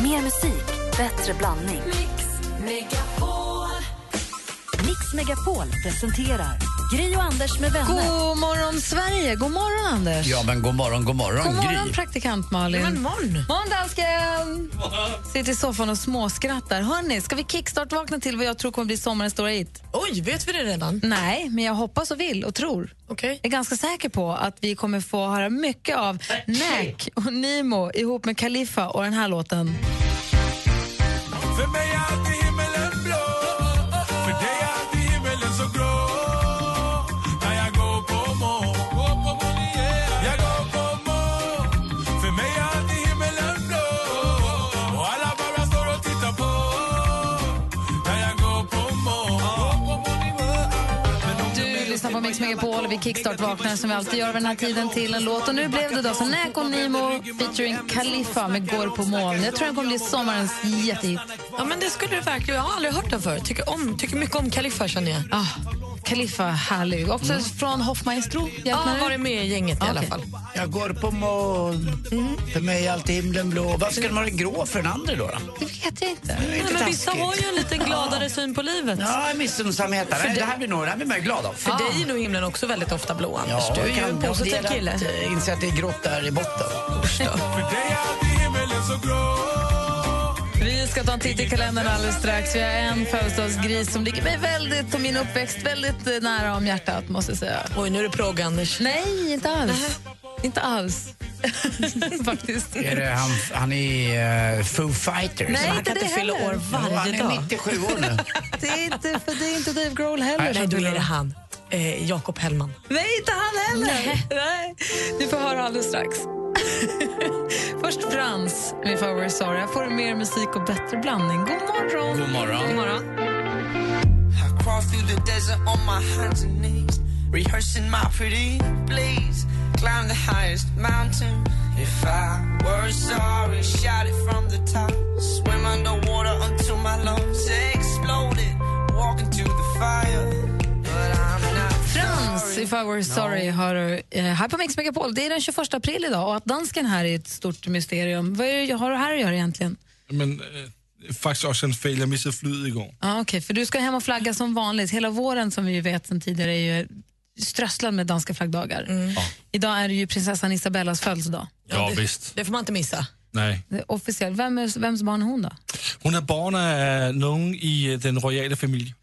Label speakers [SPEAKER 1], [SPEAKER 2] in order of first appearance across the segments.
[SPEAKER 1] Mer musik, bättre blandning.
[SPEAKER 2] Mix Megapol.
[SPEAKER 1] Mix Megapol presenterar Gry och Anders med vänner.
[SPEAKER 3] God morgon, Sverige! God morgon, Anders!
[SPEAKER 4] Ja, men god morgon, god morgon,
[SPEAKER 3] God morgon,
[SPEAKER 4] Gry.
[SPEAKER 3] praktikant Malin.
[SPEAKER 5] Men morgon.
[SPEAKER 3] morgon, dansken! Sitter i soffan och småskrattar. Hörni, ska vi kickstart-vakna till vad jag tror kommer bli sommarens stora hit?
[SPEAKER 5] Oj, vet vi det redan?
[SPEAKER 3] Nej, men jag hoppas och vill och tror.
[SPEAKER 5] Okej.
[SPEAKER 3] Jag är ganska säker på att vi kommer få höra mycket av Nack och Nimo ihop med Khalifa och den här låten.
[SPEAKER 6] För mig är alltid himmelen blå För dig är alltid himmelen så grå När jag går på mål Jag går på mål För mig är alltid himmelen blå Och alla bara står och tittar på När jag går på mål
[SPEAKER 3] Du lyssnar på Mix Megapol och vi kickstart-vaknar som vi alltid gör vid den här tiden till en låt. Och nu blev det då så Nack och Nimo featuring Khalifa med Går på moln. Jag tror den kommer bli sommarens jättehit.
[SPEAKER 5] Ja, men det skulle du verkligen. Jag har aldrig hört den förut. Tycker, om, tycker mycket om Kaliffa känner jag. Mm.
[SPEAKER 3] Ah, Khalifa, härlig. Också från Hoffmaestro. Ah,
[SPEAKER 5] Jag
[SPEAKER 3] Hjälp mig
[SPEAKER 5] har
[SPEAKER 3] nu.
[SPEAKER 5] varit med i gänget i alla fall.
[SPEAKER 4] Jag går på moln. För mig är alltid himlen blå. Varför ska den vara grå för den andra då? då?
[SPEAKER 3] Det vet jag inte.
[SPEAKER 4] Det är lite
[SPEAKER 5] Nej, men vissa
[SPEAKER 4] taskigt.
[SPEAKER 5] har ju en lite gladare syn på livet.
[SPEAKER 4] Ja, missunnsamhet. Nej, Det här blir nog, det här blir man ju glad av.
[SPEAKER 5] För dig är nog himlen också väldigt ofta blå, Anders. du är ju en positiv kille.
[SPEAKER 4] Inse att det är grått där i botten.
[SPEAKER 6] För dig är alltid himmelen så grå
[SPEAKER 3] Vi ska ta en titt i kalendern alldeles strax. Vi har en födelsedagsgris som ligger mig väldigt, och min uppväxt väldigt eh, nära om hjärtat, måste jag säga.
[SPEAKER 5] Oj, nu är det plåga, Anders.
[SPEAKER 3] Nej, inte alls. inte alls. Faktiskt.
[SPEAKER 4] Är det han, han är eh, Foo Fighters?
[SPEAKER 3] Nej,
[SPEAKER 5] Man
[SPEAKER 3] inte
[SPEAKER 5] kan
[SPEAKER 3] det
[SPEAKER 5] inte fylla
[SPEAKER 3] heller.
[SPEAKER 5] år
[SPEAKER 4] han
[SPEAKER 5] varje
[SPEAKER 4] är
[SPEAKER 5] dag.
[SPEAKER 4] 97 år nu.
[SPEAKER 3] Det är inte, för det är inte Dave Grohl heller.
[SPEAKER 5] Nej,
[SPEAKER 3] som
[SPEAKER 5] då
[SPEAKER 3] fyller
[SPEAKER 5] är det
[SPEAKER 3] år.
[SPEAKER 5] han. Eh, Jakob Hellman.
[SPEAKER 3] Nej, inte han heller. Nej. Ni får höra alldeles strax. Först Frans med If I Were Sorry. Här får du mer musik och bättre blandning. God morgon!
[SPEAKER 4] God morgon.
[SPEAKER 3] God morgon.
[SPEAKER 7] I crawl through the desert on my hands and knees, rehearsing my pretty please. Climb the highest mountain. If I were sorry, shout it from the top. Swim underwater until my lungs exploded. Walk into the fire, but I'm not
[SPEAKER 3] Frans,
[SPEAKER 7] sorry.
[SPEAKER 3] If I Were Sorry, hör du eh, här på Mix Megapol. Det är den 21 april idag och att dansken här är ett stort mysterium. Vad är, det- har du här att göra egentligen?
[SPEAKER 8] Men eh, faktiskt också en fel. Jag missade flyget igår.
[SPEAKER 3] Ja, Okej, för du ska hem och flagga som vanligt. Hela våren som vi ju vet sedan tidigare är ju strösslad med danska flaggdagar.
[SPEAKER 4] Mm.
[SPEAKER 3] Idag är det ju prinsessan Isabellas födelsedag.
[SPEAKER 8] Ja, visst.
[SPEAKER 5] Det får man inte missa.
[SPEAKER 8] Nej.
[SPEAKER 3] Det är Officiellt. Vem är, vems barn är hon då?
[SPEAKER 8] Hon är barn av någon i eh, den royala familjen.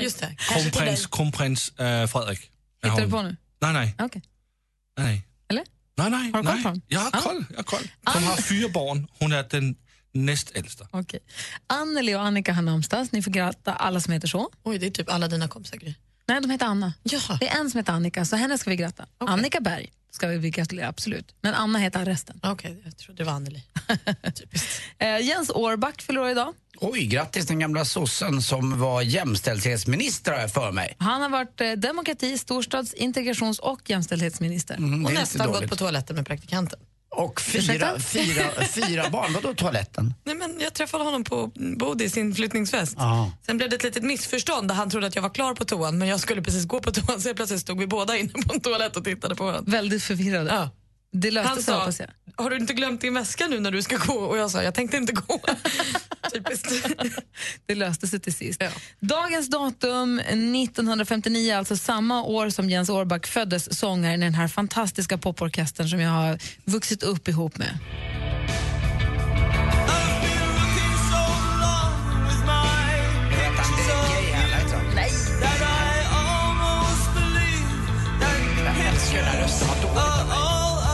[SPEAKER 5] Just det. Kanske till
[SPEAKER 8] Kronprins, kronprins eh, Fredrik. är
[SPEAKER 3] Hittar
[SPEAKER 8] hon.
[SPEAKER 3] du på nu?
[SPEAKER 8] Nej, nej.
[SPEAKER 3] Okej.
[SPEAKER 8] nej.
[SPEAKER 3] Eller?
[SPEAKER 8] Nej, nej.
[SPEAKER 3] Har du koll
[SPEAKER 8] nej.
[SPEAKER 3] på honom?
[SPEAKER 8] Jag har
[SPEAKER 3] Ja.
[SPEAKER 8] koll. Jag har koll. Hon har fyra barn. Hon är den näst äldsta.
[SPEAKER 3] Okej. Anneli och Annika har namnsdag. så Ni får gratta alla som heter så.
[SPEAKER 5] Oj, det är typ alla dina kompisar, Gry.
[SPEAKER 3] Nej, de heter Anna.
[SPEAKER 5] Ja.
[SPEAKER 3] Det är en som heter Annika, så henne ska vi gratta. Annika Berg ska vi gratulera, absolut. Men Anna heter resten.
[SPEAKER 5] Okej, jag trodde det var Anneli. Typiskt.
[SPEAKER 3] Eh, Jens Orback förlorar idag.
[SPEAKER 4] Oj, grattis den gamla sossen som var jämställdhetsminister har jag för mig.
[SPEAKER 3] Han har varit eh, demokrati-, storstads-, integrations och jämställdhetsminister.
[SPEAKER 4] Mm,
[SPEAKER 5] Och
[SPEAKER 4] det är inte
[SPEAKER 5] nästan gått
[SPEAKER 4] dåligt.
[SPEAKER 5] på toaletten med praktikanten.
[SPEAKER 4] Och fyra,
[SPEAKER 3] Ursäkta?
[SPEAKER 4] fyra, fyra barn, vadå toaletten?
[SPEAKER 5] Nej, men jag träffade honom på Bodis inflyttningsfest.
[SPEAKER 4] Ja.
[SPEAKER 5] Sen blev det ett litet missförstånd där han trodde att jag var klar på toan men jag skulle precis gå på toan så helt plötsligt stod vi båda inne på en toalett och tittade på varandra.
[SPEAKER 3] Väldigt förvirrad.
[SPEAKER 5] Ja.
[SPEAKER 3] Det löste
[SPEAKER 5] Han
[SPEAKER 3] sig,
[SPEAKER 5] sa,
[SPEAKER 3] hoppas jag.
[SPEAKER 5] har du inte glömt din väska nu när du ska gå? Och jag sa, jag tänkte inte gå. Typiskt.
[SPEAKER 3] Det löste sig till sist.
[SPEAKER 5] Ja.
[SPEAKER 3] Dagens datum 1959, alltså samma år som Jens Orback föddes, sångaren i den här fantastiska poporkestern som jag har vuxit upp ihop med.
[SPEAKER 7] I've been looking so long with my pictures of that I almost believe that are all I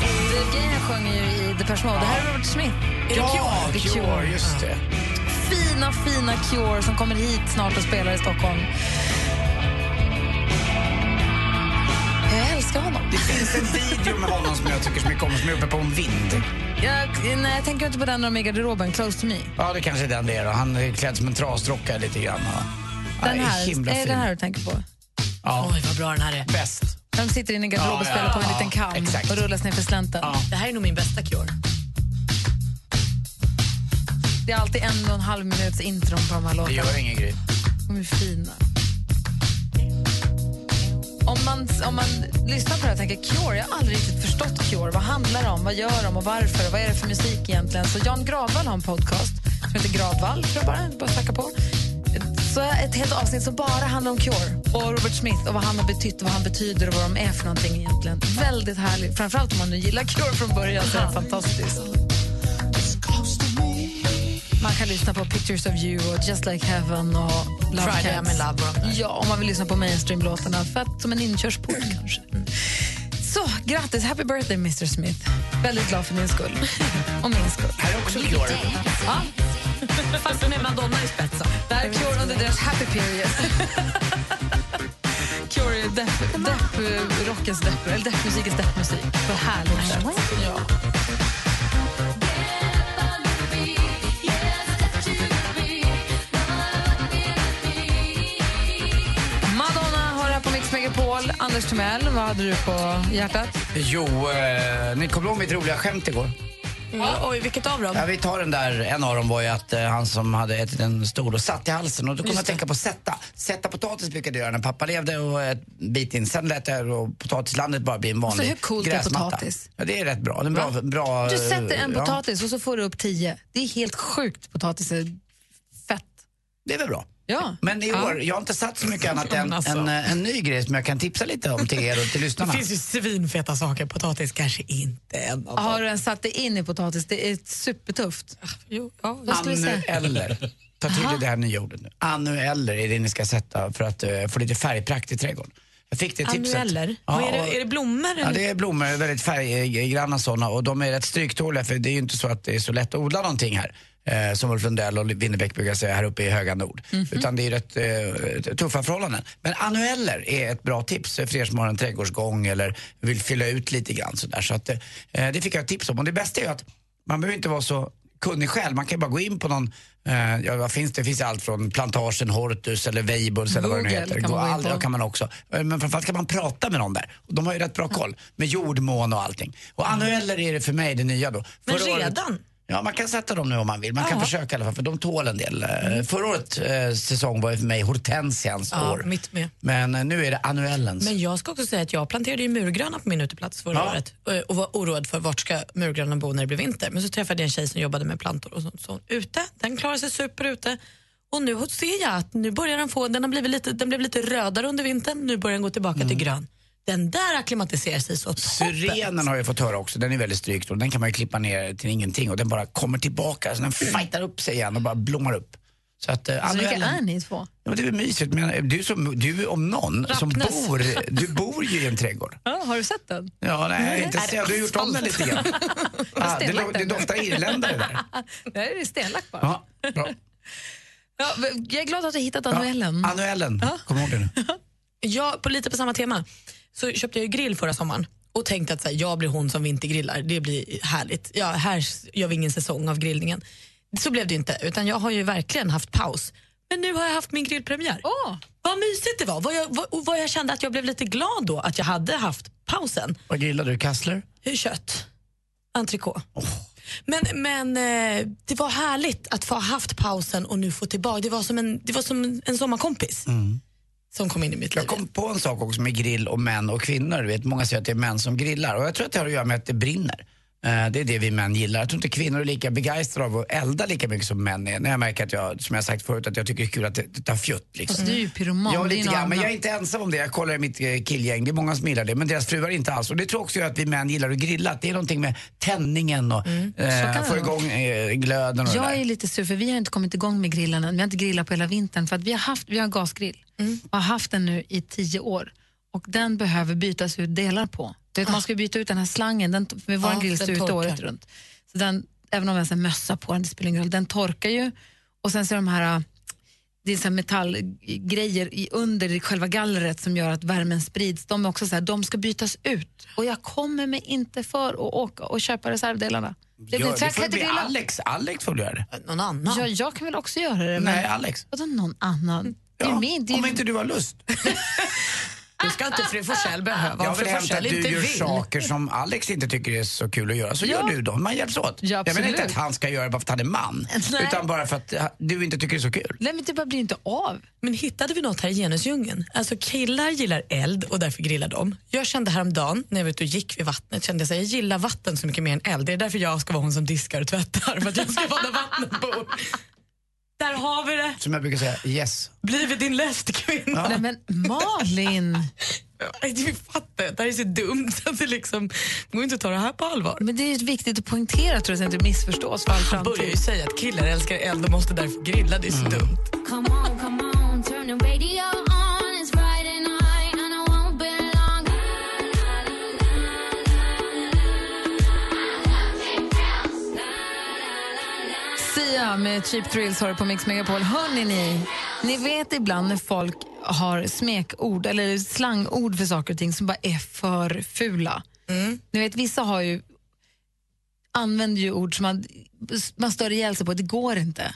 [SPEAKER 7] can
[SPEAKER 3] Dave Gahan sjunger ju i Depeche Mode. Det här är Robert Smith.
[SPEAKER 4] Ja,
[SPEAKER 3] The
[SPEAKER 4] Cure, just det.
[SPEAKER 3] Fina, fina Cure som kommer hit snart och spelar i Stockholm. Jag älskar honom.
[SPEAKER 4] Det finns en video med honom som jag tycker så mycket om, som är uppe på en vind.
[SPEAKER 3] Jag, nej, jag tänker inte på den när de är i garderoben, Close to me.
[SPEAKER 4] Ja, det kanske är den det är. Då. Han är klädd som en trasdrocka lite grann. va? Ja,
[SPEAKER 3] Den
[SPEAKER 4] det
[SPEAKER 3] här,
[SPEAKER 4] himla
[SPEAKER 3] är
[SPEAKER 4] fin.
[SPEAKER 3] det den här du tänker på?
[SPEAKER 4] Ja,
[SPEAKER 5] Oj, vad bra den här är.
[SPEAKER 4] bäst.
[SPEAKER 3] När de sitter inne i garderoben
[SPEAKER 4] Ja,
[SPEAKER 3] och
[SPEAKER 4] ja,
[SPEAKER 3] spelar på en
[SPEAKER 4] ja,
[SPEAKER 3] liten kam
[SPEAKER 4] exakt.
[SPEAKER 3] och rullas ner för slänten.
[SPEAKER 5] Det här är nog min bästa cure.
[SPEAKER 3] Det är alltid en och en halv minuts intron på de här
[SPEAKER 4] Det
[SPEAKER 3] låtarna.
[SPEAKER 4] gör ingen grej.
[SPEAKER 3] De är fina. Om om man, om man lyssnar på det här och tänker Cure, jag har aldrig riktigt förstått Cure. Vad handlar det om? Vad gör de och varför? Och vad är det för musik egentligen? Så Jan Gravvall har en podcast som heter Gravvall, tror jag bara. Bara söka på. Så ett helt avsnitt som bara handlar om Cure och Robert Smith och vad han har betytt och vad han betyder och vad de är för någonting egentligen. Väldigt härligt. Framförallt om man nu gillar Cure från början så är det fantastiskt. Man kan lyssna på Pictures of you och Just like heaven och Love
[SPEAKER 5] Friday
[SPEAKER 3] Cats.
[SPEAKER 5] I'm in love och de där.
[SPEAKER 3] Ja, om man vill lyssna på mainstream-låtarna för att, som en inkörsport
[SPEAKER 5] Mm.
[SPEAKER 3] kanske. Så, grattis! Happy birthday, Mr Smith. Väldigt glad för din skull. Och min skull.
[SPEAKER 4] Här är också Cure.
[SPEAKER 5] Fast med Madonna i spetsen.
[SPEAKER 3] Det här är Cure under deras happy period. Cure är depp, depp, rockens depp, eller deppmusikens deppmusik. Vad härligt det är. ja. Madonna har det här på Mix Megapol. Anders Timell, vad hade du på hjärtat?
[SPEAKER 4] Jo, eh, ni kommer ihåg mitt roliga skämt igår?
[SPEAKER 5] Ja, oj, vilket av dem?
[SPEAKER 4] Ja, vi tar den där, en av dem var ju att eh, han som hade ätit en stol och satt i halsen och då kom jag att tänka på sätta. Sätta potatis brukade jag göra när pappa levde och ett bit in. Sen lät jag då potatislandet bara bli en
[SPEAKER 5] Alltså,
[SPEAKER 4] vanlig
[SPEAKER 3] Så hur coolt är
[SPEAKER 4] gräsmatta.
[SPEAKER 3] potatis?
[SPEAKER 4] Ja, det är rätt bra. Det är en bra, bra
[SPEAKER 3] Du
[SPEAKER 4] eh,
[SPEAKER 3] sätter en
[SPEAKER 4] ja.
[SPEAKER 3] potatis och så får du upp tio. Det är helt sjukt. Potatis är fett.
[SPEAKER 4] Det är väl bra.
[SPEAKER 3] Ja.
[SPEAKER 4] Men i år, jag har inte satt så mycket annat än
[SPEAKER 5] alltså.
[SPEAKER 4] en, eh, en ny grej som jag kan tipsa lite om till er och till lyssnarna.
[SPEAKER 5] Det finns ju svinfeta saker. Potatis kanske inte är en av dem.
[SPEAKER 3] Har du ens satt dig in i potatis? Det är supertufft.
[SPEAKER 5] Jo, ja,
[SPEAKER 3] Vad ska vi säga?
[SPEAKER 4] Annueller. Ta till dig det här nya ordet nu. Annueller är det ni ska sätta för att eh, få lite färgprakt i trädgården. Jag fick det tipset.
[SPEAKER 5] Annueller?
[SPEAKER 4] Ja,
[SPEAKER 5] Vad är,
[SPEAKER 4] och-
[SPEAKER 5] det, är det blommor?
[SPEAKER 4] Ja,
[SPEAKER 5] eller?
[SPEAKER 4] det är blommor, väldigt färggranna sådana och de är rätt stryktåliga för det är ju inte så att det är så lätt att odla någonting här. Eh, som Ulf Lundell och Winnerbäck brukar säga här uppe i höga nord.
[SPEAKER 3] Mhm.
[SPEAKER 4] Utan det är rätt eh, tuffa förhållanden. Men annueller är ett bra tips för er som har en trädgårdsgång eller vill fylla ut lite grann sådär. Så att, eh, det fick jag ett tips om. Och det bästa är ju att man behöver inte vara så kunnig själv. Man kan ju bara gå in på någon, eh, ja vad finns det? Det finns allt från plantagen, Hortus eller Weibulls eller vad det nu
[SPEAKER 3] Google
[SPEAKER 4] heter.
[SPEAKER 3] kan man gå in
[SPEAKER 4] Allt-
[SPEAKER 3] på.
[SPEAKER 4] ja, kan man också. Eh, Men framförallt kan man prata med någon där. Och De har ju rätt bra koll med jordmån och allting. Och annueller är det för mig det nya då.
[SPEAKER 5] Mm. Men
[SPEAKER 4] Förra året-
[SPEAKER 5] redan?
[SPEAKER 4] Ja, man kan sätta dem nu om man vill. Man kan försöka i alla fall, för de tål en del. Eh, Förra årets eh, säsong var ju för mig hortensians
[SPEAKER 5] Mm. Ja,
[SPEAKER 4] år.
[SPEAKER 5] mitt med.
[SPEAKER 4] Men eh, nu är det annuellens.
[SPEAKER 5] Men jag ska också säga att jag planterade ju murgröna på min uteplats förra
[SPEAKER 4] Ja.
[SPEAKER 5] året eh, och- och var oroad för vart ska murgrönan bo när det blir vinter. Men så träffade jag en tjej som jobbade med plantor och så sa hon, ute, den klarar sig super ute. Och nu ser jag att nu börjar den få, den, har blivit lite, den blev lite rödare under vintern, nu börjar den gå tillbaka till grön. Den där acklimatiserar sig så toppen.
[SPEAKER 4] Syrenen har jag fått höra också, den är väldigt strykt och den kan man ju klippa ner till ingenting och den bara kommer tillbaka, så den
[SPEAKER 5] Mm.
[SPEAKER 4] fightar upp sig igen och bara blommar upp. Så att eh,
[SPEAKER 3] Så vilka
[SPEAKER 4] annuellen-
[SPEAKER 3] är ni två?
[SPEAKER 4] Ja, men det är väl mysigt, men du, som, du om någon som
[SPEAKER 3] Rappnäs.
[SPEAKER 4] bor, du bor ju i en trädgård.
[SPEAKER 3] Ja, har du sett den?
[SPEAKER 4] Ja, nej, inte så. Du har gjort om den lite grann. Ah, det,
[SPEAKER 3] stenlagt
[SPEAKER 4] lo- det
[SPEAKER 3] den.
[SPEAKER 4] doftar irländare där.
[SPEAKER 3] Nej, det är stenlack bara.
[SPEAKER 4] Ja, bra.
[SPEAKER 3] Ja, men jag är glad att du har hittat
[SPEAKER 4] Ja,
[SPEAKER 3] annuellen.
[SPEAKER 4] Annuellen, kom ihåg det nu.
[SPEAKER 5] Ja, på lite på samma tema så köpte jag ju grill förra sommaren och tänkte att så här, jag blir hon som vintergrillar, det blir härligt. Ja, här gör vi ingen säsong av grillningen. Så blev det inte, utan jag har ju verkligen haft paus. Men nu har jag haft min grillpremiär.
[SPEAKER 3] Åh,
[SPEAKER 5] Vad mysigt det var vad jag, vad, och vad jag kände att jag blev lite glad då att jag hade haft pausen.
[SPEAKER 4] Vad grillade du? Kassler?
[SPEAKER 5] Kött, entrecote. Men, men eh, det var härligt att få ha haft pausen och nu få tillbaka. Det var som en, det var som en sommarkompis
[SPEAKER 4] Mm.
[SPEAKER 5] som kom in i mitt liv.
[SPEAKER 4] Jag kom på en sak också med grill och män och kvinnor. Du vet, många säger att det är män som grillar och jag tror att det har att göra med att det brinner. Eh, Det är det vi män gillar. Jag tror inte kvinnor är lika begeistrade av att elda lika mycket som män är. När jag märker att jag, som jag sagt förut, att jag tycker det är kul att det, det tar fjutt. Liksom.
[SPEAKER 3] alltså, du är ju pyroman.
[SPEAKER 4] Ja,
[SPEAKER 3] det är
[SPEAKER 4] lite
[SPEAKER 3] något
[SPEAKER 4] grann. Men jag är
[SPEAKER 3] annat.
[SPEAKER 4] inte ensam om det. Jag kollar i mitt eh, killgäng. Det är många som gillar det, men deras fruar inte alls. Och det tror jag också gör att vi män gillar att grilla. Att Det är någonting med tändningen och eh,
[SPEAKER 3] Mm. det
[SPEAKER 4] få
[SPEAKER 3] vara.
[SPEAKER 4] igång eh, glöden och det
[SPEAKER 3] Jag
[SPEAKER 4] där.
[SPEAKER 3] är lite sur för vi har inte kommit igång med grillen än. Vi har inte grillat på hela vintern för att vi har haft vi har en gasgrill och har haft den nu i tio år och den behöver bytas ut delar på. Du vet, Man ska ju byta ut den här slangen, den, med vår
[SPEAKER 5] Ja,
[SPEAKER 3] grill
[SPEAKER 5] den
[SPEAKER 3] står ute
[SPEAKER 5] torkar.
[SPEAKER 3] året runt. Så den, även om jag har en mössa på den, det spelar ingen roll, den torkar ju och sen så är de här äh, det är så här metallgrejer i- under i själva gallret som gör att värmen sprids. De är också så här, de ska bytas ut och jag kommer mig inte för att åka och köpa reservdelarna. Det blir,
[SPEAKER 4] Gör-
[SPEAKER 3] så jag kan
[SPEAKER 4] får
[SPEAKER 3] inte
[SPEAKER 4] bli
[SPEAKER 3] grilla.
[SPEAKER 4] Alex. Alex får du göra det.
[SPEAKER 5] Någon annan.
[SPEAKER 3] Ja, jag kan väl också göra det. Men
[SPEAKER 4] Nej, Alex.
[SPEAKER 3] vadå någon annan? Det är
[SPEAKER 4] Ja,
[SPEAKER 3] ju min, det är ju
[SPEAKER 4] om inte du har lust.
[SPEAKER 5] Du ska inte fru Forsell behöva.
[SPEAKER 4] Jag
[SPEAKER 5] Om fru
[SPEAKER 4] vill hävda att
[SPEAKER 5] Forsell
[SPEAKER 4] du
[SPEAKER 5] inte
[SPEAKER 4] gör
[SPEAKER 5] vill.
[SPEAKER 4] saker som Alex inte tycker är så kul att göra, så
[SPEAKER 3] Ja.
[SPEAKER 4] gör du dem. Man hjälps åt.
[SPEAKER 3] Ja,
[SPEAKER 4] jag menar
[SPEAKER 3] absolut.
[SPEAKER 4] inte att han ska göra det bara för att han är man,
[SPEAKER 3] Nej.
[SPEAKER 4] utan bara för att eh, du inte tycker det är så kul.
[SPEAKER 3] Nej, men det bara blir inte av.
[SPEAKER 5] Men hittade vi något här i genusdjungeln? Alltså killar gillar eld och därför grillar de. Jag kände häromdagen när jag var ute och gick vid vattnet, kände jag så här, jag gillar vatten så mycket mer än eld. Det är därför jag ska vara hon som diskar och tvättar, för att jag ska vara där vattnet bor. Där har vi det!
[SPEAKER 4] Som jag brukar säga, yes.
[SPEAKER 5] Blivit din lästkvinna.
[SPEAKER 3] Nej, men Malin!
[SPEAKER 5] Nej, Du fattar, det här är så dumt att det liksom det går inte att ta det här på allvar.
[SPEAKER 3] Men det är ju viktigt att poängtera tror jag, så att det inte missförstås för all
[SPEAKER 5] Han börjar ju
[SPEAKER 3] framtid.
[SPEAKER 5] säga att killar älskar eld och måste därför grilla, det är så dumt.
[SPEAKER 9] Come on, come on, turn the radio on. It's Friday night and I won't be long.
[SPEAKER 3] Sia med Cheap Thrills har du på Mix Megapol. Hörrni ni, ni vet ibland när folk har smekord eller slangord för saker och ting som bara är för fula. Ni vet vissa har ju använder ju ord som man, man stör ihjäl sig på, det går inte.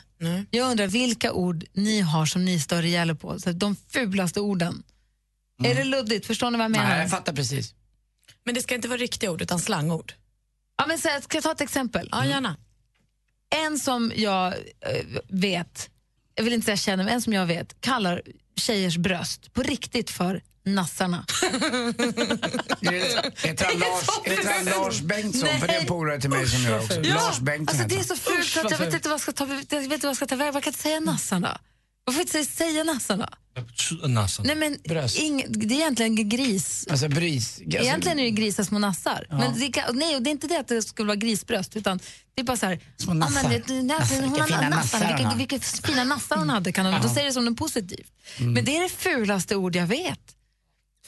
[SPEAKER 3] Jag undrar vilka ord ni har som ni stör ihjäl er på, så att de fulaste orden. Är det luddigt? Förstår ni vad jag menar?
[SPEAKER 4] Nej, jag fattar precis.
[SPEAKER 5] Men det ska inte vara riktiga ord utan slangord.
[SPEAKER 3] Ja, men så här, ska jag ta ett exempel?
[SPEAKER 5] Ja,
[SPEAKER 3] Mm.
[SPEAKER 5] gärna.
[SPEAKER 3] En som jag eh, vet, jag vill inte säga känner, men en som jag vet kallar tjejers bröst på riktigt för nassarna.
[SPEAKER 4] Heter han Lars, heter han Lars Bengtsson? För det är en polare till mig som gör också. Lars Bengtsson
[SPEAKER 3] alltså, det är
[SPEAKER 4] heter
[SPEAKER 3] så fult
[SPEAKER 5] Usch,
[SPEAKER 3] så att jag
[SPEAKER 5] vad
[SPEAKER 3] vet
[SPEAKER 5] fult.
[SPEAKER 3] inte vad jag ska ta, jag vet inte vad jag ska ta vägen. Man kan inte säga nassarna. Varför inte säga, säga nassarna?
[SPEAKER 8] Hvad betyder nasser?
[SPEAKER 3] Nej, men,
[SPEAKER 4] Bröst.
[SPEAKER 3] ing, det är egentligen gris.
[SPEAKER 4] han. Alltså bris. Alltså,
[SPEAKER 3] Egentligen är det grisar små nassar. Men det, kan- nej, och det är inte det att det skulle vara grisbröst utan det är bara så här...
[SPEAKER 4] Små
[SPEAKER 3] ja, men
[SPEAKER 4] nassar.
[SPEAKER 3] det- det-
[SPEAKER 4] Nassar,
[SPEAKER 3] hon
[SPEAKER 4] vilka
[SPEAKER 3] har
[SPEAKER 4] fina nassar hon
[SPEAKER 3] vilka,
[SPEAKER 4] har.
[SPEAKER 3] vilka fina nassar hon hade. Kan hon, Då säger det som något positivt. Men det är det fulaste ord jag vet.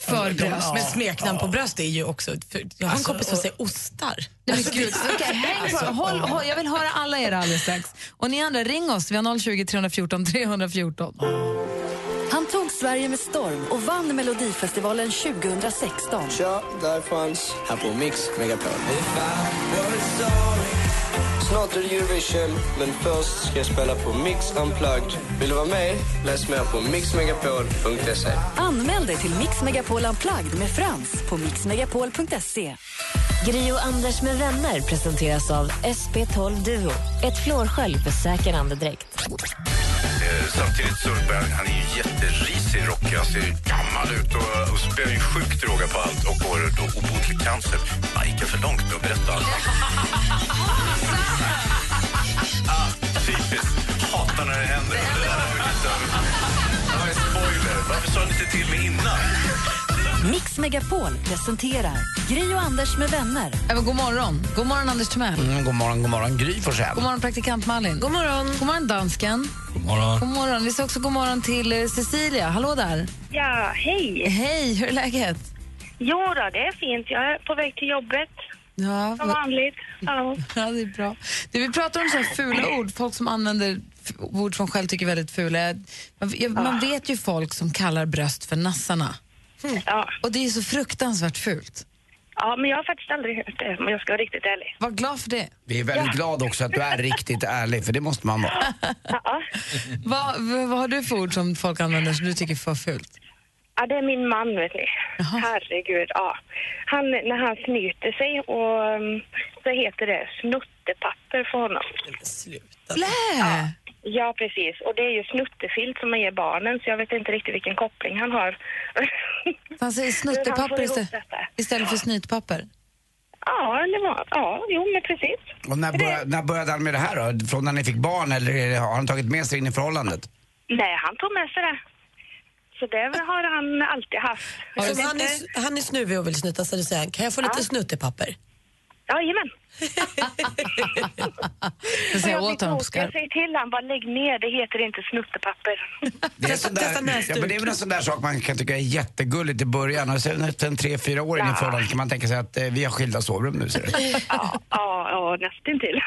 [SPEAKER 3] För bröst.
[SPEAKER 5] Men smeknamn på bröst är ju också... För jag har en kompis som säger ostar.
[SPEAKER 3] Alltså, Nej, men gud, okej, häng på, håll, håll, jag vill höra alla er alldeles strax. Och ni andra, ring oss. Vi har 020 314 314.
[SPEAKER 1] Han tog Sverige med storm och vann Melodifestivalen 2016.
[SPEAKER 10] Tja, där fanns här på Mix Megapol. Snart är det Eurovision, men först ska jag spela på Mix Unplugged. Vill du vara med? Läs mer på mixmegapol.se.
[SPEAKER 1] Anmäl dig till Mix Megapol Unplugged med Frans på mixmegapol.se.
[SPEAKER 2] Gri och Anders med vänner presenteras av SP12 Duo. Ett flårskölj för säker andedräkt.
[SPEAKER 11] Eh, Samtidigt så är han är ju jätterisig, rockig, han ser gammal ut och, och spelar ju sjukt råga på allt och har då obotlig cancer. Man gick jag för långt med att berätta allt? ah, typiskt. Hatar när det händer. Det där var ju lite av- det var en spoiler. Varför sa ni inte till mig innan?
[SPEAKER 1] Mix Megapol presenterar Gri och Anders med vänner.
[SPEAKER 3] Även, god morgon. God morgon, Anders Timell.
[SPEAKER 4] Mm, god morgon, god morgon. Gry Forssell.
[SPEAKER 3] God morgon, praktikant Malin. God morgon. God morgon, dansken.
[SPEAKER 8] Godmorgen.
[SPEAKER 3] God morgon. Vi säger också god morgon till eh, Cecilia. Hallå där.
[SPEAKER 9] Ja, hej.
[SPEAKER 3] Hej, hur är läget?
[SPEAKER 9] Jo då, det är fint. Jag är på väg till jobbet,
[SPEAKER 3] Ja,
[SPEAKER 9] som vanligt. Ja.
[SPEAKER 3] ja det är bra. Du, vi pratar om så här fula ord, folk som använder f- ord som själv tycker är väldigt fula. Jag- Man, jag, man vet ju folk som kallar bröst för nassarna.
[SPEAKER 9] Mm. Ja.
[SPEAKER 3] Och det är ju så fruktansvärt fult.
[SPEAKER 9] ja, men jag har faktiskt aldrig hört det, om jag ska vara riktigt ärlig.
[SPEAKER 3] Var glad för det.
[SPEAKER 4] Vi är väldigt glada också att du är riktigt ärlig, för det måste man vara.
[SPEAKER 9] Ja,
[SPEAKER 3] Vad, vad, vad har du för ord som folk använder som du tycker är för fult?
[SPEAKER 9] ja det är min man, vet ni. Herregud, ja. Han, när han snyter sig och um, så heter det snuttepapper för honom.
[SPEAKER 5] Sluta.
[SPEAKER 3] Blä!
[SPEAKER 9] Ja, precis. Och det är ju snuttefilt som man ger barnen, så jag vet inte riktigt vilken koppling han har.
[SPEAKER 3] Han säger
[SPEAKER 9] Han
[SPEAKER 3] snuttepapper
[SPEAKER 9] får ihop
[SPEAKER 3] istä-
[SPEAKER 9] detta.
[SPEAKER 3] istället för snytpapper.
[SPEAKER 9] ja, det var... Ja, jo, men precis.
[SPEAKER 4] Och när, börja, när började han med det här då? Från när ni fick barn eller är det- har han tagit med sig in i förhållandet?
[SPEAKER 9] Nej, han tog med sig det. Så det har han alltid haft. Jag
[SPEAKER 5] Så
[SPEAKER 9] vet
[SPEAKER 5] om han,
[SPEAKER 9] inte-
[SPEAKER 5] är, han är snuvig och vill snyta sig, då säger han, kan jag få lite snuttepapper?
[SPEAKER 9] Jajamän.
[SPEAKER 3] Jag säger åt honom på
[SPEAKER 9] Jag
[SPEAKER 3] skarp.
[SPEAKER 9] säger till han bara lägg ner, det heter inte snuttepapper.
[SPEAKER 4] Det är, en sån där,
[SPEAKER 5] testa näsduk.
[SPEAKER 4] ja, men det är väl en sån där sak man kan tycka är jättegulligt i början och sen efter en tre, fyra år in i förhållandet kan man tänka sig att eh, vi har skilda sovrum nu ser du.
[SPEAKER 9] Ja, ja, ja nästintill.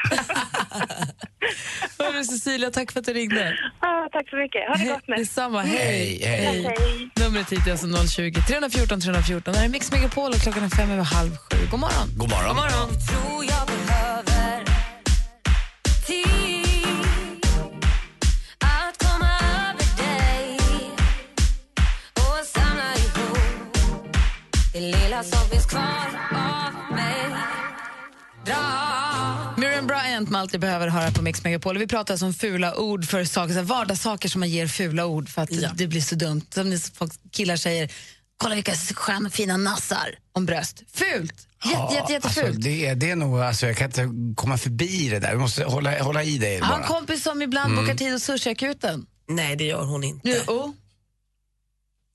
[SPEAKER 3] Hörru Cecilia, tack för att du ringde.
[SPEAKER 9] Ja, tack så mycket. Ha det gott med.
[SPEAKER 3] Detsamma, hej.
[SPEAKER 4] Hej, hej.
[SPEAKER 9] Hej.
[SPEAKER 3] Numret hit är alltså 020 314 314. Det här är Mix Megapol och klockan är fem över halv sju. God morgon.
[SPEAKER 4] God morgon.
[SPEAKER 2] tror jag behöver tid att komma över dig och samla ihop
[SPEAKER 3] procent med allt du behöver höra på Mix Megapol. Vi pratar alltså om fula ord för saker, så här vardagssaker som man ger fula ord för att det blir så dumt. Som ni folk, killar säger, kolla vilka skärm, fina nassar om bröst. Fult! Jätte, jätte, jättefult.
[SPEAKER 4] Alltså, det, är- det är nog, alltså, jag kan inte komma förbi det där. Vi måste hålla, hålla i det
[SPEAKER 3] Jag har en
[SPEAKER 4] bara.
[SPEAKER 3] kompis som ibland
[SPEAKER 4] Mm.
[SPEAKER 3] bokar tid hos sushiakuten.
[SPEAKER 12] Nej, det gör hon inte.
[SPEAKER 3] Jo.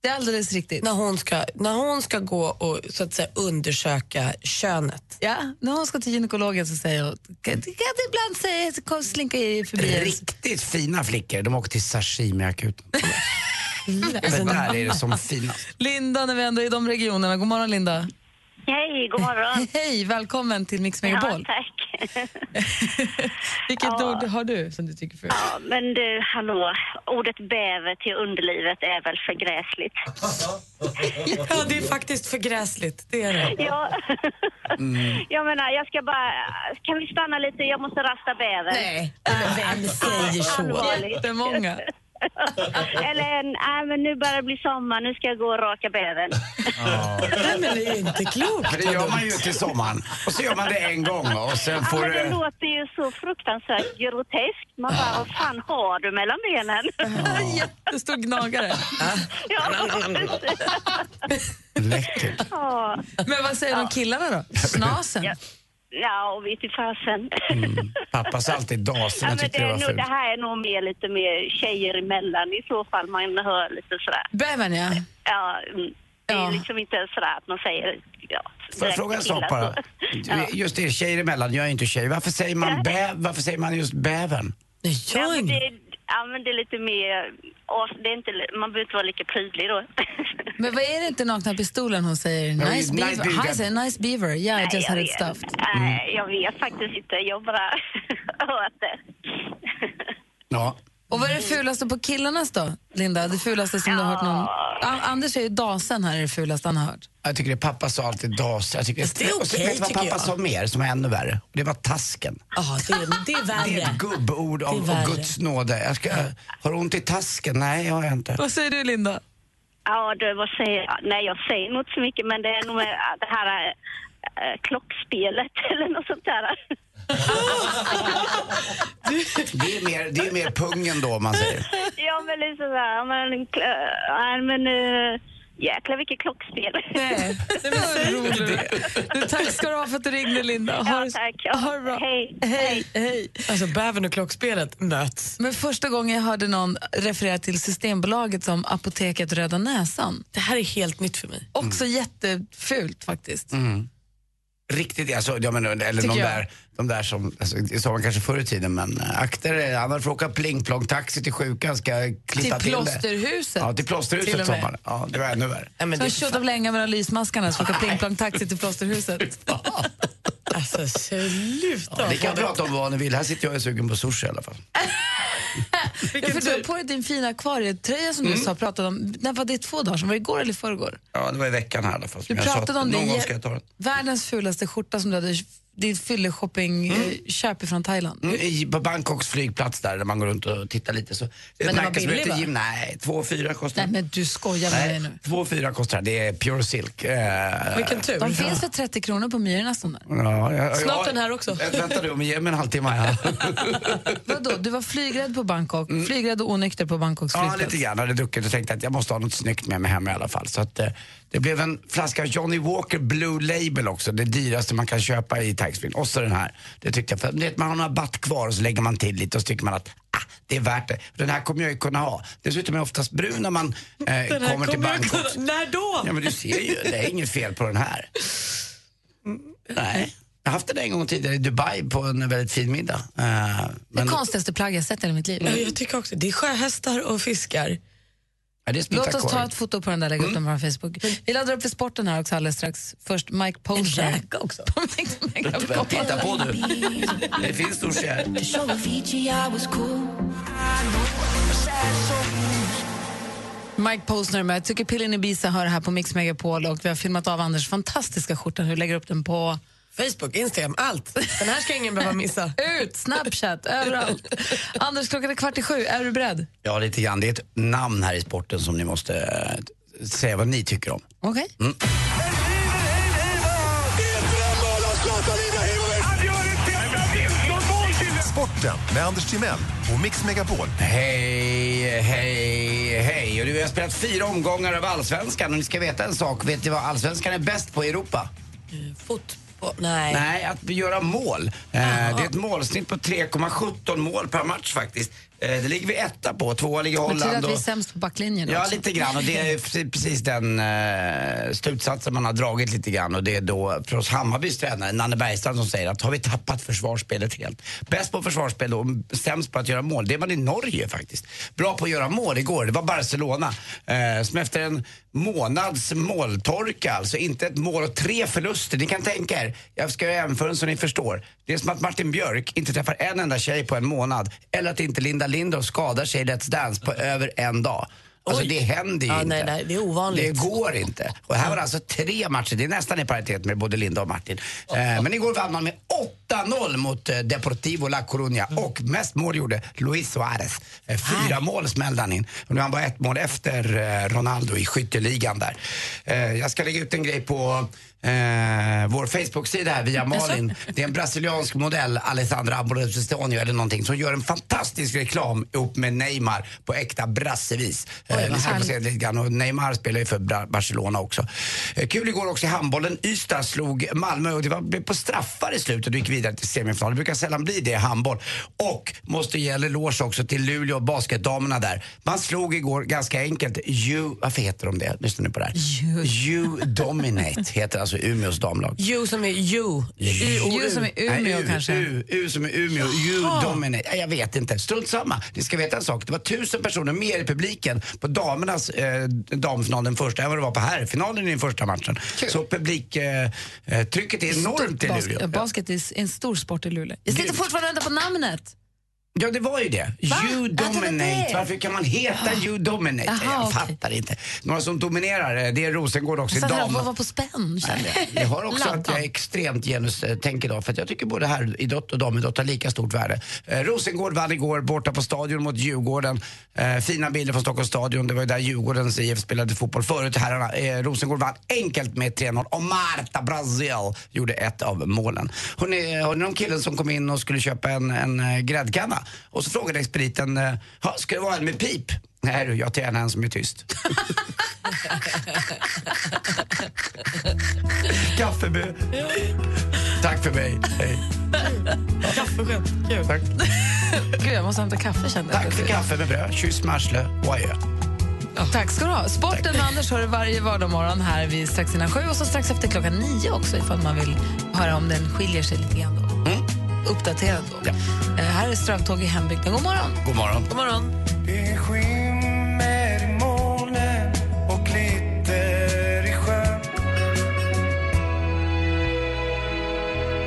[SPEAKER 3] Det är alldeles riktigt.
[SPEAKER 12] När hon ska, när hon ska gå och så att säga, undersöka könet.
[SPEAKER 3] Ja, när hon ska till gynekologen så säger hon, kan du ibland säga, så kom, slinka i förbi. en
[SPEAKER 4] Riktigt fina flickor, de åker till sashimiakuten. Men där är det som finast.
[SPEAKER 3] Alltså, Linda, när vi ändå är i de regionerna. God morgon, Linda.
[SPEAKER 13] Hej, god morgon.
[SPEAKER 3] Hej, välkommen till Mix Megapol.
[SPEAKER 13] Ja, tack.
[SPEAKER 3] Vilket ord har du som du tycker för?
[SPEAKER 13] Ja, men du, hallå. Ordet bäver till underlivet är väl för gräsligt?
[SPEAKER 12] Ja, det är faktiskt för gräsligt. Det är det.
[SPEAKER 13] Ja. Jag menar, jag ska bara... Kan vi stanna lite? Jag måste rasta bäver. Nej,
[SPEAKER 12] vem säger så?
[SPEAKER 3] Jättemånga.
[SPEAKER 13] Eller, en, nej, men nu börjar det bli sommar. Nu ska jag gå och raka bävern.
[SPEAKER 12] Nej, men det är ju inte klokt.
[SPEAKER 4] Men det gör man ju till sommaren. Och så gör man det en gång och sen
[SPEAKER 13] Ja,
[SPEAKER 4] får
[SPEAKER 13] men Alltså, det
[SPEAKER 4] du...
[SPEAKER 13] låter ju så fruktansvärt groteskt. Man bara, vad fan har du mellan benen?
[SPEAKER 3] Jättestor gnagare.
[SPEAKER 13] ja,
[SPEAKER 4] Läckert.
[SPEAKER 13] Ja.
[SPEAKER 3] Men vad säger de killarna då? Snasen?
[SPEAKER 13] Ja, ja och vet i fasen.
[SPEAKER 4] Pappa sa alltid dasen,
[SPEAKER 13] Ja,
[SPEAKER 4] jag
[SPEAKER 13] men
[SPEAKER 4] tyckte
[SPEAKER 13] det,
[SPEAKER 4] det
[SPEAKER 13] är
[SPEAKER 4] var
[SPEAKER 13] nog,
[SPEAKER 4] fult.
[SPEAKER 13] det här är nog mer lite mer tjejer emellan i så fall man hör lite sådär.
[SPEAKER 3] Bävern, ja.
[SPEAKER 13] Ja, mm. det är liksom inte sådär att man säger... Ja,
[SPEAKER 4] Får jag fråga en sak
[SPEAKER 13] direkt
[SPEAKER 4] bara?
[SPEAKER 13] till killar. Ja.
[SPEAKER 4] Just det, tjejer emellan, jag är inte tjej. Varför säger man, bä, varför säger man just bävern?
[SPEAKER 13] Ja, men det, ja, men det är lite mer... och Det är inte, man behöver inte vara lika prydlig
[SPEAKER 4] Mm.
[SPEAKER 13] då.
[SPEAKER 3] Men vad är det inte Nakna Pistolen hon säger?
[SPEAKER 13] Ja, nice
[SPEAKER 3] Nice beaver.
[SPEAKER 13] beaver.
[SPEAKER 3] Han säger nice beaver. Yeah, I
[SPEAKER 13] Nej,
[SPEAKER 3] just
[SPEAKER 13] jag
[SPEAKER 3] had it
[SPEAKER 13] vet.
[SPEAKER 3] stuffed.
[SPEAKER 13] Nej, jag vet faktiskt inte. Jag bara hört det.
[SPEAKER 4] Ja.
[SPEAKER 3] Och vad är det fulaste på killarnas då, Linda? Det fulaste som du har hört någon... An- Anders är ju dasen här, är det fulaste han har hört.
[SPEAKER 4] Jag tycker det pappa sa alltid das. Jag tycker,
[SPEAKER 3] Fast det är
[SPEAKER 4] och så
[SPEAKER 3] okej,
[SPEAKER 4] vet du vad
[SPEAKER 3] tycker
[SPEAKER 4] pappa
[SPEAKER 3] jag.
[SPEAKER 4] sa mer som var ännu värre? Och Det var tasken.
[SPEAKER 12] Ja, det, är- det är
[SPEAKER 4] Det är
[SPEAKER 12] värre.
[SPEAKER 4] ett gubbord
[SPEAKER 12] Det är
[SPEAKER 4] av
[SPEAKER 12] värre.
[SPEAKER 4] av Guds nåde. Jag ska, har du ont i tasken? Nej, jag har jag inte.
[SPEAKER 3] Vad säger du, Linda?
[SPEAKER 13] Ja, du, vad säger jag? Nej, jag säger nog inte så mycket, men det är nog mer, äh, det här äh, klockspelet eller något sånt där.
[SPEAKER 4] Det är mer, det är mer pungen då, om man säger.
[SPEAKER 13] ja, men liksom sådär, ja, men, kl- ja, men äh, jäklar vilket klockspel.
[SPEAKER 3] Nej, det Du, tack ska du ha för att du ringde, Linda. Ha, ja, tack. Ha det bra. Hej. Hej. Hej.
[SPEAKER 12] Alltså, bävern och klockspelet möts.
[SPEAKER 3] Men första gången jag hörde någon referera till Systembolaget som apoteket Röda Näsan.
[SPEAKER 12] Det här är helt nytt för mig.
[SPEAKER 3] Också jättefult faktiskt.
[SPEAKER 4] Mm. Riktigt, alltså, jag menar, eller
[SPEAKER 3] Tycker
[SPEAKER 4] de
[SPEAKER 3] jag.
[SPEAKER 4] där, de där som, alltså, det sa man kanske förr i tiden, men eh, akta dig, annars får du åka plingplong-taxi till sjukan, ska
[SPEAKER 3] Till
[SPEAKER 4] klippa till, det.
[SPEAKER 3] plåsterhuset.
[SPEAKER 4] Ja, till plåsterhuset
[SPEAKER 3] Till och med.
[SPEAKER 4] sa man. Ja, det var ännu värre.
[SPEAKER 3] så jag tjottade länge mellan lysmaskarna så fick jag plingplong-taxi till plåsterhuset.
[SPEAKER 12] Alltså, sluta.
[SPEAKER 4] Ja, det kan jag prata om vad ni vill, här sitter jag och är sugen på sushi i alla fall.
[SPEAKER 3] Ja, för du har på dig din fina akvarietröja som du
[SPEAKER 4] Mm.
[SPEAKER 3] sa pratade om. När var det två dagar sedan? Var det igår eller förrgår?
[SPEAKER 4] Ja, det var i veckan här i alla fall. som
[SPEAKER 3] Du
[SPEAKER 4] jag sa
[SPEAKER 3] pratade
[SPEAKER 4] att
[SPEAKER 3] om det.
[SPEAKER 4] Någon
[SPEAKER 3] i-
[SPEAKER 4] gång ska jag ta den.
[SPEAKER 3] Världens fulaste skjorta som du hade, din fylleshopping-köp från eh, Thailand.
[SPEAKER 4] Mm, i, på Bangkoks flygplats där, där man går runt och tittar lite. Så, det är
[SPEAKER 3] Men
[SPEAKER 4] ett
[SPEAKER 3] den var
[SPEAKER 4] märke som
[SPEAKER 3] billig,
[SPEAKER 4] heter
[SPEAKER 3] va?
[SPEAKER 4] Jim. Nej, 2,4 kostar
[SPEAKER 3] Nej men du skojar med mig nu.
[SPEAKER 4] 2,4 kostar den. Det är Pure Silk. Eh,
[SPEAKER 3] De finns för 30 kronor på Myrorna sån där.
[SPEAKER 4] Ja, ja,
[SPEAKER 3] Snart
[SPEAKER 4] ja,
[SPEAKER 3] den här också.
[SPEAKER 4] Vä- Vänta du, men ge mig en halvtimme här.
[SPEAKER 3] Vadå, du var flygrädd på Bangkok, flygrädd och onykter på Bangkoks
[SPEAKER 4] ja,
[SPEAKER 3] flygplats.
[SPEAKER 4] lite grann. Jag hade druckit och tänkte att jag måste ha något snyggt med mig hem i alla fall. Så att, eh, det blev en flaska Johnny Walker Blue Label också. Det dyraste man kan köpa i taxfree. Och så den här. Det tyckte jag, för, du vet, man har en rabatt kvar och så lägger man till lite och så tycker man att ah, det är värt det. Den här kommer jag ju kunna ha. Dessutom är jag oftast brun när man eh, kommer, till Bangkok.
[SPEAKER 12] När då?
[SPEAKER 4] Ja, men du ser ju, det är inget fel på den här. Nej. Jag har haft den en gång tidigare i Dubai på en väldigt fin middag. Eh,
[SPEAKER 3] Det
[SPEAKER 4] men-
[SPEAKER 3] konstigaste plagg jag sett i hela mitt liv.
[SPEAKER 5] Mm.
[SPEAKER 12] Ja, jag tycker också Det är sjöhästar och fiskar.
[SPEAKER 4] Ja, det är
[SPEAKER 3] Låt oss ta
[SPEAKER 4] smittakorv.
[SPEAKER 3] ett foto på den där lägga upp den på vår Facebook. Vi laddar upp för sporten här också alldeles strax. Först Mike Posner. En räka också.
[SPEAKER 4] Titta på du. Det finns nog kärlek.
[SPEAKER 3] Mike Posner med Tycker pillen i Bisa hör här på Mix Megapol och vi har filmat av Anders fantastiska skjorta. Vi lägger upp den på
[SPEAKER 12] Facebook, Instagram, allt. Den här ska ingen behöva missa.
[SPEAKER 3] Ut, Snapchat, överallt. Anders, klockan är kvart i sju. Är du beredd?
[SPEAKER 4] Ja, lite grann. Det är ett namn här i sporten som ni måste eh, säga vad ni tycker om.
[SPEAKER 3] Okej.
[SPEAKER 4] Mm.
[SPEAKER 6] Han gör ett tecken! Någon mål till
[SPEAKER 14] Sporten med Anders Timell och Mix Megapol.
[SPEAKER 4] Hej, hej, hej. Och du vi har spelat fyra omgångar av Allsvenskan och ni ska veta en sak. Vet ni vad Allsvenskan är bäst på i Europa?
[SPEAKER 3] Eh,
[SPEAKER 5] Åh, nej.
[SPEAKER 4] Nej, att göra mål. Eh, det är ett målsnitt på 3,17 mål per match faktiskt. Eh, det ligger vi etta på, tvåa ligger
[SPEAKER 3] Betyder det
[SPEAKER 4] Holland.
[SPEAKER 3] att vi är
[SPEAKER 4] och-
[SPEAKER 3] sämst på backlinjen
[SPEAKER 4] Ja,
[SPEAKER 3] också?
[SPEAKER 4] lite grann. Och det är pre- precis den eh, slutsatsen man har dragit lite grann. Och det är då för oss Hammarbys tränare, Nanne Bergstrand, som säger att har vi tappat försvarsspelet helt? Bäst på försvarsspel och sämst på att göra mål. Det är man i Norge faktiskt. Bra på att göra mål igår. Det var Barcelona eh, som efter en månads måltorka, alltså inte ett mål och tre förluster. Ni kan tänka er, jag ska göra jämförelsen så ni förstår. Det är som att Martin Björk inte träffar en enda tjej på en månad. Eller att inte Linda Lindor skadar sig i Let's Dance på över en dag. Alltså det händer ju
[SPEAKER 12] Ja,
[SPEAKER 4] inte.
[SPEAKER 12] nej, nej, det är ovanligt.
[SPEAKER 4] Det går inte. Och här var det alltså tre matcher. Det är nästan i paritet med både Linda och Martin. Eh, men igår vann man med 8-0 mot eh, Deportivo La Coruña.
[SPEAKER 12] Mm.
[SPEAKER 4] Och mest mål gjorde Luis Suarez. Eh, fyra mål smällde han in. Och nu har han bara ett mål efter eh, Ronaldo i skytteligan där. Eh, jag ska lägga ut en grej på eh, vår Facebook-sida här via Malin. Det är en brasiliansk modell, Alessandra Amorosestonio eller någonting, som gör en fantastisk reklam ihop med Neymar på äkta brassevis. Eh, ni ska få se lite grann. Och Neymar spelar ju för Bra- Barcelona också. Eh, kul igår också i handbollen. Ystad slog Malmö och det var, blev på straffar i slutet och gick vidare till semifinal. Det brukar sällan bli det i handboll. Och måste ge en eloge också till Luleå och basketdamerna där. Man slog igår ganska enkelt You, varför heter de det? Lyssna nu på det här. You, Dominate heter alltså Umeås damlag.
[SPEAKER 12] You som är you. Y-O-U.
[SPEAKER 4] Nej, U, U, U som är Umeå. You dominate. Nej, Jag vet inte. Strunt samma. Ni ska veta en sak. Det var tusen personer mer i publiken på damernas eh, damfinal, den första, än vad det var på herrfinalen i den första matchen. Så publiktrycket eh, trycket är enormt i
[SPEAKER 3] Bas-
[SPEAKER 4] Luleå.
[SPEAKER 3] Basket är en stor sport i Luleå. Jag sitter
[SPEAKER 4] Gud.
[SPEAKER 3] fortfarande och väntar på namnet.
[SPEAKER 4] Ja, det var ju det. You dominate. Varför kan man heta you dominate?
[SPEAKER 3] Jaha, okej.
[SPEAKER 4] jag
[SPEAKER 3] Alltså,
[SPEAKER 4] fattar inte. Några som dominerar, eh, det är Rosengård också i
[SPEAKER 3] Jag satt här och
[SPEAKER 4] dam.
[SPEAKER 3] var på spänn.
[SPEAKER 4] Nej, men Jag har också att jag är extremt genustänk idag för att jag tycker både herridrott och damidrott har lika stort värde. Eh, Rosengård vann igår borta på Stadion mot Djurgården. Eh, fina bilder från Stockholms stadion. Det var ju där Djurgårdens IF spelade fotboll förut. Herrarna, eh, Rosengård vann enkelt med 3-0 och Marta Brazil gjorde ett av målen. Hon är, hon är någon killen som kom in och skulle köpa en, en eh, gräddkanna och så frågade expediten, eh, "Ha, ska det vara en med pip? Nej du, jag tar gärna en som är tyst. Kaffe med Tack för mig. Hej.
[SPEAKER 5] Kaffeskämt. Kul.
[SPEAKER 4] Tack.
[SPEAKER 3] Gud, jag måste hämta kaffe kände jag.
[SPEAKER 4] Tack för kaffe med bröd. Kyss med arsle. Och adjö.
[SPEAKER 3] Tack ska du ha. Sporten med Anders har du varje vardagsmorgon här vid strax innan sju och så strax efter klockan nio också ifall man vill höra om den skiljer sig lite grann då.
[SPEAKER 12] Mm.
[SPEAKER 3] Uppdaterad då. Eh, här är Strövtåg i hembygden. God morgon.
[SPEAKER 4] God morgon.
[SPEAKER 3] God morgon.
[SPEAKER 6] Det skimmer i molnen och glitter i sjön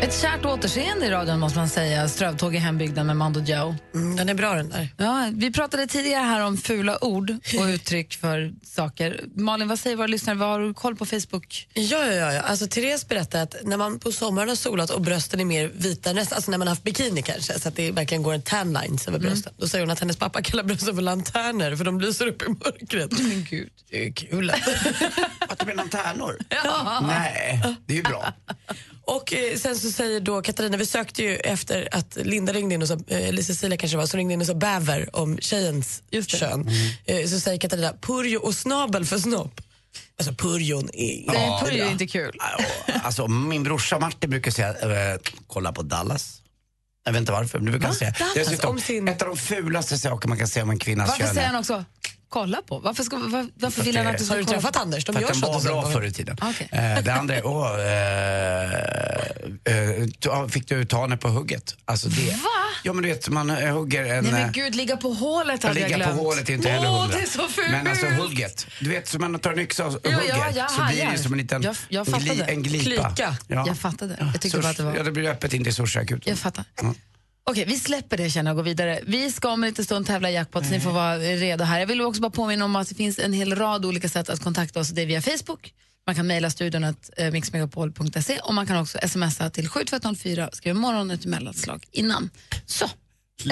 [SPEAKER 3] Ett kärt återseende i radion måste man säga. Strövtåg i hembygden med Mando Joe.
[SPEAKER 12] Mm, Den är bra den där.
[SPEAKER 3] Ja, vi pratade tidigare här om fula ord och uttryck för saker. Malin, vad säger våra lyssnare? Vad har du koll på Facebook?
[SPEAKER 12] Ja, ja, ja, ja. Alltså, Therese berättade att när man på sommaren har solat och brösten är mer vita, än resten, alltså när man har haft bikini kanske, så att det verkligen går en tan lines
[SPEAKER 3] Mm.
[SPEAKER 4] Mm.
[SPEAKER 12] över brösten. Då säger hon att hennes pappa kallar brösten för lanterner för de lyser upp i mörkret.
[SPEAKER 3] Men gud.
[SPEAKER 12] Det är kul.
[SPEAKER 4] Att de är lanternor? Nej, det är ju bra.
[SPEAKER 12] Och eh, sen så säger då Katarina, vi sökte ju efter att Linda ringde in och sa, eh, eller Cecilia kanske det var, som ringde in och sa bäver om tjejens kön. Eh, så säger Katarina, purjo och snabel för snopp. Alltså purjon är
[SPEAKER 4] Nej, purjo är
[SPEAKER 12] bra.
[SPEAKER 4] inte
[SPEAKER 3] kul.
[SPEAKER 4] Alltså, min brorsa Martin brukar säga, eh, kolla på Dallas. Jag vet inte varför, men du brukar han säga.
[SPEAKER 3] Dallas,
[SPEAKER 4] Dessutom,
[SPEAKER 3] om
[SPEAKER 4] ett av de fulaste saker man kan säga om en kvinnas
[SPEAKER 3] Varför
[SPEAKER 4] kön.
[SPEAKER 3] säger
[SPEAKER 4] är-
[SPEAKER 3] han också kolla på? Varför, ska, var, varför
[SPEAKER 4] För
[SPEAKER 3] vill han att du ska
[SPEAKER 4] det-
[SPEAKER 3] kolla på?
[SPEAKER 4] för att den var bra förr i tiden.
[SPEAKER 3] Okej.
[SPEAKER 4] Eh, det andra är, åh, eh, eh, ta- fick du ta henne på hugget? Alltså det.
[SPEAKER 3] Va?
[SPEAKER 4] Ja men du vet, man eh, hugger en...
[SPEAKER 3] Nej
[SPEAKER 4] eh,
[SPEAKER 3] men gud, ligga på hålet hade jag
[SPEAKER 4] ligga
[SPEAKER 3] glömt.
[SPEAKER 4] på hålet är inte heller
[SPEAKER 3] Åh,
[SPEAKER 4] hundra.
[SPEAKER 3] det är så fult!
[SPEAKER 4] Men alltså hugget. Du vet, som man tar en yxa och
[SPEAKER 3] Ja,
[SPEAKER 4] hugger
[SPEAKER 3] ja, jag
[SPEAKER 4] så blir det
[SPEAKER 3] hajar.
[SPEAKER 4] ju som en liten
[SPEAKER 3] Jag- jag
[SPEAKER 4] en
[SPEAKER 3] fattade.
[SPEAKER 4] en glipa.
[SPEAKER 3] Klyka. Jag fattade. Jag tyckte bara att det var-
[SPEAKER 4] Ja, det blir öppet in till Sorsakuten.
[SPEAKER 3] Jag fattar.
[SPEAKER 4] Ja.
[SPEAKER 3] Okej, vi släpper det känner jag och går vidare. Vi ska om en liten stund tävla i jackpot, så ni får vara redo här. Jag vill också bara påminna om att det finns en hel rad olika sätt att kontakta oss. Det är via Facebook, man kan mejla studion att eh, mixmegapol.se och man kan också smsa till 7204 och skriva morgon ett mellanslag innan. Så!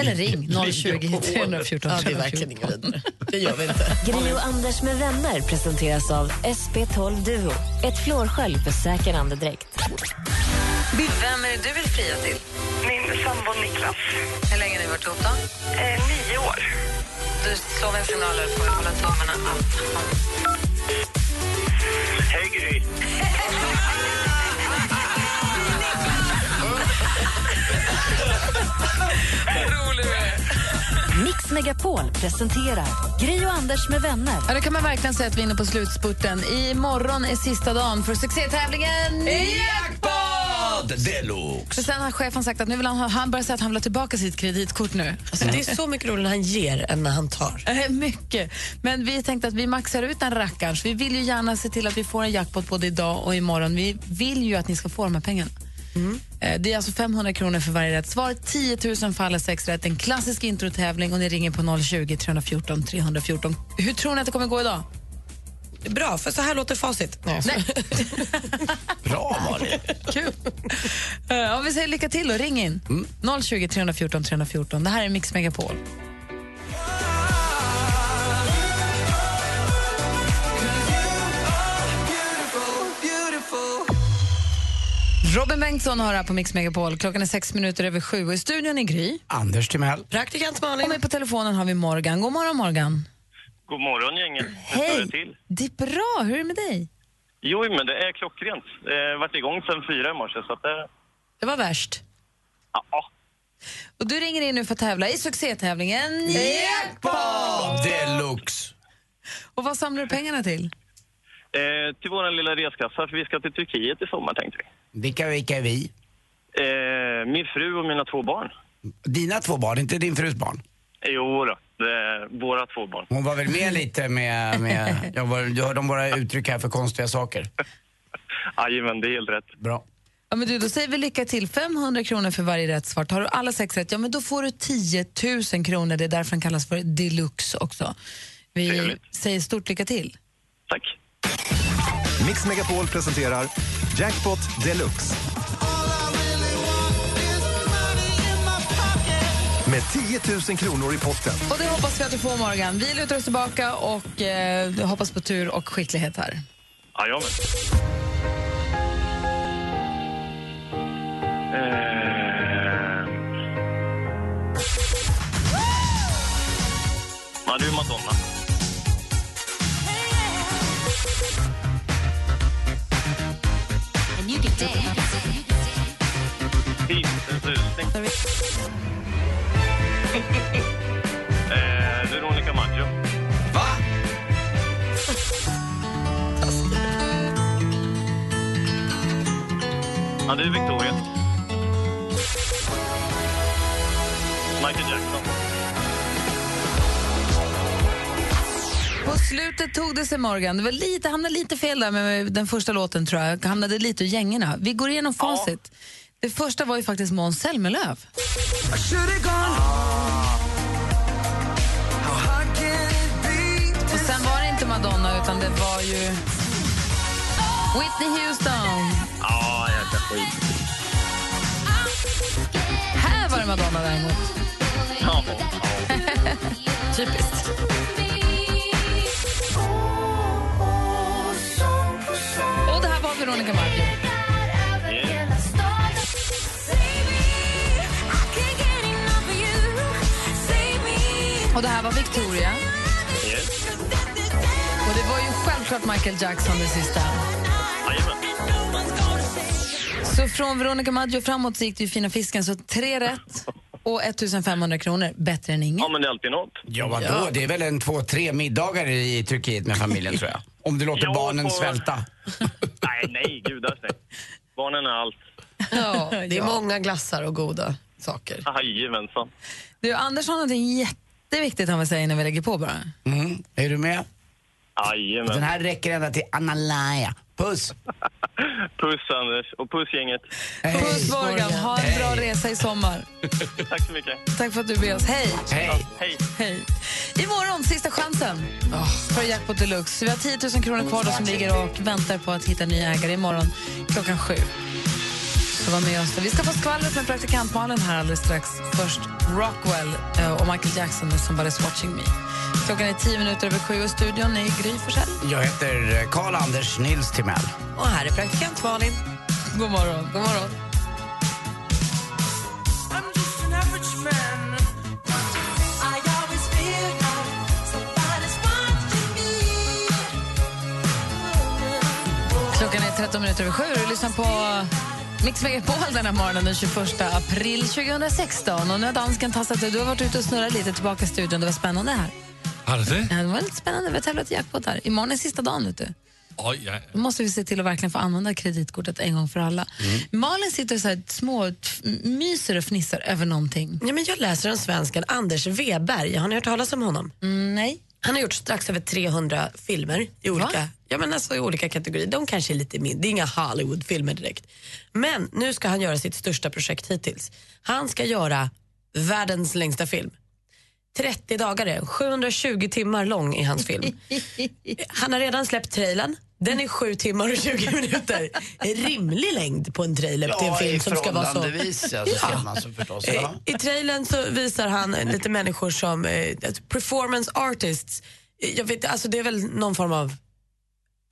[SPEAKER 3] Eller ring 020 314
[SPEAKER 12] Ja, det är verkligen ingen vidare. Det gör vi inte.
[SPEAKER 2] Gri och Anders med vänner presenteras av SP12 Duo. Ett flårskölj för säker andedräkt.
[SPEAKER 1] Vem är det du vill fria till? Min
[SPEAKER 9] min sambo Niklas.
[SPEAKER 3] Hur länge har ni varit ihop då?
[SPEAKER 9] Eh, nio år.
[SPEAKER 3] Du slår en signal och får vi hålla tummarna att han...
[SPEAKER 9] Hej, Gry.
[SPEAKER 1] Mix Megapol presenterar Gri och Anders med vänner.
[SPEAKER 3] Ja, det kan man verkligen säga att vi är inne på slutspurten. Imorgon är sista dagen för succétävlingen Jackpot!
[SPEAKER 4] Deluxe!
[SPEAKER 3] För sen har chefen sagt att nu vill han, ha, han börjar säga att han vill ha tillbaka sitt kreditkort nu.
[SPEAKER 12] Alltså, det är så mycket roligare när han ger än när han tar.
[SPEAKER 3] Eh, Mycket. Men vi tänkte att vi maxar ut den rackaren. så Vi vill ju gärna se till att vi får en jackpot både idag och imorgon. Vi vill ju att ni ska få de här pengarna.
[SPEAKER 12] Mm.
[SPEAKER 3] Eh, Det är alltså 500 kronor för varje rätt svar, 10 000 för alla sex rätt, en klassisk introtävling och ni ringer på 020-314 314. Hur tror ni att det kommer gå idag?
[SPEAKER 12] Bra, för så här låter facit. Nej.
[SPEAKER 4] Bra, Malin.
[SPEAKER 3] Kul. Eh, Om vi säger lycka till och ring in. 020 314 314. Det här är Mix Megapol. Robin Bengtsson har här på Mix Megapol. Klockan är sex minuter över sju och i studion är Gry.
[SPEAKER 4] Anders Timell.
[SPEAKER 12] Praktikant Malin.
[SPEAKER 3] Och med på telefonen har vi Morgan. God morgon Morgan.
[SPEAKER 15] God morgon gänget. Nu står
[SPEAKER 3] Hej.
[SPEAKER 15] det till.
[SPEAKER 3] Det är bra. Hur är det med dig?
[SPEAKER 15] Jo, men det är klockrent. Eh, varit igång sen fyra i morse, så att det...
[SPEAKER 3] Det var värst.
[SPEAKER 15] Ja.
[SPEAKER 3] Och du ringer in nu för att tävla i succétävlingen Jackpot!
[SPEAKER 4] Deluxe!
[SPEAKER 3] Och vad samlar du pengarna till?
[SPEAKER 15] Eh, till vår lilla reskassa, för vi ska till Turkiet i sommar, tänkte vi.
[SPEAKER 4] Vilka, vilka är vi?
[SPEAKER 15] Eh, min fru och mina två barn.
[SPEAKER 4] Dina två barn, inte din frus barn.
[SPEAKER 15] Jo då, det är våra två barn.
[SPEAKER 4] Hon var väl med lite med... med jag var, du hörde om våra uttryck här för konstiga saker.
[SPEAKER 15] Jajamän, det är helt rätt.
[SPEAKER 4] Bra.
[SPEAKER 3] Ja, men du, då säger vi lycka till. 500 kronor för varje rätt svar. Tar du alla sex rätt, ja, men då får du 10 000 kronor. Det är därför den kallas för deluxe också. Vi säger stort lycka till.
[SPEAKER 14] Mix Megapol presenterar Jackpot Deluxe. Med 10 000 kronor i potten.
[SPEAKER 3] Och det hoppas vi att du får, Morgan. Vi lutar oss tillbaka och eh, hoppas på tur och skicklighet här.
[SPEAKER 15] Jajamän. Eh... Ja, du Madonna. Pistens rusning. eh, Veronica Maggio. Va? Ja, det är Victoria. Michael Jackson.
[SPEAKER 3] På slutet tog det sig, Morgan. Det var lite, hamnade lite fel där med den första låten, tror jag. Hamnade lite ur gängorna. Vi går igenom facit. Det första var ju faktiskt Måns Zelmerlöw.
[SPEAKER 4] Ah.
[SPEAKER 3] Och sen var det inte Madonna, utan det var ju Whitney Houston.
[SPEAKER 15] Ja, jäkla skit.
[SPEAKER 3] Här var det Madonna däremot.
[SPEAKER 15] Ja.
[SPEAKER 3] Typiskt. Och det här var Veronica Maggio. Och det här var Victoria. Och det var ju självklart Michael Jackson det sista. Så från Veronica Maggio framåt så gick det ju Fina fisken, så tre rätt och 1500 kronor. Bättre än inget.
[SPEAKER 15] Ja, men det är alltid något.
[SPEAKER 4] Ja, vadå? Det är väl en två, tre middagar i Turkiet med familjen, tror jag. Om du låter
[SPEAKER 15] Ja,
[SPEAKER 4] barnen
[SPEAKER 15] på-
[SPEAKER 4] svälta.
[SPEAKER 15] Nej, nej, gudars nej. Barnen är allt.
[SPEAKER 12] Ja, det är
[SPEAKER 3] Ja.
[SPEAKER 12] många glassar och goda saker.
[SPEAKER 15] Jajamensan.
[SPEAKER 3] Du, Anders har någonting jätteviktigt han vill säga innan vi lägger på bara.
[SPEAKER 4] Mm. Är du med?
[SPEAKER 15] Jajamän.
[SPEAKER 4] Den här räcker ända till Analaya. Puss!
[SPEAKER 15] Puss Anders och puss gänget.
[SPEAKER 3] Puss Morgan, ha en bra resa i sommar.
[SPEAKER 15] Tack så mycket.
[SPEAKER 3] Tack för att du är med oss. Hej!
[SPEAKER 15] Hej. Hej.
[SPEAKER 3] Hej. Imorgon, sista chansen för Jackpot Deluxe. Vi har 10 000 kronor kvar då som ligger och väntar på att hitta en ny ägare imorgon klockan sju. Så var med oss. då. Vi ska få skvallret med praktikant Malin här alldeles strax. Först Rockwell eh, och Michael Jackson med Somebody's watching me. Klockan är 10 minuter över sju och studion är Gry Forssell.
[SPEAKER 4] Jag heter eh, Karl-Anders Nils Timell.
[SPEAKER 12] Och här är praktikant Malin.
[SPEAKER 3] God morgon. God morgon.
[SPEAKER 12] I'm
[SPEAKER 3] 13 minuter över sju och du lyssnar på Mix Megapol den här morgonen den 21 april 2016. Och nu har dansken tassat ut. Du har varit ute och snurrat lite tillbaka i studion. Det var spännande här.
[SPEAKER 8] Har du det?
[SPEAKER 3] Ja, det var lite spännande. Vi har tävlat i jackpot här. Imorgon är sista dagen, vet du.
[SPEAKER 8] Oj, ja.
[SPEAKER 3] Då måste vi se till att verkligen få använda kreditkortet en gång för alla.
[SPEAKER 5] Mm.
[SPEAKER 3] Malin sitter så här små, tf- myser och fnissar över någonting.
[SPEAKER 5] Ja, men jag läser om svensken Anders Weberg. Har ni hört talas om honom?
[SPEAKER 3] nej.
[SPEAKER 5] Mm, Han har gjort strax över 300 filmer i olika, ja, men alltså i olika kategorier. De kanske är lite mindre, det är inga Hollywood-filmer direkt. Men nu ska han göra sitt största projekt hittills. Han ska göra världens längsta film. 30 dagar är den. 720 timmar lång i hans film. Han har redan släppt trailern. Den är 7 timmar och 20 minuter. En rimlig längd på en trailer till en
[SPEAKER 4] Ja,
[SPEAKER 5] film
[SPEAKER 4] i
[SPEAKER 5] som ska vara så...
[SPEAKER 4] förhållandevis, ja, så ser man så Alltså, förstås,
[SPEAKER 11] Eh,
[SPEAKER 4] ja.
[SPEAKER 5] Eh, I trailern så visar han eh, lite människor som eh, alltså, performance artists. Eh, Jag vet, alltså det är väl någon form av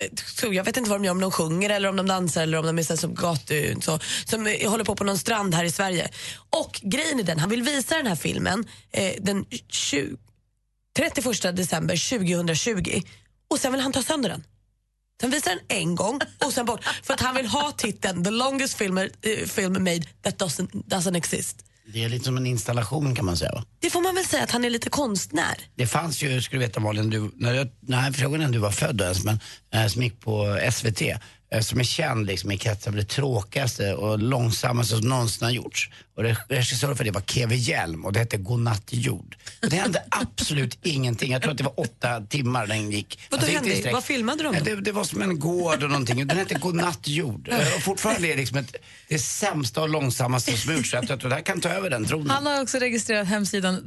[SPEAKER 5] eh, så jag vet inte vad de gör, om de sjunger eller om de dansar eller om de är så här som gatu, så, som eh, håller på på någon strand här i Sverige. Och grejen är den, han vill visa den här filmen eh, den 20, 31 december 2020 och sen vill han ta sönder den. Sen visar den en gång och sen bort. För att han vill ha titeln The longest film, eh, film made that doesn't, doesn't exist.
[SPEAKER 4] Det är lite som en installation kan man säga va?
[SPEAKER 5] Det får man väl säga att han är lite konstnär.
[SPEAKER 4] Det fanns ju, skulle du veta Malin, du, när jag, nej, frågan är om du var född då ens, men eh, som gick på SVT, eh, som är känd liksom, i kretsar för det tråkigaste och långsammaste som någonsin har gjorts. Och re- regissör för det var Keve Hjelm och det hette Godnatt jord. Och det hände absolut ingenting. Jag tror att det var åtta timmar den gick.
[SPEAKER 5] Vadå
[SPEAKER 4] Alltså, inte i
[SPEAKER 5] hände?
[SPEAKER 4] sträck.
[SPEAKER 5] Vad filmade de då?
[SPEAKER 4] Nej, Det, det var som en gård och någonting. Den hette Godnatt jord. Eh, Och fortfarande är det liksom ett, det sämsta och långsammaste som gjorts. Så jag tror att det här kan ta över den tronen.
[SPEAKER 3] Han har också registrerat hemsidan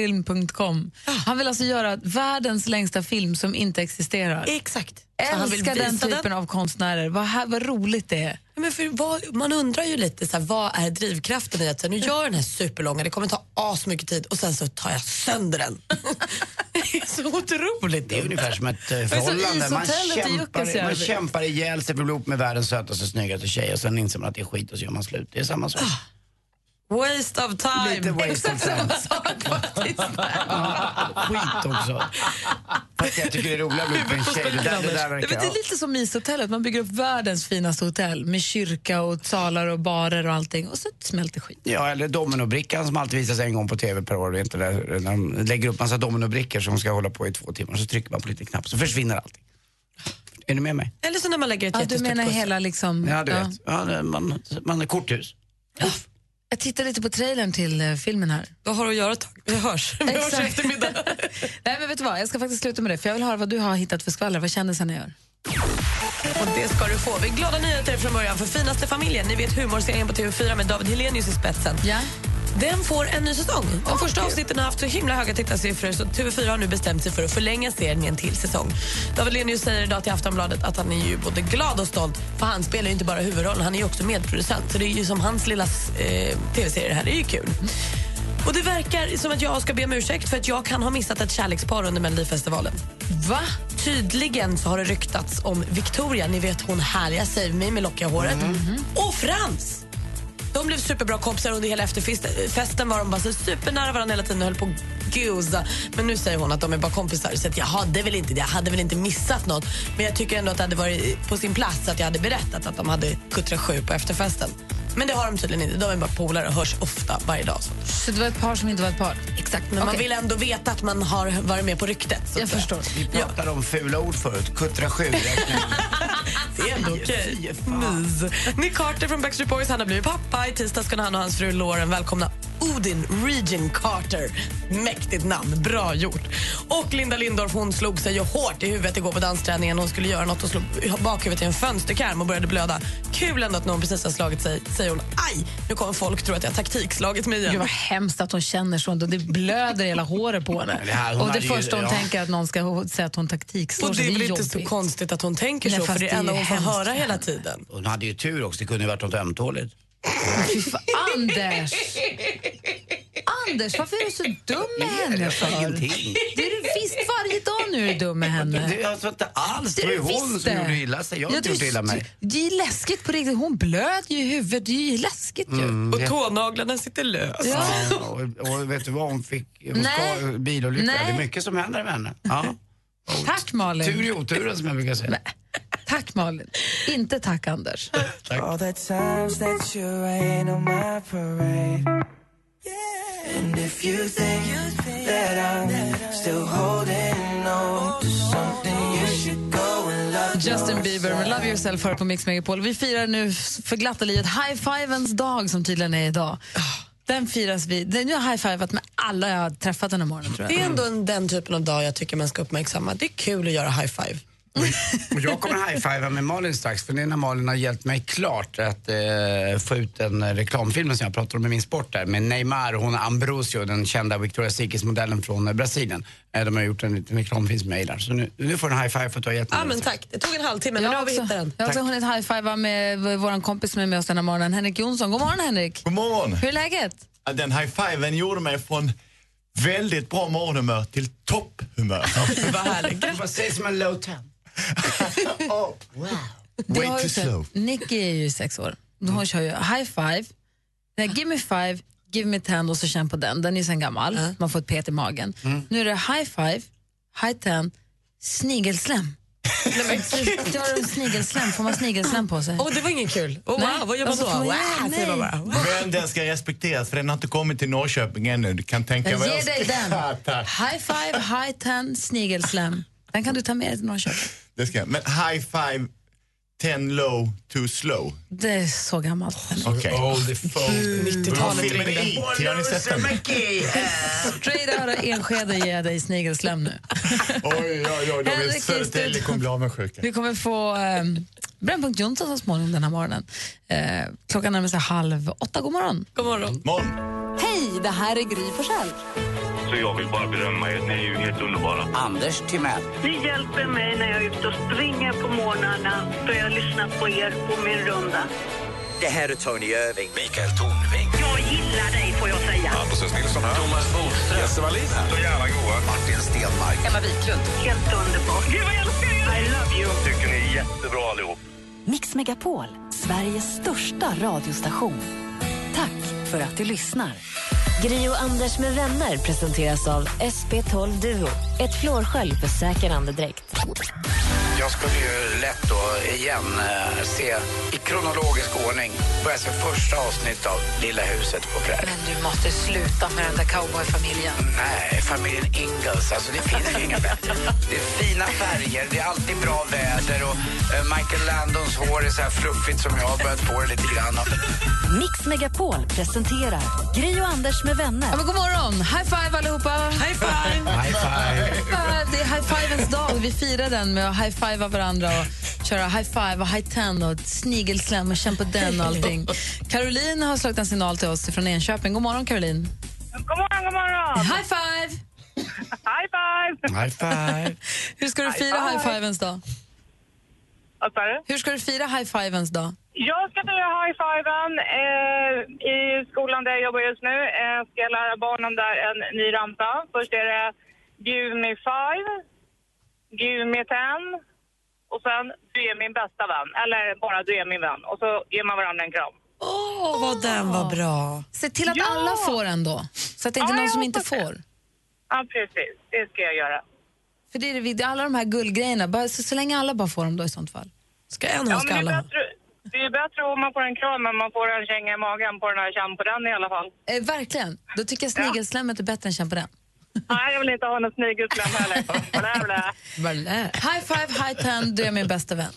[SPEAKER 3] thelongestfilm.com. Han vill alltså göra världens längsta film som inte existerar.
[SPEAKER 5] Exakt. Så han vill
[SPEAKER 3] Älskar den
[SPEAKER 5] visa
[SPEAKER 3] typen
[SPEAKER 5] den.
[SPEAKER 3] av konstnärer. Vad, här, vad roligt det är.
[SPEAKER 5] Ja, Men för vad, man undrar ju lite, så här, vad är drivkraften i att så här, nu gör jag den här superlånga, det kommer ta asmycket tid och sen så tar jag sönder den. det är så otroligt.
[SPEAKER 4] Det är ungefär som ett eh,
[SPEAKER 5] är som
[SPEAKER 4] förhållande. Man
[SPEAKER 5] ishotellet i
[SPEAKER 4] kämpar, man
[SPEAKER 5] Jukkasjärvi.
[SPEAKER 4] kämpar ihjäl sig för att bli ihop med världens sötaste, snyggaste tjej och sen inser man att det är skit och så gör man slut. Det är samma sak.
[SPEAKER 5] Waste of time.
[SPEAKER 4] Lite waste of time. Skit också. Fast jag tycker det är roligare att bli ihop med en tjej. Det där, det där
[SPEAKER 3] Nej, men
[SPEAKER 4] verkar...
[SPEAKER 3] det är lite som Myshotellet. Man bygger upp världens finaste hotell med kyrka och salar och barer och allting och så smälter skit.
[SPEAKER 4] Ja, eller dominobrickan som alltid visas en gång på tv per år. Vet du, där, när de lägger upp massa dominobrickor som ska hålla på i två timmar. Så trycker man på lite knapp så försvinner allting. Är ni med mig?
[SPEAKER 5] Eller så när man lägger ett
[SPEAKER 3] ja, Du
[SPEAKER 4] jättestort
[SPEAKER 3] menar
[SPEAKER 4] pussel.
[SPEAKER 3] hela liksom...
[SPEAKER 4] Ja, du
[SPEAKER 3] ja.
[SPEAKER 4] vet. Ja, det- man, man är korthus.
[SPEAKER 3] Jag tittar lite på trailern till eh, filmen här.
[SPEAKER 5] Vad har du att göra ett tag? Vi hörs. Vi hörs
[SPEAKER 3] Exakt.
[SPEAKER 5] eftermiddag.
[SPEAKER 3] Nej, men vet du vad? Jag ska faktiskt sluta med det, för jag vill höra vad du har hittat för skvaller, vad kändisarna gör.
[SPEAKER 5] Och det ska du få. Vi är glada nyheter från början för Finaste familjen. Ni vet humorserien på TV4 med David Hellenius i spetsen. Den får en ny säsong. De första avsnitten har haft så himla höga tittarsiffror så TV4 har nu bestämt sig för att förlänga serien med en till säsong. David Hellenius säger idag till Aftonbladet att han är ju både glad och stolt för han spelar ju inte bara huvudrollen, han är ju också medproducent. Så det är ju som hans lilla eh, TV-serie det här. Det är ju kul. Och det verkar som att jag ska be om ursäkt för att jag kan ha missat ett kärlekspar under Melodifestivalen.
[SPEAKER 3] Va?
[SPEAKER 5] Tydligen så har det ryktats om Victoria, ni vet hon härliga Save Me med lockiga håret, och Frans. De blev superbra kompisar under hela efterfesten. Var de bara så supernära varandra hela tiden och höll på att gusa. Men nu säger hon att de är bara kompisar. Så att jag, hade väl inte, jag hade väl inte missat något. Men jag tycker ändå att det hade varit på sin plats att jag hade berättat att de hade kuttrat sju på efterfesten. Men det har de tydligen inte. De är bara polare och hörs ofta varje dag. Så.
[SPEAKER 3] Så det var ett par som inte var ett par? Exakt.
[SPEAKER 5] Men man vill ändå veta att man har varit med på ryktet. Så
[SPEAKER 3] Jag
[SPEAKER 5] att säga.
[SPEAKER 3] förstår.
[SPEAKER 4] Vi pratade om fula ord förut. Kuttra sju. räkna in.
[SPEAKER 5] Det är ändå Ah, okej. Mys. Nick Carter från Backstreet Boys han har blivit pappa. I tisdags kunde han och hans fru Lauren välkomna Odin Regin Carter. Mäktigt namn, bra gjort. Och Linda Lindorff hon slog sig ju hårt i huvudet igår på dansträningen. Hon skulle göra något och slog bakhuvudet i en fönsterkarm och började blöda. Kul ändå att någon precis har slagit sig, säger hon. Aj, nu kommer folk tro att jag har taktikslagit mig igen.
[SPEAKER 3] Gud vad hemskt att hon känner så. Det blöder i hela håret på henne.
[SPEAKER 5] Det här, hon
[SPEAKER 3] och det
[SPEAKER 5] hade ju-
[SPEAKER 3] första hon
[SPEAKER 5] ja.
[SPEAKER 3] tänker är att någon ska ho- säga att hon taktikslår
[SPEAKER 5] Och det
[SPEAKER 3] sig.
[SPEAKER 5] är väl inte
[SPEAKER 3] jobbigt.
[SPEAKER 5] så konstigt att hon tänker
[SPEAKER 3] Nej,
[SPEAKER 5] så,
[SPEAKER 3] fast
[SPEAKER 5] för det
[SPEAKER 3] det är
[SPEAKER 5] är det enda
[SPEAKER 3] ju
[SPEAKER 5] hon får
[SPEAKER 3] hemskt.
[SPEAKER 5] höra hela tiden.
[SPEAKER 4] Hon hade ju tur också. Det kunde ju varit något ömtåligt.
[SPEAKER 3] Anders! Anders, varför är du så dum med henne
[SPEAKER 4] jag sa
[SPEAKER 3] för?
[SPEAKER 4] ingenting.
[SPEAKER 3] Det är du visst. Varje dag nu är du dum med henne.
[SPEAKER 4] Det- Jag sa inte alls. Det var
[SPEAKER 3] är
[SPEAKER 4] ju hon
[SPEAKER 3] visst
[SPEAKER 4] som
[SPEAKER 3] det.
[SPEAKER 4] gjorde illa sig. Jag har
[SPEAKER 3] Ja,
[SPEAKER 4] inte
[SPEAKER 3] du-
[SPEAKER 4] gjort illa mig.
[SPEAKER 3] Det är läskigt på riktigt. Hon blöder ju i huvudet. Det är ju läskigt ju.
[SPEAKER 4] Mm, det-
[SPEAKER 5] tånaglarna sitter löst.
[SPEAKER 4] Ja, och, och vet du vad hon fick? Hon
[SPEAKER 3] Nej.
[SPEAKER 4] ska, bilolycka.
[SPEAKER 3] Nej.
[SPEAKER 4] Det är mycket som händer med henne. Ja.
[SPEAKER 3] Tack Malin.
[SPEAKER 4] Tur i oturen som jag brukar säga.
[SPEAKER 3] Tack Malin. Inte tack Anders.
[SPEAKER 6] All the times that you rain on my parade. And if you think that I'm still holding on to something, you should go and love
[SPEAKER 3] Justin Bieber med Love Yourself hör på Mix Megapol. Vi firar nu för glatta livet High Fivens dag som tydligen är idag. Den firas vi. Den jag har high-fivat med alla jag har träffat den här morgonen tror jag.
[SPEAKER 5] Det är ändå en, den typen av dag jag tycker man ska uppmärksamma. Det är kul att göra high five.
[SPEAKER 4] Och jag kommer high-fivea med Malin strax, för det är när Malin har hjälpt mig klart att eh, få ut den eh, reklamfilmen som jag pratade om i min sport där, med Neymar och hon Ambrosio, den kända Victoria's Secret-modellen från eh, Brasilien. Eh, de har gjort en liten reklamfilm som jag gillar. Så nu, nu får du en high-five för att du har hjälpt mig.
[SPEAKER 5] Ja, men tack. Det tog en halvtimme, men
[SPEAKER 3] Jag
[SPEAKER 5] nu
[SPEAKER 3] har
[SPEAKER 5] har vi
[SPEAKER 3] också-
[SPEAKER 5] hittat den.
[SPEAKER 3] Jag har också hunnit high-fivea med v- vår kompis som är med oss den här morgonen, Henrik Jonsson. God morgon Henrik! God
[SPEAKER 16] morgon!
[SPEAKER 3] Hur är läget?
[SPEAKER 16] Att Den high-fiven gjorde mig från väldigt bra morgonhumör till topphumör.
[SPEAKER 4] Ah, Vad härligt. Vad sägs om en low ten?
[SPEAKER 3] Du
[SPEAKER 5] Oh,
[SPEAKER 16] Way
[SPEAKER 3] har ju
[SPEAKER 16] too
[SPEAKER 3] sett-
[SPEAKER 16] slow.
[SPEAKER 3] Nicky är ju sex år.
[SPEAKER 5] Mm.
[SPEAKER 3] Hon kör ju high five, nej, give me five, give me ten och så känn på den. Den är ju sen gammal,
[SPEAKER 5] Mm.
[SPEAKER 3] man får ett pet i magen. Nu är det high five, high ten, snigelsläm. Gör de snigelsläm? Får man snigelsläm på sig?
[SPEAKER 5] Åh, det var ingen kul. Åh,
[SPEAKER 3] Nej.
[SPEAKER 5] wow, vad gör man
[SPEAKER 3] Alltså,
[SPEAKER 5] då?
[SPEAKER 3] får man
[SPEAKER 5] Wow,
[SPEAKER 3] göra-
[SPEAKER 5] säger man
[SPEAKER 3] nej.
[SPEAKER 5] bara.
[SPEAKER 16] Men den ska respekteras för den har inte kommit till Norrköping ännu. Du kan tänka
[SPEAKER 3] Jag
[SPEAKER 16] vad
[SPEAKER 3] ger
[SPEAKER 16] ska-
[SPEAKER 3] dig den.
[SPEAKER 16] Ja, Tack.
[SPEAKER 3] High five, high ten, snigelsläm. Den kan du ta med dig till Norrköping.
[SPEAKER 16] Det ska jag. Men high-five, ten low, too slow.
[SPEAKER 3] Det är så gammalt.
[SPEAKER 16] Okej.
[SPEAKER 4] Old phone.
[SPEAKER 16] Filmen It, har ni sett den?
[SPEAKER 3] Straight out av Enskede ger jag dig snigelsläm nu.
[SPEAKER 16] Oj, oj, oj. de är
[SPEAKER 3] Henrik
[SPEAKER 16] Södertälje kommer bli avundsjuka.
[SPEAKER 3] Vi kommer få eh, Brännpunkt Jonsson så småningom den här morgonen. Eh, klockan närmar sig halv åtta. God morgon.
[SPEAKER 5] God
[SPEAKER 11] Mm.
[SPEAKER 5] morgon.
[SPEAKER 1] Hej, det här är Gry Forssell.
[SPEAKER 11] Så jag vill bara berömma er. Ni är ju helt underbara.
[SPEAKER 4] Anders Timell.
[SPEAKER 17] Ni hjälper mig när jag är ute och springer på morgnarna för jag lyssnar på er på min runda.
[SPEAKER 18] Det här är Tony Irving.
[SPEAKER 11] Mikael Tornving.
[SPEAKER 17] Jag gillar dig får jag säga.
[SPEAKER 11] Anders S. Nilsson här. Thomas Bodström. Jesse Wallin här. Så jävla goa. Martin Stenmark.
[SPEAKER 17] Emma Wiklund. Helt underbart. Gud vad jag älskar er! I love you.
[SPEAKER 11] Tycker ni är jättebra allihop.
[SPEAKER 1] Mix Megapol, Sveriges största radiostation. Tack för att du lyssnar.
[SPEAKER 2] Gri och Anders med vänner presenteras av SP12 Duo. Ett flårskölj för säker andedräkt.
[SPEAKER 4] Jag skulle ju lätt då igen eh, se i kronologisk ordning börja se första avsnitt av Lilla huset på prärien.
[SPEAKER 3] Du måste sluta med den där cowboyfamiljen.
[SPEAKER 4] Nej, familjen Ingalls. Alltså det finns ju inga bättre. Det är fina färger, det är alltid bra väder och eh, Michael Landons hår är så här fluffigt som jag har börjat få det lite grann av.
[SPEAKER 1] Mix Megapol presenterar Gri och Anders med vänner.
[SPEAKER 3] Ja, men god morgon! High five allihopa! High five!
[SPEAKER 4] High five!
[SPEAKER 3] Det är high fivens dag. Vi firar den med att high fivea varandra och köra high five och high ten och ett snigelslam och känn på den och allting. Caroline har slagit en signal till oss från Enköping. God morgon Caroline!
[SPEAKER 12] God morgon, god morgon!
[SPEAKER 3] High five!
[SPEAKER 12] High five!
[SPEAKER 4] High five!
[SPEAKER 3] Hur ska du
[SPEAKER 12] High
[SPEAKER 3] fira
[SPEAKER 12] five.
[SPEAKER 3] high fivens dag?
[SPEAKER 12] Vad sa du?
[SPEAKER 3] Hur ska du fira high fivens dag?
[SPEAKER 12] Jag ska fira high-fiven eh, i skolan där jag jobbar just nu. Eh, ska jag lära barnen där en ny ramsa. Först är det Give me five, give me ten och sen Du är min bästa vän, eller bara Du är min vän. Och så ger man varandra en kram.
[SPEAKER 5] Åh, vad den var bra.
[SPEAKER 3] Se till att
[SPEAKER 12] Ja!
[SPEAKER 3] alla får en då, så att det inte är
[SPEAKER 12] Ja,
[SPEAKER 3] någon
[SPEAKER 12] jag
[SPEAKER 3] som inte
[SPEAKER 12] hoppas det.
[SPEAKER 3] får.
[SPEAKER 12] Ja, precis. Det ska jag göra.
[SPEAKER 3] För det är det, vi- det är alla de här guldgrejerna, bara, så, så länge alla bara får dem då i sånt fall.
[SPEAKER 5] Ska en
[SPEAKER 12] Ja, men det, är bättre, det är bättre om man får en kram än man får en känga i magen på den här känn på den i alla fall.
[SPEAKER 3] Eh, verkligen, då tycker jag snigelslemmet är bättre än känn på den.
[SPEAKER 12] Nej, jag vill inte ha någon snigelslam heller. Blä, blä.
[SPEAKER 3] High five, high ten, du är min bästa vän.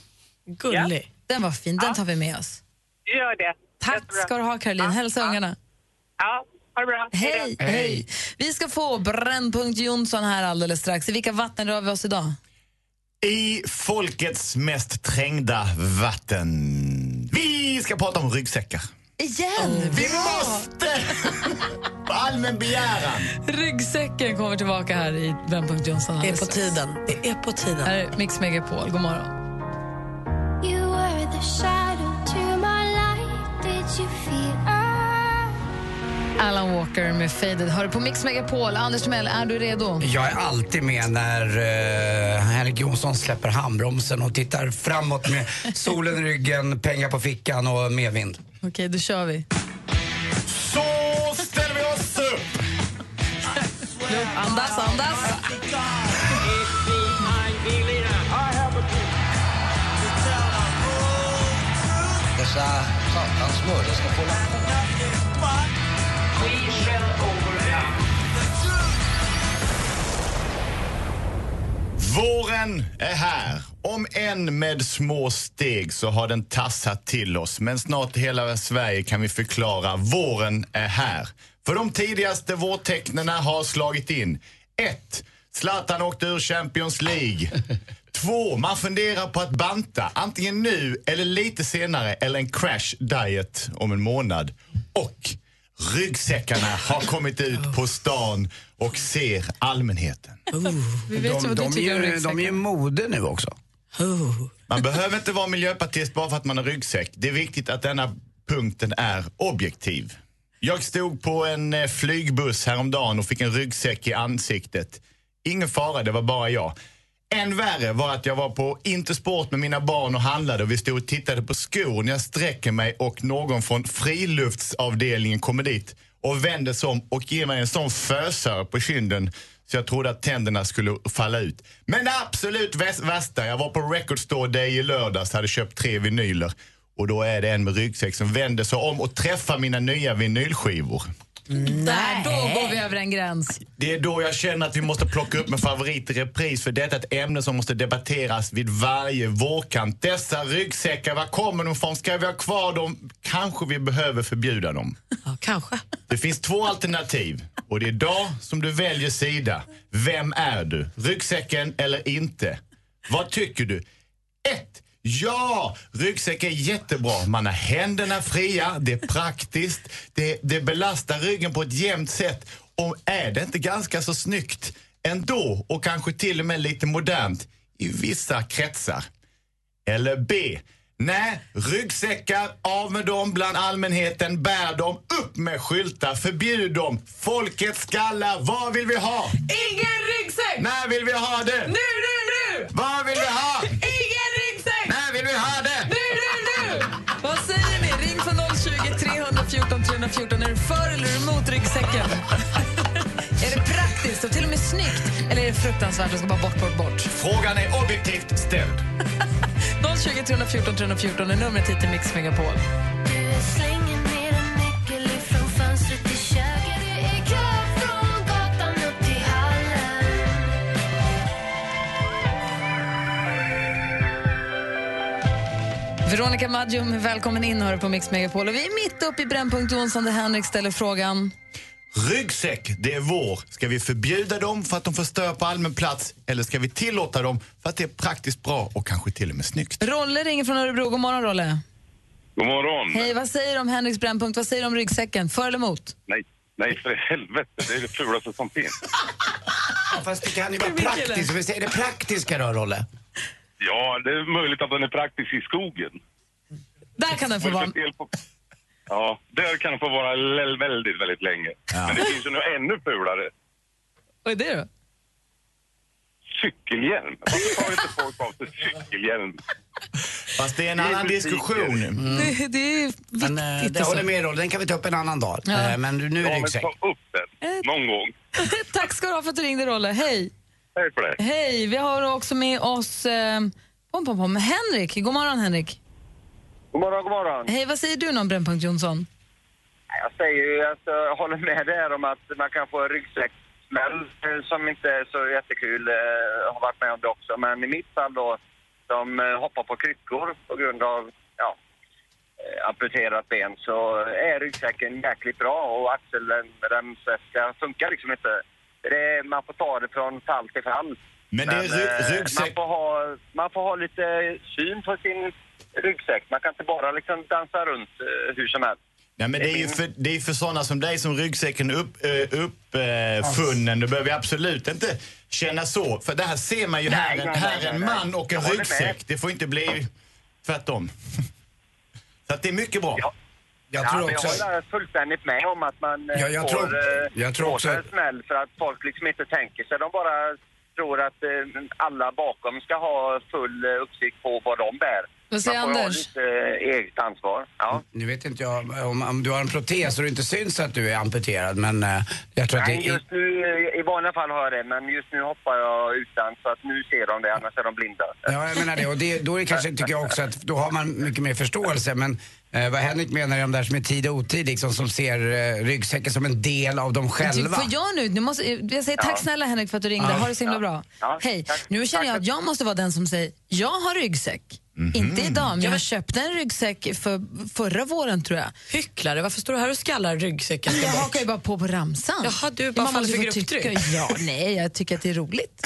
[SPEAKER 12] Gullig.
[SPEAKER 3] Den var fin, den tar vi med oss.
[SPEAKER 12] Gör det.
[SPEAKER 3] Tack ska du ha Caroline, hälsa ungarna.
[SPEAKER 12] Ja, ha det bra.
[SPEAKER 3] Hej,
[SPEAKER 12] då.
[SPEAKER 3] hej. Vi ska få Brännpunkt Jonsson här alldeles strax. I vilka vatten rör vi oss idag?
[SPEAKER 16] I folkets mest trängda vatten. Vi ska prata om ryggsäckar.
[SPEAKER 3] Igen?
[SPEAKER 16] vi måste! På allmän begäran.
[SPEAKER 3] Ryggsäcken kommer tillbaka här i Brännpunkt Jonsson.
[SPEAKER 5] Det är
[SPEAKER 3] alldeles
[SPEAKER 5] på
[SPEAKER 3] strax.
[SPEAKER 5] tiden. Det är på tiden.
[SPEAKER 3] Här är Mix Megapol, god morgon.
[SPEAKER 19] You were the shadow to my light. Did you feel us?
[SPEAKER 3] Alan Walker med Faded. Hör på Mix Megapol. Anders Timell, är du redo?
[SPEAKER 4] Jag är alltid med när eh, Henrik Jonsson släpper handbromsen och tittar framåt med solen i ryggen, pengar på fickan och medvind.
[SPEAKER 3] Okej, då kör vi.
[SPEAKER 16] Så ställer vi oss upp!
[SPEAKER 3] Andas, andas.
[SPEAKER 20] I have a dream.
[SPEAKER 10] snurr. Jag ska få
[SPEAKER 16] Våren är här. Om än med små steg så har den tassat till oss. Men snart hela Sverige kan vi förklara våren är här. För de tidigaste vårtecknena har slagit in. 1. Zlatan åkte ur Champions League. 2. Man funderar på att banta. Antingen nu eller lite senare. Eller en crash diet om en månad. Och ryggsäckarna har kommit ut på stan och ser allmänheten.
[SPEAKER 3] Vi vet
[SPEAKER 4] de,
[SPEAKER 3] vad du
[SPEAKER 4] de, är
[SPEAKER 3] tycker om
[SPEAKER 4] ju,
[SPEAKER 3] ryggsäckar.
[SPEAKER 4] de är ju mode nu också.
[SPEAKER 16] Man behöver inte vara miljöpartist bara för att man har ryggsäck. Det är viktigt att denna punkten är objektiv. Jag stod på en eh, flygbuss häromdagen och fick en ryggsäck i ansiktet. Ingen fara, det var bara jag. Än värre var att jag var på Intersport med mina barn och handlade och vi stod och tittade på skor när jag sträcker mig och någon från friluftsavdelningen kommer dit och vänder sig om och ger mig en sån fösare på kinden så jag trodde att tänderna skulle falla ut. Men det absolut väs- värsta, jag var på Record Store Day i lördags hade köpt tre vinyler och då är det en med ryggsäck som vänder sig om och träffar mina nya vinylskivor.
[SPEAKER 3] Där, då går vi över en gräns.
[SPEAKER 16] Det är då jag känner att vi måste plocka upp min favorit i repris för detta är ett ämne som måste debatteras vid varje vårkant. Dessa ryggsäckar, var kommer de ifrån? Ska vi ha kvar dem? Kanske vi behöver förbjuda dem.
[SPEAKER 5] Ja, kanske.
[SPEAKER 16] Det finns två alternativ och det är idag som du väljer sida. Vem är du? Ryggsäcken eller inte? Vad tycker du? Ett. Ja, ryggsäck är jättebra. Man har händerna fria, det är praktiskt, det, det belastar ryggen på ett jämnt sätt. Och är det inte ganska så snyggt ändå och kanske till och med lite modernt i vissa kretsar? Eller B. Nej, ryggsäckar, av med dem bland allmänheten, bär dem, upp med skyltar, förbjud dem. Folkets skallar, vad vill vi ha?
[SPEAKER 6] Ingen ryggsäck!
[SPEAKER 16] När vill vi ha det?
[SPEAKER 6] Nu, nu, nu!
[SPEAKER 16] Vad vill vi ha?
[SPEAKER 6] Ingen ryggsäck!
[SPEAKER 16] När vill vi ha det?
[SPEAKER 6] Nu, nu, nu!
[SPEAKER 3] Vad säger ni? Ring på 020 314 314. Är du för eller är du emot ryggsäcken? är det praktiskt och till och med snyggt? Eller är det fruktansvärt och ska bara bort, bort, bort?
[SPEAKER 16] Frågan är objektivt ställd.
[SPEAKER 3] 020 314 314 är numret hit till Mix Megapol. Veronica Maggio, välkommen in hör du på Mix Megapol. Och vi är mitt uppe i Brännpunkt Jonsson där Henrik ställer frågan.
[SPEAKER 16] Ryggsäck, det är vår. Ska vi förbjuda dem för att de förstör på allmän plats eller ska vi tillåta dem för att det är praktiskt bra och kanske till och med snyggt?
[SPEAKER 3] Rolle ringer från Örebro. God morgon, Rolle.
[SPEAKER 21] God morgon.
[SPEAKER 3] Hej, vad säger du om Henriks brännpunkt? Vad säger du om ryggsäcken? För eller emot?
[SPEAKER 21] Nej, nej, för helvete. Det är det fulaste som finns.
[SPEAKER 4] Fast det kan ju vara praktiskt. Vi säger det praktiska då, Rolle.
[SPEAKER 21] Ja, det är möjligt att den är praktisk i skogen.
[SPEAKER 3] Där kan den få
[SPEAKER 21] Och
[SPEAKER 3] vara.
[SPEAKER 21] lite fel på- Ja, där kan den få vara l- väldigt, väldigt länge. Men det finns ju nog ännu fulare.
[SPEAKER 3] Vad är det då?
[SPEAKER 21] Cykelhjälm. Varför tar inte folk av sig cykelhjälm?
[SPEAKER 16] Fast det är en
[SPEAKER 21] Det är
[SPEAKER 16] annan
[SPEAKER 21] butiker.
[SPEAKER 16] diskussion.
[SPEAKER 22] Mm.
[SPEAKER 3] Det, det är viktigt.
[SPEAKER 4] Mm. Men, eh, det
[SPEAKER 3] alltså.
[SPEAKER 4] håller med Rolle, den kan vi ta upp en annan dag.
[SPEAKER 3] Ja.
[SPEAKER 4] Eh, Men nu är det ryggsäck.
[SPEAKER 21] upp den någon gång.
[SPEAKER 3] Tack ska du ha för att du ringde, Rolle. Hej!
[SPEAKER 21] Hej på dig.
[SPEAKER 3] Hej! Vi har också med oss eh, pom, pom, pom. Henrik. God morgon, Henrik.
[SPEAKER 22] God morgon, god morgon.
[SPEAKER 3] Hej, vad säger du om Brännpunkt Jonsson?
[SPEAKER 22] Jag säger ju, alltså, jag håller med dig här om att man kan få en ryggsäcksmäll eh, som inte är så jättekul. eh, Jag har varit med om det också, men i mitt fall då, de eh, hoppar på kryckor på grund av, ja, eh, amputerat ben så är ryggsäcken jäkligt bra och axelremsväska funkar liksom inte. Det är, man får ta det från fall till fall.
[SPEAKER 16] Men det är ry-
[SPEAKER 22] eh,
[SPEAKER 16] ryggsäck-
[SPEAKER 22] Man får, ha, man får ha lite syn på sin ryggsäck. Man kan inte bara liksom dansa runt eh, hur som helst.
[SPEAKER 16] Nej, men det är ju för, det är ju för sådana som dig som ryggsäcken är upp, eh, upp, eh, funnen. Du behöver ju absolut inte känna så. För det här ser man ju
[SPEAKER 22] Nej,
[SPEAKER 16] här.
[SPEAKER 22] nej,
[SPEAKER 16] en-
[SPEAKER 22] nej,
[SPEAKER 16] Här är en
[SPEAKER 22] nej, nej.
[SPEAKER 16] man och en
[SPEAKER 22] Jag håller
[SPEAKER 16] ryggsäck.
[SPEAKER 22] med.
[SPEAKER 16] Det får inte bli tvärtom. Så att det är mycket bra.
[SPEAKER 22] ja, men Jag håller fullständigt med om att man eh,
[SPEAKER 16] Ja, jag
[SPEAKER 22] får,
[SPEAKER 16] tror-
[SPEAKER 22] eh,
[SPEAKER 16] jag tror
[SPEAKER 22] får
[SPEAKER 16] också-
[SPEAKER 22] en smäll för att folk liksom inte tänker sig. De bara tror att eh, alla bakom ska ha full eh, uppsikt på vad de bär.
[SPEAKER 3] Vad säger
[SPEAKER 22] man får
[SPEAKER 3] Anders?
[SPEAKER 22] ha lite eh, eget ansvar. Ja.
[SPEAKER 4] Nu vet inte jag om, om du har en protes och det inte syns att du är amputerad, men eh, jag tror att det
[SPEAKER 22] Nej,
[SPEAKER 4] är...
[SPEAKER 22] just nu, eh, I vanliga fall har jag det, men just nu hoppar jag utan så att nu ser de det, annars är de blinda.
[SPEAKER 4] Ja, jag menar det. Och det, då är det kanske, tycker jag också, att då har man mycket mer förståelse. Men Eh, vad Henrik menar är de där som är tid och otid, liksom, som ser eh, ryggsäcken som en del av
[SPEAKER 5] typ
[SPEAKER 4] dem själva.
[SPEAKER 3] Får jag nu? nu måste, jag säger tack
[SPEAKER 4] Ja.
[SPEAKER 3] snälla Henrik för att du ringde.
[SPEAKER 4] Ja.
[SPEAKER 3] Ha det så himla
[SPEAKER 4] Ja.
[SPEAKER 3] bra.
[SPEAKER 4] Ja,
[SPEAKER 3] Hej.
[SPEAKER 4] tack.
[SPEAKER 3] Nu känner jag att jag måste vara den som säger, jag har ryggsäck. Inte idag, men jag köpte en ryggsäck för, förra våren tror jag.
[SPEAKER 5] Hycklare, varför står du här och skallar ryggsäcken?
[SPEAKER 3] Jag hakar ju bara på på ramsan.
[SPEAKER 5] Jaha, du bara
[SPEAKER 3] Man måste
[SPEAKER 5] faller för
[SPEAKER 3] få tycka-
[SPEAKER 5] grupptryck.
[SPEAKER 3] Ja, nej, jag tycker att det är roligt.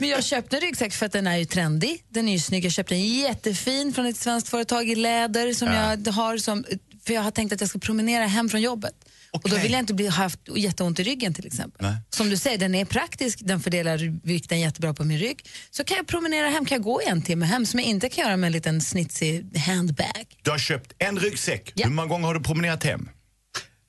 [SPEAKER 3] Men jag köpte en ryggsäck för att den är ju trendig. Den är ju snygg. Jag köpte en jättefin från ett svenskt företag i läder som
[SPEAKER 5] Ja.
[SPEAKER 3] jag har som, för jag har tänkt att jag ska promenera hem från jobbet. Och då vill jag inte bli, ha haft jätteont i ryggen till exempel.
[SPEAKER 16] Nej.
[SPEAKER 3] Som du säger, den är praktisk, den fördelar vikten jättebra på min rygg. Så kan jag promenera hem, kan jag gå i en timme hem som jag inte kan göra med en liten snitsig handbag.
[SPEAKER 16] Du har köpt en ryggsäck. Hur många gånger har du promenerat hem?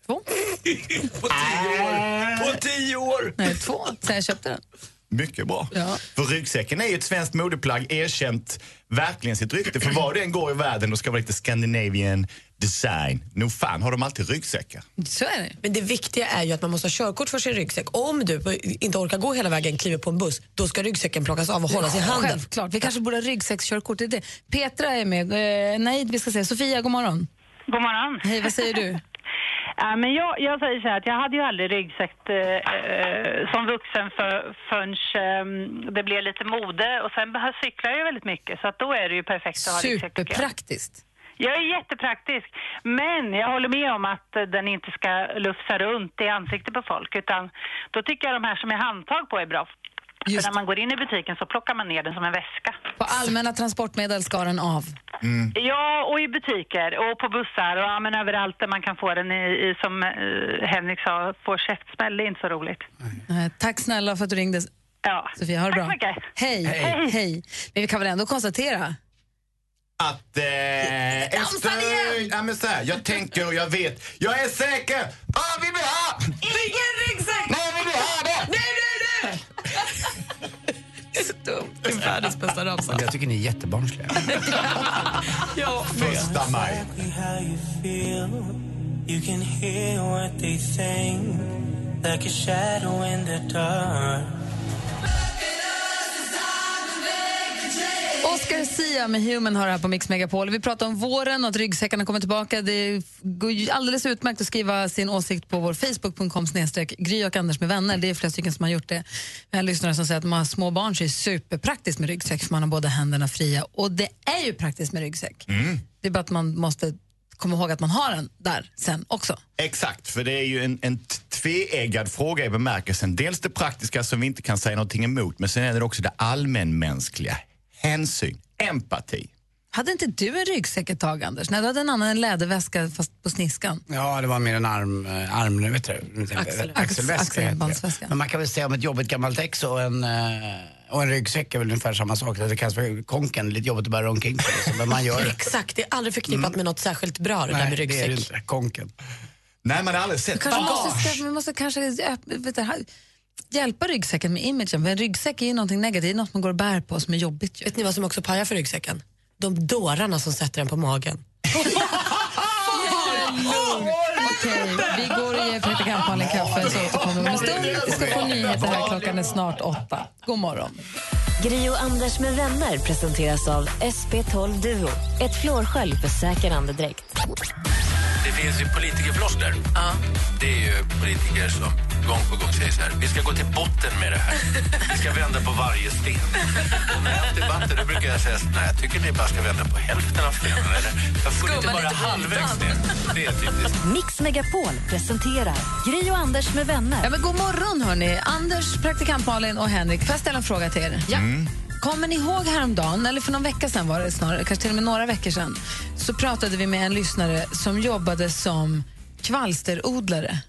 [SPEAKER 3] Två.
[SPEAKER 16] På tio år! På tio år!
[SPEAKER 3] Nej, två, sen jag köpte den.
[SPEAKER 16] Mycket bra.
[SPEAKER 3] Ja.
[SPEAKER 16] För ryggsäcken är ju ett svenskt modeplagg erkänt verkligen sitt rykte. För var du än går i världen och ska vara lite Scandinavian design, nog fan har de alltid ryggsäckar.
[SPEAKER 3] Så är det.
[SPEAKER 12] Men det viktiga är ju att man måste ha körkort för sin ryggsäck. Om du inte orkar gå hela vägen, kliver på en buss, då ska ryggsäcken plockas av och hållas i handen.
[SPEAKER 3] Självklart. Vi kanske borde ha ryggsäckskörkort. Det är det. Petra är med. Eh, nej, vi ska säga Sofia, god morgon.
[SPEAKER 23] God morgon.
[SPEAKER 3] Hej, vad säger du?
[SPEAKER 23] Ja, men jag, jag säger så här att jag hade ju aldrig ryggsäck eh, eh, som vuxen för, förrän eh, det blev lite mode och sen behöver- cyklar jag ju väldigt mycket så att då är det ju perfekt att ha ryggsäck. tycker jag.
[SPEAKER 3] Superpraktiskt.
[SPEAKER 23] Jag är jättepraktisk, men jag håller med om att eh, den inte ska lufsa runt i ansiktet på folk utan då tycker jag de här som är handtag på är bra. För när man går in i butiken så plockar man ner den som en väska.
[SPEAKER 3] På allmänna transportmedel ska den av.
[SPEAKER 23] Mm. Ja, och i butiker och på bussar och ja, men överallt där man kan få den i, i som eh, Henrik sa, få käftsmäll, det är inte så roligt.
[SPEAKER 3] Eh, tack snälla för att du ringde.
[SPEAKER 23] Ja.
[SPEAKER 3] Sofia, ha det
[SPEAKER 23] Tack
[SPEAKER 3] bra.
[SPEAKER 23] så mycket.
[SPEAKER 3] Hej.
[SPEAKER 23] Hej.
[SPEAKER 3] Hej. Men vi kan väl ändå konstatera
[SPEAKER 16] Att... Eh, efter, ja, men så här, jag tänker och jag vet. Jag är säker! Vad Ah, vill vi ha?
[SPEAKER 6] Ingen ryggsäck!
[SPEAKER 16] Nej, vill du ha det?
[SPEAKER 6] Nej, nej, nej!
[SPEAKER 5] Det är världens bästa ramsa.
[SPEAKER 4] Jag tycker ni är jättebarnsliga.
[SPEAKER 5] ja,
[SPEAKER 16] Första maj.
[SPEAKER 24] exactly how you feel. You can hear what they think, like a shadow in the dark.
[SPEAKER 3] Oscar Sia med Human har här på Mix Megapol. Vi pratar om våren och att ryggsäckarna kommer tillbaka. Det går ju alldeles utmärkt att skriva sin åsikt på vår Facebook.com snedstreck Gry och Anders med vänner. Det är flera stycken som har gjort det. Vi har lyssnare som säger att man har små barn så är det superpraktiskt med ryggsäck för man har båda händerna fria. Och det är ju praktiskt med ryggsäck.
[SPEAKER 16] Mm.
[SPEAKER 3] Det är bara att man måste komma ihåg att man har den där sen också.
[SPEAKER 16] Exakt, för det är ju en, en t- tveeggad fråga i bemärkelsen. Dels det praktiska som vi inte kan säga någonting emot, men sen är det också det allmänmänskliga. Hänsyn, empati.
[SPEAKER 3] Hade inte du en ryggsäck ett tag, Anders? Nej, du hade en annan, en läderväska fast på sniskan.
[SPEAKER 4] Ja, det var mer en arm, eh, arm vet du,
[SPEAKER 3] Axel- axel-
[SPEAKER 4] axelväska. heter det.
[SPEAKER 3] axelbandsväska.
[SPEAKER 4] Men man kan väl säga om ett jobbigt gammalt ex och en, eh, och en ryggsäck är väl ungefär samma sak. Det kallas för konken, lite jobbigt att bära omkring på liksom, men man gör det.
[SPEAKER 12] Exakt, det är aldrig förknippat med något särskilt bra det där
[SPEAKER 4] Nej,
[SPEAKER 12] med
[SPEAKER 4] det är det
[SPEAKER 12] ryggsäck.
[SPEAKER 4] inte. Konken.
[SPEAKER 16] Nej, man har aldrig sett
[SPEAKER 3] kanske måste, skaffa- vi måste kanske öpp- vet du, ha- hjälpa ryggsäcken med imagen. För en ryggsäck är ju någonting negativt, något man går och bär på som är jobbigt. Ju.
[SPEAKER 12] Vet ni vad som också pajar för ryggsäcken? De dårarna som sätter den på magen.
[SPEAKER 3] Okej, vi går och ger praktikant Malin kaffe så återkommer vi om en stund. Vi ska få nyheter här. Klockan är snart åtta. God morgon.
[SPEAKER 2] Gri och Anders med vänner presenteras av SP12 Duo. Ett flårskölj för säker andedräkt.
[SPEAKER 11] Det finns ju politikerfloskler. Det är ju politiker som gång på gång säger så här. Vi ska gå till botten med det här. Vi ska vända på varje sten. Och när jag har haft debatter då brukar jag säga så här, nej, jag tycker ni bara ska vända på hälften av stenen. Eller, varför inte bara halvvägs ner? Det är typiskt.
[SPEAKER 2] Mix Megapol presenterar Gri och Anders med vänner.
[SPEAKER 3] Ja, men god morgon, hörni. Anders, praktikant Malin och Henrik. Får jag ställa en fråga till er? Ja. Kommer ni ihåg häromdagen, eller för någon vecka sedan var det snarare, kanske till och med några veckor sedan, så pratade vi med en lyssnare som jobbade som kvalsterodlare.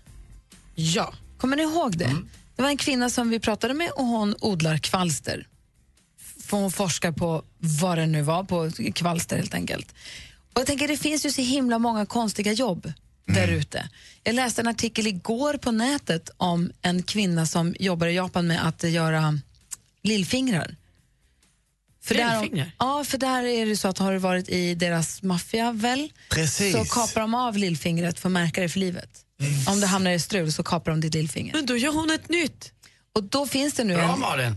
[SPEAKER 3] Ja. Mm. Kommer ni ihåg det? Det var en kvinna som vi pratade med och hon odlar kvalster. För hon forskar på vad det nu var, på kvalster helt enkelt. Och jag tänker det finns ju så himla många konstiga jobb
[SPEAKER 5] Mm.
[SPEAKER 3] där ute. Jag läste en artikel igår på nätet om en kvinna som jobbar i Japan med att göra lillfingrar.
[SPEAKER 5] Lillfingrar?
[SPEAKER 3] Där, ja, för där är det så att har du varit i deras maffia väl,
[SPEAKER 5] Precis.
[SPEAKER 3] så kapar de av lillfingret för att märka det för livet. Om du hamnar i strul så kapar de ditt lillfinger.
[SPEAKER 5] Men då gör hon ett nytt.
[SPEAKER 3] Och då finns det nu
[SPEAKER 4] Bra
[SPEAKER 3] en...
[SPEAKER 4] Malin!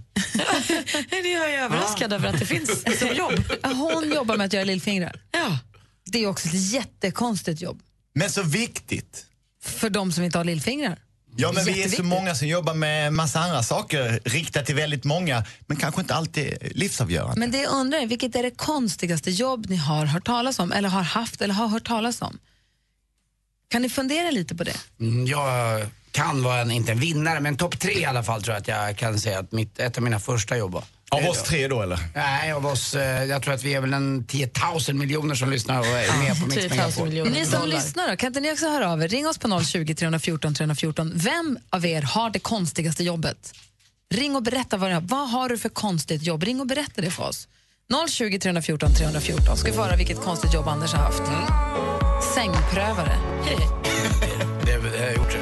[SPEAKER 5] Nej, det är jag är överraskad över att det finns som jobb.
[SPEAKER 3] Hon jobbar med att göra lillfingrar.
[SPEAKER 5] Ja.
[SPEAKER 3] Det är också ett jättekonstigt jobb
[SPEAKER 14] Men så viktigt.
[SPEAKER 3] för de som inte har lillfingrar.
[SPEAKER 14] Ja, men vi är så
[SPEAKER 3] Jätteviktigt.
[SPEAKER 14] många som jobbar med massa andra saker riktat till väldigt många, men kanske inte alltid livsavgörande.
[SPEAKER 3] Men det jag undrar är, vilket är det konstigaste jobb ni har hört talas om, eller har haft eller har hört talas om? Kan ni fundera lite på det?
[SPEAKER 4] Mm, Jag kan vara en, inte en vinnare, men topp tre i alla fall tror jag att jag kan säga att mitt, ett av mina första jobb var.
[SPEAKER 14] Av oss tre då eller?
[SPEAKER 4] Nej, av oss, eh, jag tror att vi är väl en 10 000 miljoner som lyssnar och är med på Mix
[SPEAKER 5] 10 000
[SPEAKER 4] Megapol.
[SPEAKER 3] Ni som lyssnar, då, kan inte ni också höra av er? Ring oss på 020 314 314. Vem av er har det konstigaste jobbet? Ring och berätta vad, det är. vad har du för konstigt jobb. Ring och berätta det för oss. 020 314 314. Ska vi få höra vilket konstigt jobb Anders har haft. Sängprövare.
[SPEAKER 4] Det har jag gjort.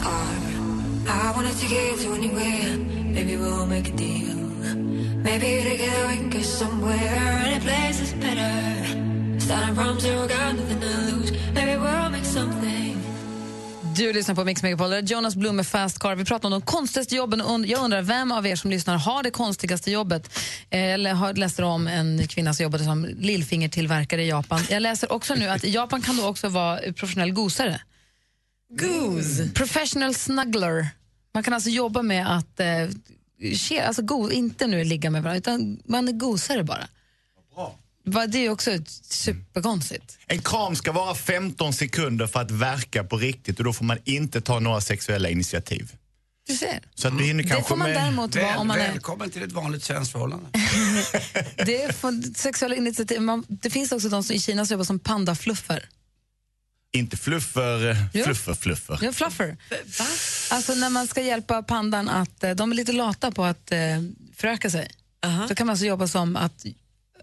[SPEAKER 15] I wanna take it to anywhere. Maybe we'll make a deal. Maybe together we can get somewhere. Any place is better. Starting from zero, got nothing to lose. Maybe we'll make something.
[SPEAKER 3] Du lyssnar på Mix Megapol. Det är Jonas Blum med Fast Car. Vi pratar om de konstigaste jobben. und- Jag undrar vem av er som lyssnar har det konstigaste jobbet? Eh, Jag lä- har- läser om en kvinna som jobbade som lillfingertillverkare i Japan. Jag läser också nu att i Japan kan du också vara professionell gosare. Goose. Professional snuggler. Man kan alltså jobba med att eh, ke- alltså go, inte nu ligga med varandra, utan man är gosare bara. Va, Det är ju också ett superkonstigt.
[SPEAKER 16] En kram ska vara 15 sekunder för att verka på riktigt och då får man inte ta några sexuella initiativ.
[SPEAKER 3] Du ser.
[SPEAKER 16] Så att du hinner kanske med...
[SPEAKER 4] Väl, Välkommen till ett vanligt svenskt förhållande.
[SPEAKER 3] Det, är från sexuella initiativ. Man, det finns också de som, i Kina som jobbar som pandafluffer.
[SPEAKER 16] Inte fluffer,
[SPEAKER 3] Jo.
[SPEAKER 16] fluffer, fluffer.
[SPEAKER 3] Ja, fluffer. Alltså när man ska hjälpa pandan att, eh, de är lite lata på att eh, föröka sig. Då kan man alltså jobba som att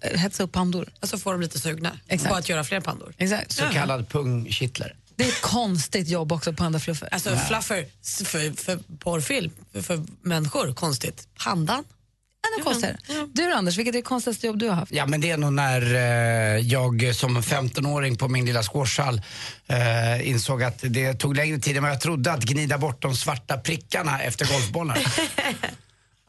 [SPEAKER 3] eh, hetsa upp pandor.
[SPEAKER 5] Alltså får de lite sugna
[SPEAKER 3] Exakt.
[SPEAKER 5] på att göra fler pandor.
[SPEAKER 3] Exakt.
[SPEAKER 4] Så kallad pungkittlare.
[SPEAKER 3] Det är ett konstigt jobb också, pandafluffer.
[SPEAKER 5] Alltså fluffer s- för, för porrfilm, för, för människor, konstigt. Pandan?
[SPEAKER 3] Ja, det är konstigt. Du då, Anders, vilket är det konstigaste jobb du har haft?
[SPEAKER 4] Ja men det är nog när eh, jag som 15-åring på min lilla squashhall eh, insåg att det tog längre tid än vad jag trodde att gnida bort de svarta prickarna efter golfbollar.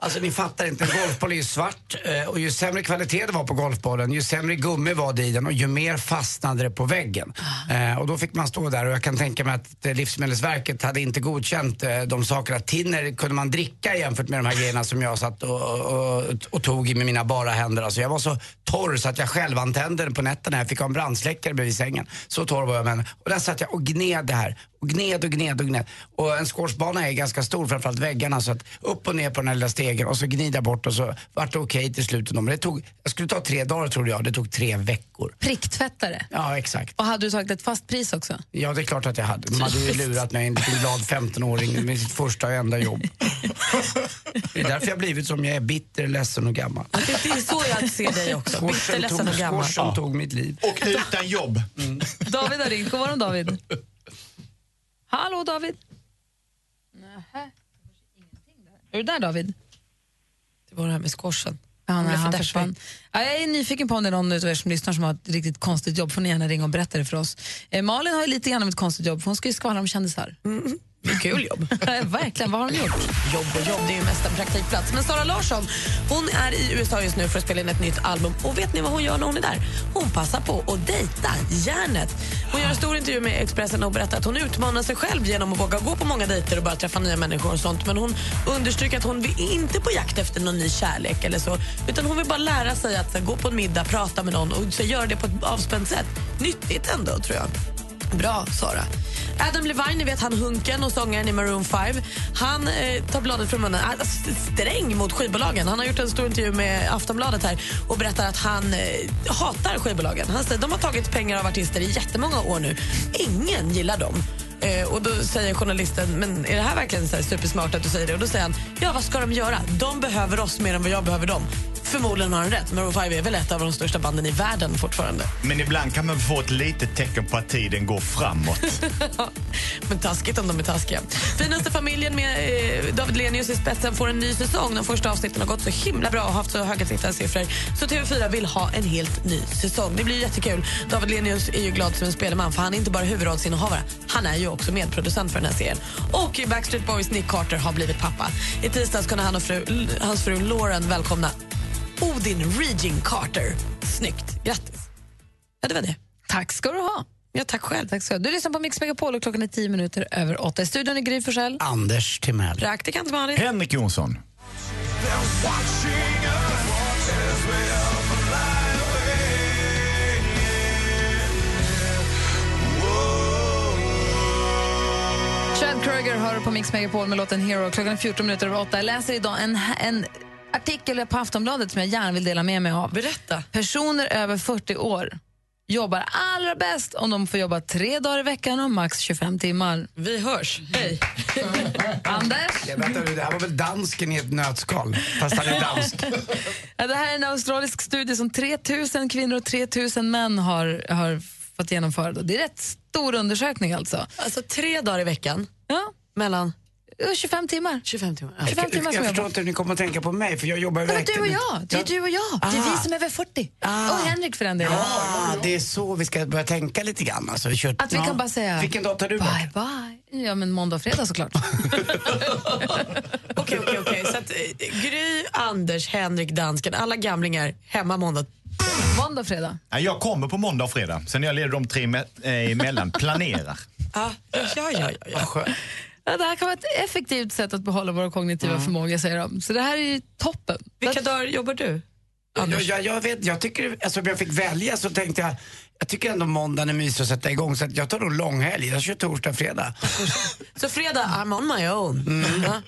[SPEAKER 4] Alltså ni fattar inte, en golfboll är ju svart eh, och ju sämre kvalitet det var på golfbollen, ju sämre gummi var det i den och ju mer fastnade det på väggen. Eh, Och då fick man stå där och jag kan tänka mig att eh, Livsmedelsverket hade inte godkänt eh, de sakerna. Tinner kunde man dricka jämfört med de här grejerna som jag satt och, och, och tog i med mina bara händer. Alltså jag var så torr så att jag själv antände den på nätterna. Jag fick ha en brandsläckare bredvid sängen. Så torr var jag med den. Och där satt jag och gned det här. Och gned och gned och gned. Och en squashbana är ganska stor, framförallt väggarna. Så att upp och ner på den här lilla stegen och så gnida bort och så vart det okej till slut. ändå. Men det tog, jag skulle ta tre dagar trodde jag, det tog tre veckor.
[SPEAKER 3] Pricktvättare.
[SPEAKER 4] Ja, exakt.
[SPEAKER 3] Och hade du tagit ett fast pris också?
[SPEAKER 4] Ja, det är klart att jag hade. De hade ju
[SPEAKER 3] Typiskt.
[SPEAKER 4] lurat mig, en liten glad 15-åring, med sitt första och enda jobb. Det är därför jag har blivit som jag är, bitter, ledsen och gammal.
[SPEAKER 5] Det är så jag ser dig också.
[SPEAKER 4] Squashen
[SPEAKER 5] Bitter, ledsen
[SPEAKER 4] tog-
[SPEAKER 5] och gammal.
[SPEAKER 4] squashen tog mitt liv.
[SPEAKER 16] Och utan jobb.
[SPEAKER 3] David har ringt. God morgon, David. Hallå, David. Nähä. Är du där, David?
[SPEAKER 5] Det var det här med squashen.
[SPEAKER 3] Ja,
[SPEAKER 5] Han
[SPEAKER 3] nej,
[SPEAKER 5] blev för
[SPEAKER 3] han
[SPEAKER 5] deppig.
[SPEAKER 3] försvann. Ja, jag är nyfiken på om det är någon av er som lyssnar som har ett riktigt konstigt jobb. får ni gärna ringa och berätta det för oss. Eh, Malin har ju lite grann om ett konstigt jobb, för hon ska ju skvallra om kändisar.
[SPEAKER 5] Mm. Kul jobb.
[SPEAKER 3] Ja, Verkligen, vad har de gjort?
[SPEAKER 5] Jobb och jobb, det är ju mest en praktikplats. Men Sara Larsson, hon är i USA just nu för att spela in ett nytt album. Och vet ni vad hon gör när hon är där? Hon passar på att dejta järnet. Hon gör en stor intervju med Expressen och berättar att hon utmanar sig själv genom att våga gå på många dejter och bara träffa nya människor och sånt. Men hon understryker att hon är inte på jakt efter någon ny kärlek eller så. Utan hon vill bara lära sig att så, här, gå på en middag, prata med någon och så, göra det på ett avspänt sätt. Nyttigt ändå, tror jag. Bra, Sara. Adam Levine, ni vet han hunken och sångaren i Maroon 5. Han eh, tar bladet från munnen. Han är st- sträng mot skivbolagen. Han har gjort en stor intervju med Aftonbladet här och berättar att han eh, hatar skivbolagen. Han säger de har tagit pengar av artister i jättemånga år nu. Ingen gillar dem. Eh, och Då säger journalisten, men är det här verkligen så här supersmart att du säger det? Och Då säger han, ja vad ska de göra? De behöver oss mer än vad jag behöver dem. Förmodligen har han rätt. Maroon 5 är väl ett av de största banden i världen fortfarande.
[SPEAKER 16] Men ibland kan man få ett litet tecken på att tiden går framåt.
[SPEAKER 5] Men taskigt om de är taskiga. Finaste familjen med eh, David Lenius i spetsen får en ny säsong. De första avsnitten har gått så himla bra och haft så höga tittarsiffror. Så TV4 vill ha en helt ny säsong. Det blir jättekul. David Lenius är ju glad som en spelman för han är inte bara huvudrollsinnehavare. Han är ju också medproducent för den här serien. Och Backstreet Boys Nick Carter har blivit pappa. I tisdags kunde han och fru, hans fru Lauren välkomna Odin Regin Carter. Snyggt, grattis. Ja, det var det.
[SPEAKER 3] Tack ska du ha.
[SPEAKER 5] Ja, tack själv.
[SPEAKER 3] Tack ska du. ha. du lyssnar på Mix Megapol och klockan är tio minuter över åtta. I studion är Gry Forssell.
[SPEAKER 4] Anders Timell.
[SPEAKER 5] Praktikant Malin.
[SPEAKER 16] Henrik Jonsson.
[SPEAKER 3] Chad Kroeger hör på Mix Megapol med låten Hero. Klockan är 14 minuter över åtta. Jag läser idag en, en artikel på Aftonbladet som jag gärna vill dela med mig av.
[SPEAKER 5] Berätta.
[SPEAKER 3] Personer över 40 år jobbar allra bäst om de får jobba tre dagar i veckan och max 25 timmar.
[SPEAKER 5] Vi hörs. Hej.
[SPEAKER 3] Anders?
[SPEAKER 4] Ja, vänta nu, det här var väl dansken i ett nötskal? Fast han är dansk.
[SPEAKER 3] Ja, det här är en australisk studie som 3 000 kvinnor och 3 000 män har, har fått genomföra. då. Det är rätt stor undersökning alltså.
[SPEAKER 5] Alltså tre dagar i veckan.
[SPEAKER 3] Ja.
[SPEAKER 5] Mellan?
[SPEAKER 3] 25 timmar.
[SPEAKER 5] 25 timmar.
[SPEAKER 3] Ja. 25 timmar som
[SPEAKER 4] jag
[SPEAKER 3] jag
[SPEAKER 4] förstår
[SPEAKER 3] jobbar.
[SPEAKER 4] inte hur ni kommer att tänka på mig, för jag jobbar ju
[SPEAKER 3] Men du och
[SPEAKER 4] verkligen
[SPEAKER 3] jag,
[SPEAKER 4] inte.
[SPEAKER 3] det är du och jag. Det är vi som är över 40. Och Henrik för den delen.
[SPEAKER 4] Ah, det är så vi ska börja tänka lite grann. Alltså, vi kör,
[SPEAKER 3] Att vi
[SPEAKER 4] Ja.
[SPEAKER 3] kan bara säga...
[SPEAKER 4] Vilken dag tar du bort?
[SPEAKER 3] Bye, bye. Ja, men måndag och fredag såklart.
[SPEAKER 5] Okej, okej, okej. Så att, eh, Gry, Anders, Henrik, dansken, alla gamlingar hemma måndag.
[SPEAKER 3] Måndag och fredag.
[SPEAKER 16] Ja, Jag kommer på måndag och fredag. Sen är jag leder de tre me- eh, emellan. Planerar.
[SPEAKER 5] Ja, ja, ja. ja, ja.
[SPEAKER 3] Ja, det här kan vara ett effektivt sätt att behålla våra kognitiva förmågor, säger de. Så det här är ju toppen.
[SPEAKER 5] Vilka dagar jobbar du?
[SPEAKER 4] Jag, jag, jag, vet, jag tycker, alltså om jag fick välja så tänkte jag, jag tycker ändå måndagen är mysig att sätta igång så att jag tar nog långhelg. Jag kör torsdag, fredag.
[SPEAKER 5] Så fredag, I'm on my own.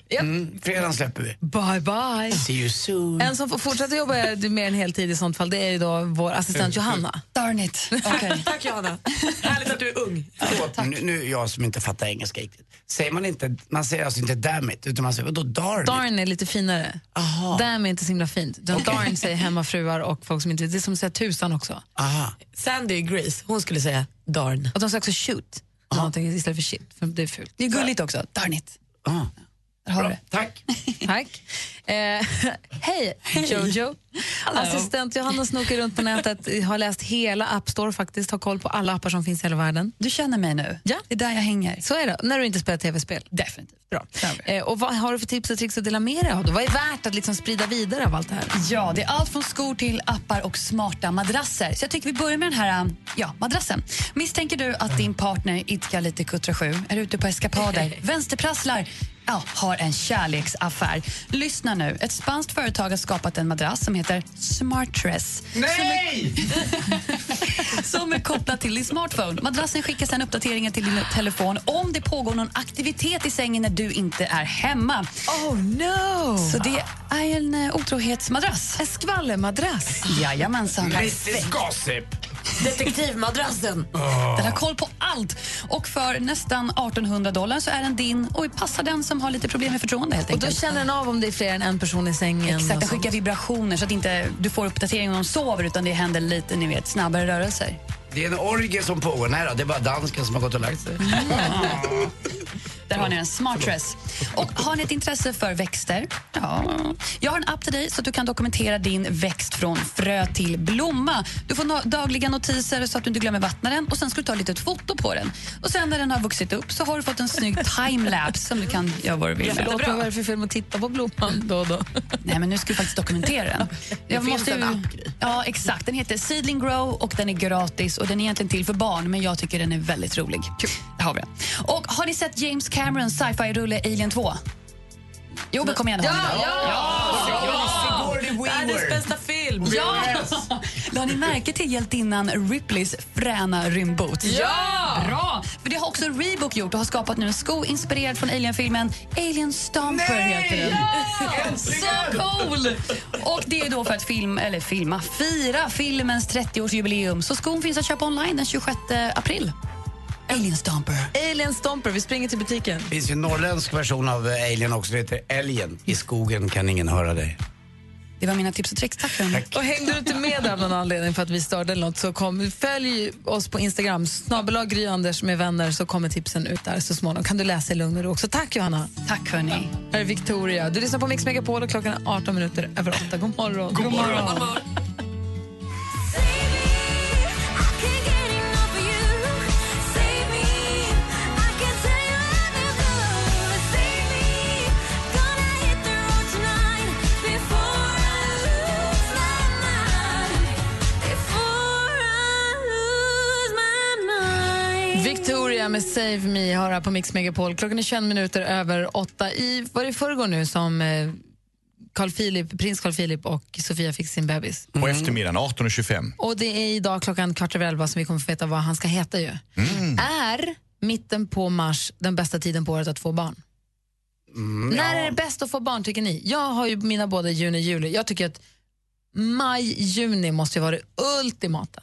[SPEAKER 5] Ja.
[SPEAKER 4] Mm, fredagen släpper vi.
[SPEAKER 3] Bye, bye.
[SPEAKER 4] See you soon.
[SPEAKER 3] En som får fortsätta jobba mer än heltid i sånt fall, det är ju då vår assistent Johanna.
[SPEAKER 7] Darn it. Okej.
[SPEAKER 5] Tack Johanna. Härligt att du är ung.
[SPEAKER 4] Förlåt, nu, nu är jag som inte fattar engelska riktigt. Säger man inte, man säger alltså inte damn it, utan man säger vadå darn? it?
[SPEAKER 3] Darn är lite finare.
[SPEAKER 4] Aha.
[SPEAKER 3] Damn är inte så himla fint. Utan
[SPEAKER 4] Okej.
[SPEAKER 3] Darn säger hemmafruar och folk som inte... Det är som att säga tusan också.
[SPEAKER 4] Aha.
[SPEAKER 5] Sandy Grace, hon skulle säga darn.
[SPEAKER 3] Och de säger också shoot, någonting istället för shit, för det är fult.
[SPEAKER 7] Det är gulligt också. Darn it.
[SPEAKER 4] Ah.
[SPEAKER 7] Där har du det.
[SPEAKER 4] Tack.
[SPEAKER 3] Tack. Eh, Hej, Jojo. Assistent Johanna snokar runt på nätet, har läst hela App Store faktiskt, har koll på alla appar som finns i hela världen.
[SPEAKER 7] Du känner mig nu.
[SPEAKER 3] Ja.
[SPEAKER 7] Det är där jag hänger.
[SPEAKER 3] Så är det, när du inte spelar tv-spel.
[SPEAKER 7] Definitivt.
[SPEAKER 3] Bra. Eh, och vad har du för tips och tricks att dela med dig av? då? Vad är värt att liksom sprida vidare av allt det här?
[SPEAKER 7] Ja, det är allt från skor till appar och smarta madrasser. Så jag tycker vi börjar med den här um, ja, madrassen. Misstänker du att din partner idkar lite kuttra sju, är ute på eskapader, vänsterprasslar, ja, har en kärleksaffär. Lyssna nu. Ett spanskt företag har skapat en madrass som heter Smartress.
[SPEAKER 6] Nej!
[SPEAKER 7] som är kopplad till din smartphone. Madrassen skickar sedan uppdateringar till din telefon om det pågår någon aktivitet i sängen när du inte är hemma.
[SPEAKER 3] Oh no!
[SPEAKER 7] Så det är en eh, otrohetsmadrass.
[SPEAKER 3] En skvallermadrass?
[SPEAKER 7] Jajamensan.
[SPEAKER 4] Mrs Gossip.
[SPEAKER 5] Detektivmadrassen.
[SPEAKER 7] Den har koll på allt. Och för nästan 1800 dollar så är den din och passar den som har lite problem med förtroende helt
[SPEAKER 3] Och då
[SPEAKER 7] enkelt.
[SPEAKER 3] känner den av om det är fler än en person i sängen?
[SPEAKER 7] Exakt,
[SPEAKER 3] och
[SPEAKER 7] den
[SPEAKER 3] sånt.
[SPEAKER 7] skickar vibrationer så att inte du får uppdatering om de sover utan det händer lite, ni vet, snabbare rörelser.
[SPEAKER 4] Det är en orgie som pågår. Nej då, det är bara dansken som har gått och lagt sig.
[SPEAKER 7] Där har ni en smart dress. Och har ni ett intresse för växter? Ja. Jag har en app till dig så att du kan dokumentera din växt från frö till blomma. Du får no- dagliga notiser så att du inte glömmer vattna den och sen ska du ta ett litet foto på den. Och sen när den har vuxit upp så har du fått en snygg timelapse som du kan göra vad du vill med.
[SPEAKER 3] Förlåt, men vad är det för fel att titta på blomman då och då?
[SPEAKER 7] Nej, men nu ska vi faktiskt dokumentera den.
[SPEAKER 5] Det finns en app,
[SPEAKER 7] Ja, exakt. Den heter Seedling Grow och den är gratis och den är egentligen till för barn, men jag tycker den är väldigt rolig. Där har vi den. Och har ni sett James Camerons sci-fi-rulle Alien 2? Jo, men kom igen. har ni den?
[SPEAKER 5] Världens bästa film.
[SPEAKER 7] Ja! La ni märke till hjältinnan Ripleys fräna rymdbot?
[SPEAKER 5] Ja!
[SPEAKER 7] Bra! För det har också Reebok gjort och har skapat nu en sko inspirerad från Alien-filmen Alien Stomper heter den. Så cool! Och det är då för att film, eller filma, fira filmens 30-årsjubileum. Så skon finns att köpa online den 26 april. Alien Stomper.
[SPEAKER 3] Alien Stomper, vi springer till butiken.
[SPEAKER 4] Det finns ju en norrländsk version av eh, Alien också. Det heter Älgen. I skogen kan ingen höra dig.
[SPEAKER 7] Det var mina tips och tricks. Tack, hörni.
[SPEAKER 3] Och hängde du inte med där av någon anledning för att vi störde eller något så kom, följ oss på Instagram, snabbelag Gry Anders med vänner så kommer tipsen ut där så småningom. Kan du läsa i lugn och ro också. Tack Johanna.
[SPEAKER 7] Tack, hörni.
[SPEAKER 3] Här är Victoria. Du lyssnar på Mix Megapol och klockan är 18 minuter över 8. God morgon. God morgon.
[SPEAKER 25] Gonna hit the road tonight before I lose my
[SPEAKER 3] med Save Me har här på Mix Megapol. Klockan är 21 minuter över åtta. I, var det i förrgår nu som eh, Carl Philip, prins Carl Philip och Sofia fick sin bebis?
[SPEAKER 5] Mm.
[SPEAKER 16] På eftermiddagen 18.25.
[SPEAKER 3] Och det är idag klockan kvart över elva som vi kommer få veta vad han ska heta ju.
[SPEAKER 16] Mm.
[SPEAKER 3] Är mitten på mars den bästa tiden på året att få barn?
[SPEAKER 11] Mm,
[SPEAKER 3] När är det bäst att få barn tycker ni? Jag har ju mina båda i juni och juli. Jag tycker att maj, juni måste ju vara det ultimata.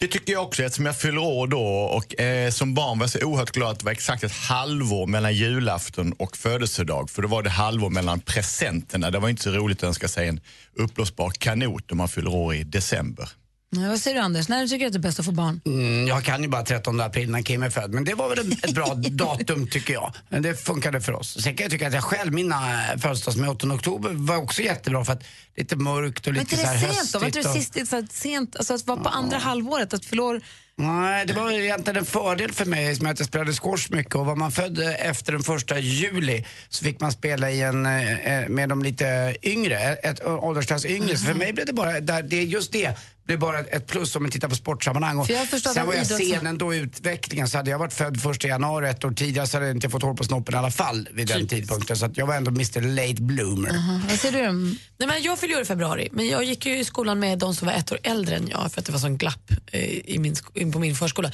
[SPEAKER 16] Det tycker jag också eftersom jag fyller år då och eh, som barn var jag så oerhört glad att det var exakt ett halvår mellan julafton och födelsedag. För då var det halvår mellan presenterna. Det var inte så roligt att önska sig en uppblåsbar kanot om man fyller år i december.
[SPEAKER 3] Nej, Vad säger du Anders, när tycker du att det är bäst att få barn?
[SPEAKER 4] Mm, jag kan ju bara 13 april när Kim är född, men det var väl ett bra datum tycker jag. Men det funkade för oss. Sen kan jag tycka att jag själv, mina födelsedagsmöten 8 oktober var också jättebra för att lite mörkt och
[SPEAKER 3] Men
[SPEAKER 4] lite
[SPEAKER 3] inte
[SPEAKER 4] så här
[SPEAKER 3] det sent då? Var
[SPEAKER 4] höstigt.
[SPEAKER 3] inte det
[SPEAKER 4] och-
[SPEAKER 3] sist, så att sent, alltså att vara på andra halvåret, att förlora...
[SPEAKER 4] Nej, det var egentligen en fördel för mig som att jag spelade squash mycket och var man född eh, efter den första juli så fick man spela i en, eh, eh, med de lite yngre, ett eh, åldersklass yngre. Så för
[SPEAKER 3] Mhm.
[SPEAKER 4] mig blev det bara, där- det är just det, blev bara ett plus om man tittar på sportsammanhang. Och
[SPEAKER 3] För jag har förstått
[SPEAKER 4] sen
[SPEAKER 3] att
[SPEAKER 4] var jag
[SPEAKER 3] idrotts-
[SPEAKER 4] sen ändå i utvecklingen så hade jag varit född första januari ett år tidigare så hade jag inte fått hår på snoppen i alla fall vid den tidpunkten. Så att jag var ändå Mr Late Bloomer.
[SPEAKER 3] Vad säger du?
[SPEAKER 5] Nej, men jag fyller år i februari, men jag gick ju i skolan med de som var ett år äldre än jag för att det var sån glapp eh, i min, sk- in på min förskola.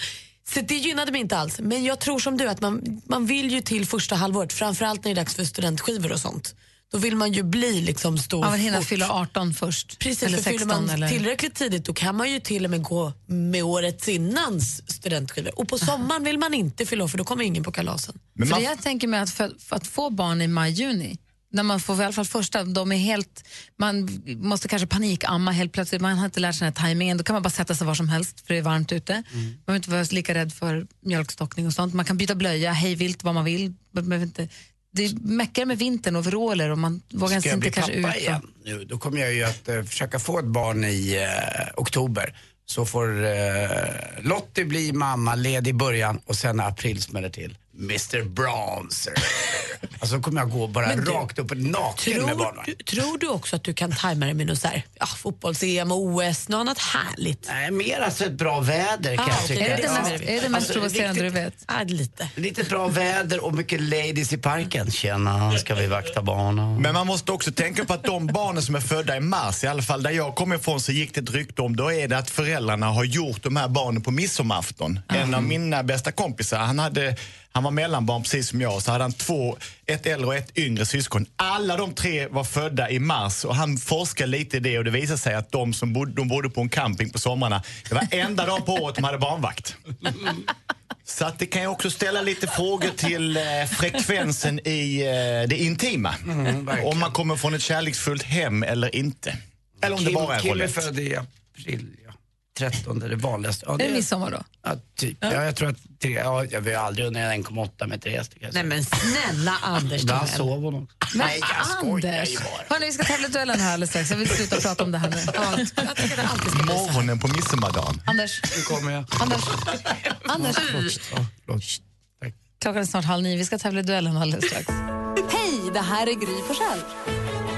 [SPEAKER 5] Så det gynnade mig inte alls. Men jag tror som du att man, man vill ju till första halvåret, framförallt när det är dags för studentskivor och sånt. Då vill man ju bli liksom stor
[SPEAKER 3] Man vill hinna
[SPEAKER 5] fort.
[SPEAKER 3] fylla 18 först.
[SPEAKER 5] Precis,
[SPEAKER 3] eller
[SPEAKER 5] för fyller
[SPEAKER 3] 16
[SPEAKER 5] man
[SPEAKER 3] eller...
[SPEAKER 5] tillräckligt tidigt då kan man ju till och med gå med årets innans studentskivor. Och på sommaren vill man inte fylla år för då kommer ingen på kalasen.
[SPEAKER 3] Men för det jag tänker mig att för, för att få barn i maj-juni, när man får i alla fall första, de är helt, man måste kanske panikamma helt plötsligt, man har inte lärt sig den här tajmingen, då kan man bara sätta sig var som helst för det är varmt ute. Man behöver inte vara lika rädd för mjölkstockning och sånt. Man kan byta blöja hej vilt vad man vill. Man behöver inte, det är mäckigare med vintern och overaller och man vågar
[SPEAKER 4] Ska
[SPEAKER 3] ens
[SPEAKER 4] jag
[SPEAKER 3] inte
[SPEAKER 4] bli
[SPEAKER 3] kanske ut.
[SPEAKER 4] pappa igen nu, då kommer jag ju att eh, försöka få ett barn i eh, oktober. Så får eh, Lottie bli mamma, led i början och sen när april smäller till. Mr Bronzer. alltså då kommer jag gå bara
[SPEAKER 5] Men du-
[SPEAKER 4] rakt upp och naken med
[SPEAKER 5] Tror
[SPEAKER 4] barnvagn.
[SPEAKER 5] du, tror du också att du kan tajma det med något så här, ja, fotbolls-EM och OS, något annat härligt? Ah,
[SPEAKER 4] Nej, mer alltså ett bra väder kan jag tycka.
[SPEAKER 5] Är det det
[SPEAKER 4] Ja.
[SPEAKER 5] mest, är det mest
[SPEAKER 4] Alltså,
[SPEAKER 5] provocerande
[SPEAKER 4] riktigt-
[SPEAKER 5] du vet? lite.
[SPEAKER 4] Lite bra väder och mycket ladies i parken. Tjena, ska vi vakta barnen?
[SPEAKER 16] Men man måste också tänka på att de barnen som är födda i mars, i alla fall där jag kommer ifrån så gick det ett rykte om, då är det att föräldrarna har gjort de här barnen på midsommarafton. En av mina bästa kompisar, han, hade, han var mellanbarn precis som jag, så hade han två, ett äldre och ett yngre syskon. Alla de tre var födda i mars och han forskade lite i det och det visade sig att de som bodde, de bodde på en camping på sommarna, det var enda dagen på året de hade barnvakt. Så att det kan ju också ställa lite frågor till eh, frekvensen i eh, det intima.
[SPEAKER 4] Mm,
[SPEAKER 16] om man kommer från ett kärleksfullt hem eller inte. Eller om det bara är en
[SPEAKER 4] Kim är
[SPEAKER 16] roulette.
[SPEAKER 4] född i april, ja. 13 det är det vanligaste. Ja,
[SPEAKER 3] Är det midsommar då?
[SPEAKER 4] Ja, typ. Ja. jag tror att tre, ja, jag vill aldrig under 1,8 med Therese. tycker jag.
[SPEAKER 3] Nej men snälla Anders
[SPEAKER 4] Ibland
[SPEAKER 3] Timell.
[SPEAKER 4] sov hon också.
[SPEAKER 3] Men
[SPEAKER 4] Nej, jag skojar
[SPEAKER 3] Anders!
[SPEAKER 4] ju bara.
[SPEAKER 3] Hörni, vi ska tävla i duellen här alldeles strax. Jag vill sluta prata om det här nu. Ja, jag tycker det alltid ska bli så.
[SPEAKER 16] Morgonen på midsommardagen.
[SPEAKER 3] Anders.
[SPEAKER 4] Nu kommer jag.
[SPEAKER 3] Anders. Anders. Klockan är snart halv nio. Vi ska tävla i duellen alldeles strax. Hej, det här är Gry Forssell.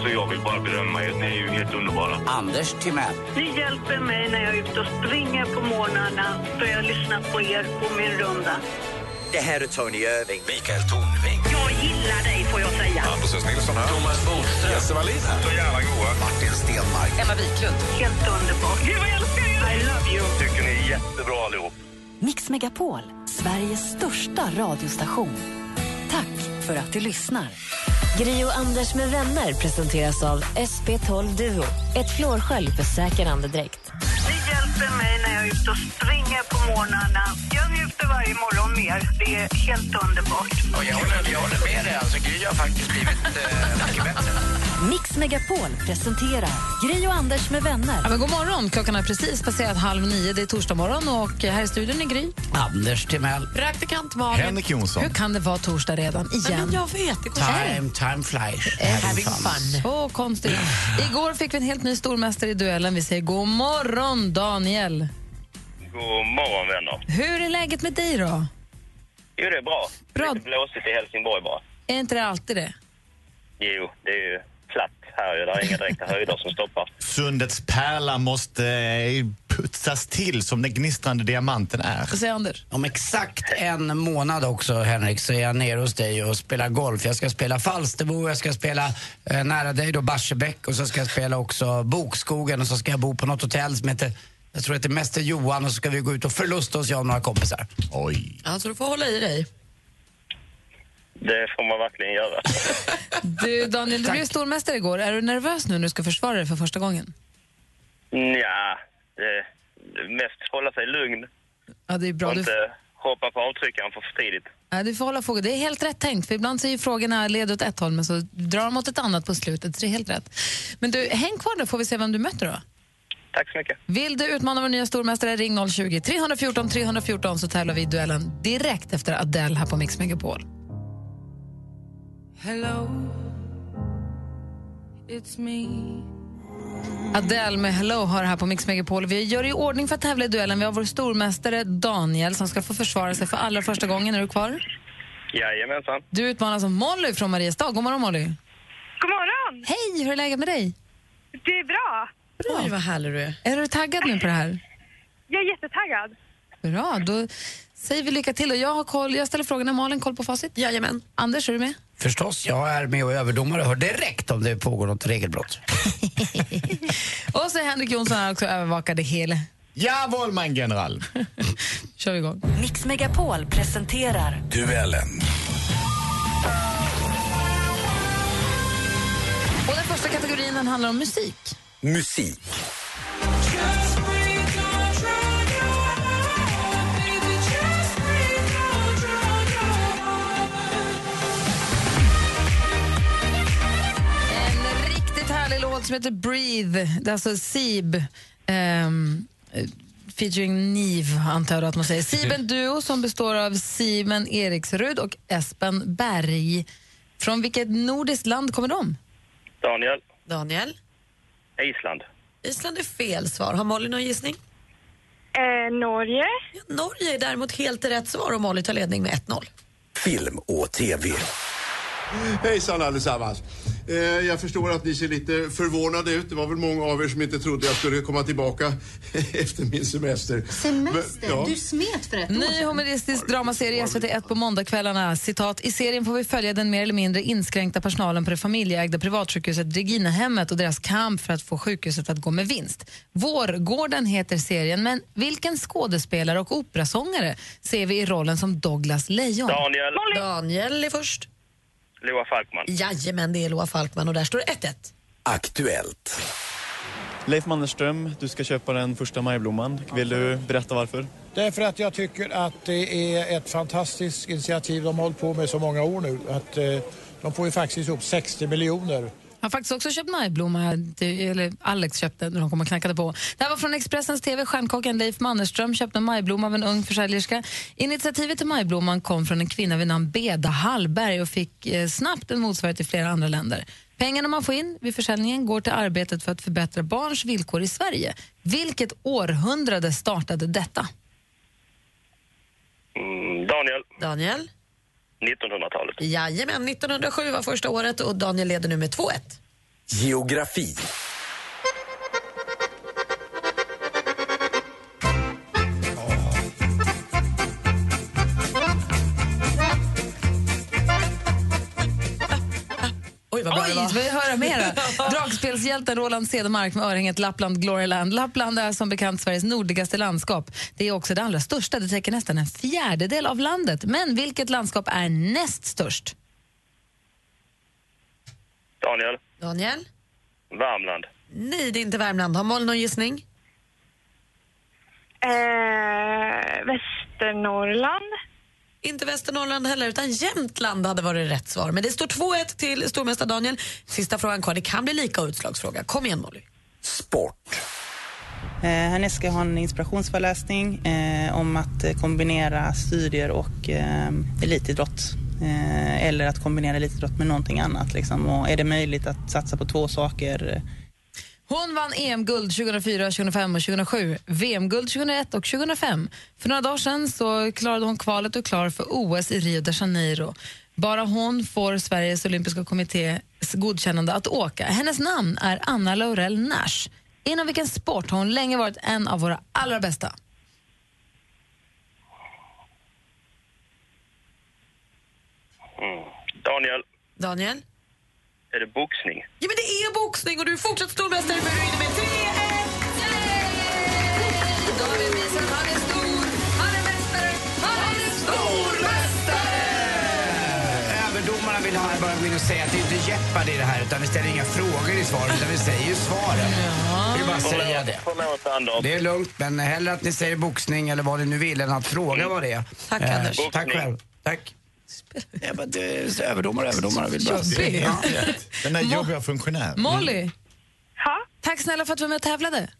[SPEAKER 11] Så jag vill bara berömma er. Ni är ju helt underbara.
[SPEAKER 4] Anders Timell.
[SPEAKER 8] Ni hjälper mig när jag är ute och springer på morgnarna för jag lyssnar på er på min runda.
[SPEAKER 17] Det här är Tony Irving.
[SPEAKER 11] Mikael Tornving.
[SPEAKER 8] Jag gillar dig får jag säga.
[SPEAKER 11] Hampus S. Nilsson här. Thomas Bodström. Jesse Wallin här. Så jävla goa. Martin Stenmark.
[SPEAKER 8] Emma Wiklund. Helt underbart. Gud vad jag älskar er! I love you.
[SPEAKER 11] Tycker ni är jättebra allihop.
[SPEAKER 1] Mix Megapol, Sveriges största radiostation. Tack för att du lyssnar.
[SPEAKER 2] Gri och Anders med vänner presenteras av SP12 Duo. Ett flårskölj för säker andedräkt.
[SPEAKER 8] Ni hjälper mig när jag är ute och springer på morgnarna. Jag njuter varje morgon mer. Det är helt underbart.
[SPEAKER 4] Och jag, håller, jag håller med dig. Alltså, Gry har faktiskt blivit eh, mycket bättre.
[SPEAKER 1] Mix Megapol presenterar Gri och Anders med vänner.
[SPEAKER 3] Ja, men god morgon. Klockan har precis passerat halv nio. Det är torsdag morgon och här i studion är Gry.
[SPEAKER 4] Anders Timell.
[SPEAKER 3] Praktikant Malin.
[SPEAKER 4] Henrik Jonsson.
[SPEAKER 3] Hur kan det vara torsdag redan? Igen.
[SPEAKER 5] Men jag vet, det går
[SPEAKER 4] Time, time flies.
[SPEAKER 3] Having fun. Så konstigt. Igår fick vi en helt ny stormästare i duellen. Vi säger god morgon, Daniel.
[SPEAKER 26] God morgon, vänner.
[SPEAKER 3] Hur är läget med dig då?
[SPEAKER 26] Jo, det är bra. Lite blåsigt i Helsingborg bara.
[SPEAKER 3] Är inte det alltid det?
[SPEAKER 26] Jo, det är ju platt här. ju. Det är inga direkta höjder som stoppar.
[SPEAKER 16] Sundets pärla måste eh, putsas till som den gnistrande diamanten är.
[SPEAKER 3] Vad säger Anders?
[SPEAKER 4] Om exakt en månad också, Henrik, så är jag nere hos dig och spelar golf. Jag ska spela Falsterbo, jag ska spela eh, nära dig då Barsebäck och så ska jag spela också Bokskogen och så ska jag bo på något hotell som heter, jag tror att det Mäster Johan och så ska vi gå ut och förlusta oss, jag och några kompisar.
[SPEAKER 16] Oj.
[SPEAKER 5] Alltså, du får hålla i dig.
[SPEAKER 26] Det får man verkligen göra.
[SPEAKER 3] Du, Daniel, du blev stormästare igår. Är du nervös nu när du ska försvara dig för första gången?
[SPEAKER 26] Nja, det, det mest hålla sig lugn.
[SPEAKER 3] Ja, det är bra.
[SPEAKER 26] Och
[SPEAKER 3] Du,
[SPEAKER 26] inte hoppa på avtryckaren för för tidigt.
[SPEAKER 3] ja, du får hålla frågan. Det är helt rätt tänkt, för ibland så är ju frågorna led åt ett håll, men så drar de åt ett annat på slutet, så det är helt rätt. Men du, häng kvar där får vi se vem du möter då.
[SPEAKER 26] Tack så mycket.
[SPEAKER 3] Vill du utmana vår nya stormästare, ring 020-314 314 så tävlar vi i duellen direkt efter Adele här på Mix Megapol.
[SPEAKER 9] Hello, it's me.
[SPEAKER 3] Adele med Hello har här på Mix Megapol. Vi gör i ordning för att tävla i duellen. Vi har vår stormästare Daniel som ska få försvara sig för allra första gången. Är du kvar?
[SPEAKER 26] Jajamensan.
[SPEAKER 3] Du utmanas av Molly från Mariestad. God morgon, Molly.
[SPEAKER 10] God morgon!
[SPEAKER 3] Hej, hur är läget med dig?
[SPEAKER 10] Det är bra.
[SPEAKER 3] Bra. Oj, vad härlig du är. Är du taggad nu på det här?
[SPEAKER 10] Jag är jättetaggad.
[SPEAKER 3] Bra, då säger vi lycka till. Och jag, har koll, jag ställer frågorna. Malin, koll på facit? Jajamän. Anders, är du med?
[SPEAKER 4] Förstås, jag är med och överdomare och hör direkt om det pågår något regelbrott.
[SPEAKER 3] Och så är Henrik Jonsson här också övervakade hela.
[SPEAKER 16] Jawohl, mein General.
[SPEAKER 3] Kör vi igång.
[SPEAKER 1] Mix Megapol presenterar
[SPEAKER 11] Duellen.
[SPEAKER 3] Och den första kategorin den handlar om musik.
[SPEAKER 11] Musik.
[SPEAKER 3] En riktigt härlig låt som heter Breathe. Det är alltså Sib. ehm, eh, featuring Niv, antar jag då att man säger. Sib en duo som består av Simen Eriksrud och Espen Berg. Från vilket nordiskt land kommer de?
[SPEAKER 26] Daniel,
[SPEAKER 5] Daniel?
[SPEAKER 26] Island.
[SPEAKER 5] Island är fel svar. Har Molly någon gissning?
[SPEAKER 10] Norge.
[SPEAKER 5] Ja, Norge är däremot helt rätt svar och Molly tar ledning med 1-0.
[SPEAKER 11] Film och TV.
[SPEAKER 13] Hejsan allesammans. Eh, Jag förstår att ni ser lite förvånade ut. Det var väl många av er som inte trodde jag skulle komma tillbaka efter min semester. Men, ja.
[SPEAKER 3] smet för ett Ny humoristisk dramaserie i SVT 1 på måndagskvällarna. Citat, I serien får vi följa den mer eller mindre inskränkta personalen på det familjeägda privatsjukhuset Reginahemmet och deras kamp för att få sjukhuset att gå med vinst. Vårgården heter serien, men vilken skådespelare och operasångare ser vi i rollen som Douglas Lejon?
[SPEAKER 26] Daniel.
[SPEAKER 5] Daniel är först.
[SPEAKER 26] Loa Falkman.
[SPEAKER 5] Jajamän, det är Loa Falkman och där står det 1-1.
[SPEAKER 11] Aktuellt.
[SPEAKER 27] Leif Mannerström, du ska köpa den första majblomman. Vill du berätta varför?
[SPEAKER 28] Därför att jag tycker att det är ett fantastiskt initiativ de har hållit på med så många år nu. Att, eh, de får ju faktiskt ihop 60 miljoner.
[SPEAKER 3] Jag har faktiskt också köpt majblomma, det- eller Alex köpte när de kom och knackade på. Det här var från Expressens TV. Stjärnkocken Leif Mannerström köpte en majblomma av en ung försäljerska. Initiativet till majblomman kom från en kvinna vid namn Beda Hallberg och fick eh, snabbt en motsvarighet i flera andra länder. Pengarna man får in vid försäljningen går till arbetet för att förbättra barns villkor i Sverige. Vilket århundrade startade detta?
[SPEAKER 26] Mm, Daniel,
[SPEAKER 5] Daniel?
[SPEAKER 26] 1900-talet.
[SPEAKER 5] Jajamän, 1907 var första året och Daniel leder nu med 2-1.
[SPEAKER 11] Geografi.
[SPEAKER 5] Oj, vad
[SPEAKER 3] Oj, vi vill höra mer. Dragspelshjälten Roland Cedermark med örhänget Lappland Gloryland. Lappland är som bekant Sveriges nordligaste landskap. Det är också det allra största, det täcker nästan en fjärdedel av landet. Men vilket landskap är näst störst?
[SPEAKER 26] Daniel,
[SPEAKER 5] Daniel?
[SPEAKER 26] Värmland.
[SPEAKER 5] Nej, det är inte Värmland. Har Molly någon gissning?
[SPEAKER 10] Västernorrland.
[SPEAKER 5] Inte Västernorrland heller, utan Jämtland hade varit rätt svar. Men det står 2-1 till stormästare Daniel. Sista frågan kvar. Det kan bli lika och utslagsfråga. Kom igen, Molly.
[SPEAKER 29] Eh, Härnäst ska jag ha en inspirationsföreläsning eh, om att eh, kombinera studier och eh, elitidrott. Eh, eller att kombinera elitidrott med någonting annat. Liksom. Och är det möjligt att satsa på två saker? eh,
[SPEAKER 3] Hon vann EM-guld 2004, 2005 och 2007, VM-guld 2001 och 2005. För några dagar sedan så klarade hon kvalet och klar för OS i Rio de Janeiro. Bara hon får Sveriges olympiska kommittés godkännande att åka. Hennes namn är Anna Laurel Nash. Inom vilken sport har hon länge varit en av våra allra bästa?
[SPEAKER 26] Mm. Daniel,
[SPEAKER 5] Daniel?
[SPEAKER 26] är det boxning?
[SPEAKER 5] Ja, men det är boxning och du är fortsatt stormästare men du är inne med 3-1!
[SPEAKER 3] David visar att han är stor, han är mästare, han är
[SPEAKER 4] Överdomarna vill ha bara gå in och säga att det är inte Jeopardy i det här utan vi ställer inga frågor i svaren utan vi säger ju svaren. Vi bara säga det.
[SPEAKER 26] Förlåt, Anders.
[SPEAKER 4] Det är lugnt men hellre att ni säger boxning eller vad ni nu vill än att fråga vad det är. Eh,
[SPEAKER 26] Tack, Anders.
[SPEAKER 4] Tack
[SPEAKER 26] Boxning.
[SPEAKER 4] själv. Tack. Ja, men det är så överdomare, överdomare. Vill bara.
[SPEAKER 3] Jobbig.
[SPEAKER 4] Ja.
[SPEAKER 16] Den där jobbiga funktionären.
[SPEAKER 3] Molly! Tack snälla för att du var med och tävlade.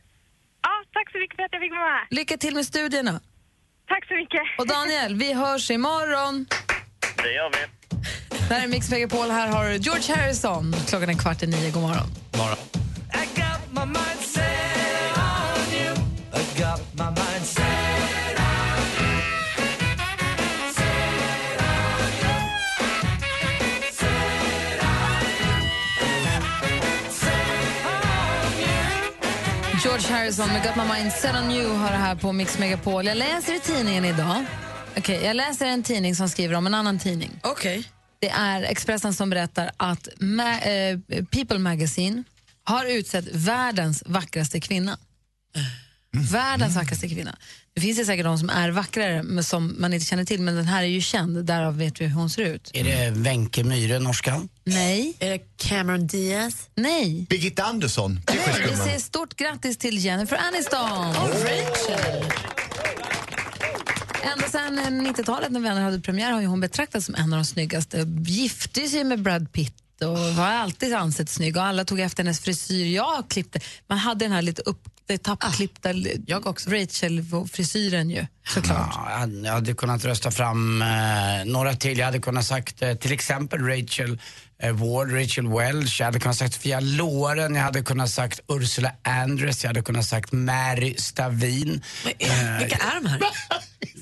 [SPEAKER 10] Ja, tack så mycket för att jag fick vara med.
[SPEAKER 3] Lycka till med studierna.
[SPEAKER 10] Tack så mycket.
[SPEAKER 3] Och Daniel, vi hörs imorgon.
[SPEAKER 26] Det gör vi.
[SPEAKER 3] Det här är Mix Megapol. Här har du George Harrison. Klockan är kvart i nio. God morgon.
[SPEAKER 16] Morgon.
[SPEAKER 6] I got my mind set on you. I got my mind set on you. Set on you. Set on you. Set on you.
[SPEAKER 3] George Harrison med Got My Mind Set On You har det här på Mix Megapol. Jag läser i tidningen idag. Okej, jag läser en tidning som skriver om en annan tidning.
[SPEAKER 5] Okej.
[SPEAKER 3] Det är Expressen som berättar att Ma- eh, People Magazine har utsett världens vackraste kvinna. Världens vackraste kvinna. Det finns ju säkert de som är vackrare men som man inte känner till men den här är ju känd, därav vet vi hur hon ser ut.
[SPEAKER 4] Är det Wenche Myhre, norskan?
[SPEAKER 3] Nej.
[SPEAKER 5] Är det Cameron Diaz?
[SPEAKER 3] Nej.
[SPEAKER 16] Birgitta Andersson,
[SPEAKER 3] Vi säger stort grattis till Jennifer Aniston. Ända sedan eh, 90-talet när Vänner hade premiär har ju hon betraktats som en av de snyggaste. Gifte sig med Brad Pitt och har alltid ansetts snygg och alla tog efter hennes frisyr. Jag klippte, man hade den här lite upp, det
[SPEAKER 4] Ah,
[SPEAKER 3] tappklippta jag också. Rachel-frisyren ju.
[SPEAKER 4] Ja, jag hade- jag hade kunnat rösta fram eh, några till. Jag hade kunnat sagt eh, till exempel Rachel eh, Ward, Rachel Welch. Jag hade kunnat sagt Fia Loren. Jag hade kunnat sagt Ursula Andress. Jag hade kunnat sagt Mary Stavin. Eh,
[SPEAKER 5] Vilka är de här?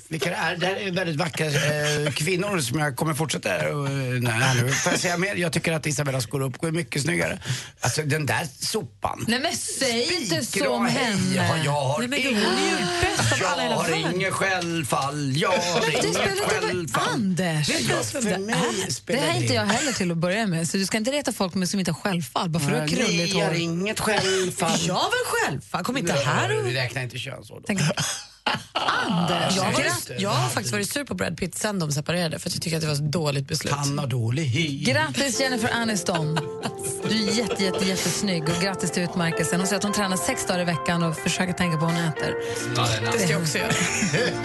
[SPEAKER 4] vilka är, det här är väldigt vackra eh, kvinnor som jag kommer fortsätta... eh, nej, här nu får jag säga mer? Jag tycker att Isabella Scorupco är mycket snyggare. Alltså den där sopan.
[SPEAKER 3] Nej men säg inte så
[SPEAKER 4] Bra,
[SPEAKER 3] om
[SPEAKER 4] hej,
[SPEAKER 3] henne.
[SPEAKER 4] Ja, jag har
[SPEAKER 3] Nej, men
[SPEAKER 4] ingen-
[SPEAKER 3] hon är ju bäst av alla i hela
[SPEAKER 4] Jag har
[SPEAKER 3] världen.
[SPEAKER 4] ingen självfall, jag har
[SPEAKER 3] Men
[SPEAKER 4] ingen
[SPEAKER 3] det spelar
[SPEAKER 4] självfall.
[SPEAKER 3] inte Anders!
[SPEAKER 4] Vet du vad som det är?
[SPEAKER 3] Det
[SPEAKER 4] spelar
[SPEAKER 3] här är inte
[SPEAKER 4] det-
[SPEAKER 3] jag heller till att börja med, så du ska inte reta folk med som inte har självfall bara för att du har krulligt hår.
[SPEAKER 4] inget självfall.
[SPEAKER 5] Jag har väl självfall? Kom inte
[SPEAKER 4] Nej,
[SPEAKER 5] här och...
[SPEAKER 4] Vi räknar inte könsår då.
[SPEAKER 3] Tänk-
[SPEAKER 5] Anders! Jag,
[SPEAKER 4] Ah, Just det.
[SPEAKER 5] var, jag har faktiskt varit sur på Brad Pitt sen de separerade för att jag tycker att det var ett dåligt beslut.
[SPEAKER 4] Han har dålig hy.
[SPEAKER 3] Grattis Jennifer Aniston. Du är jätte, jätte, jättesnygg och grattis till utmärkelsen. Hon säger att hon tränar sex dagar i veckan och försöker tänka på vad hon äter.
[SPEAKER 5] Det ska jag också göra.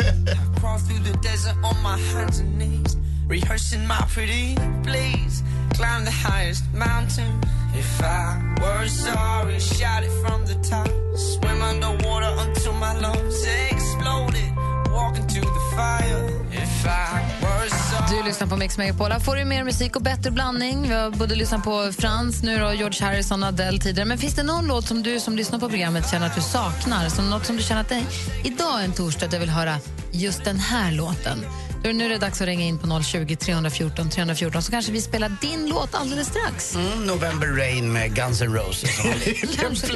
[SPEAKER 6] Crawl through the desert on my hands and knees, rehearsing my pretty please. Climb the highest mountain. If I were sorry, shout it from the top. Swim underwater until my lungs exploded. Walk into the fire. If I were sorry.
[SPEAKER 3] Du lyssnar på Mix Megapol. Här får du mer musik och bättre blandning. Vi har både lyssnat på Frans, nu då George Harrison och Adele tidigare. Men finns det någon låt som du som lyssnar på programmet känner att du saknar? Som något som du känner att nej, idag är en torsdag att jag vill höra just den här låten. Då är det nu är det dags att ringa in på 020 314 314 så kanske vi spelar din låt alldeles strax.
[SPEAKER 4] Mm, November Rain med Guns N' Roses.
[SPEAKER 3] Kanske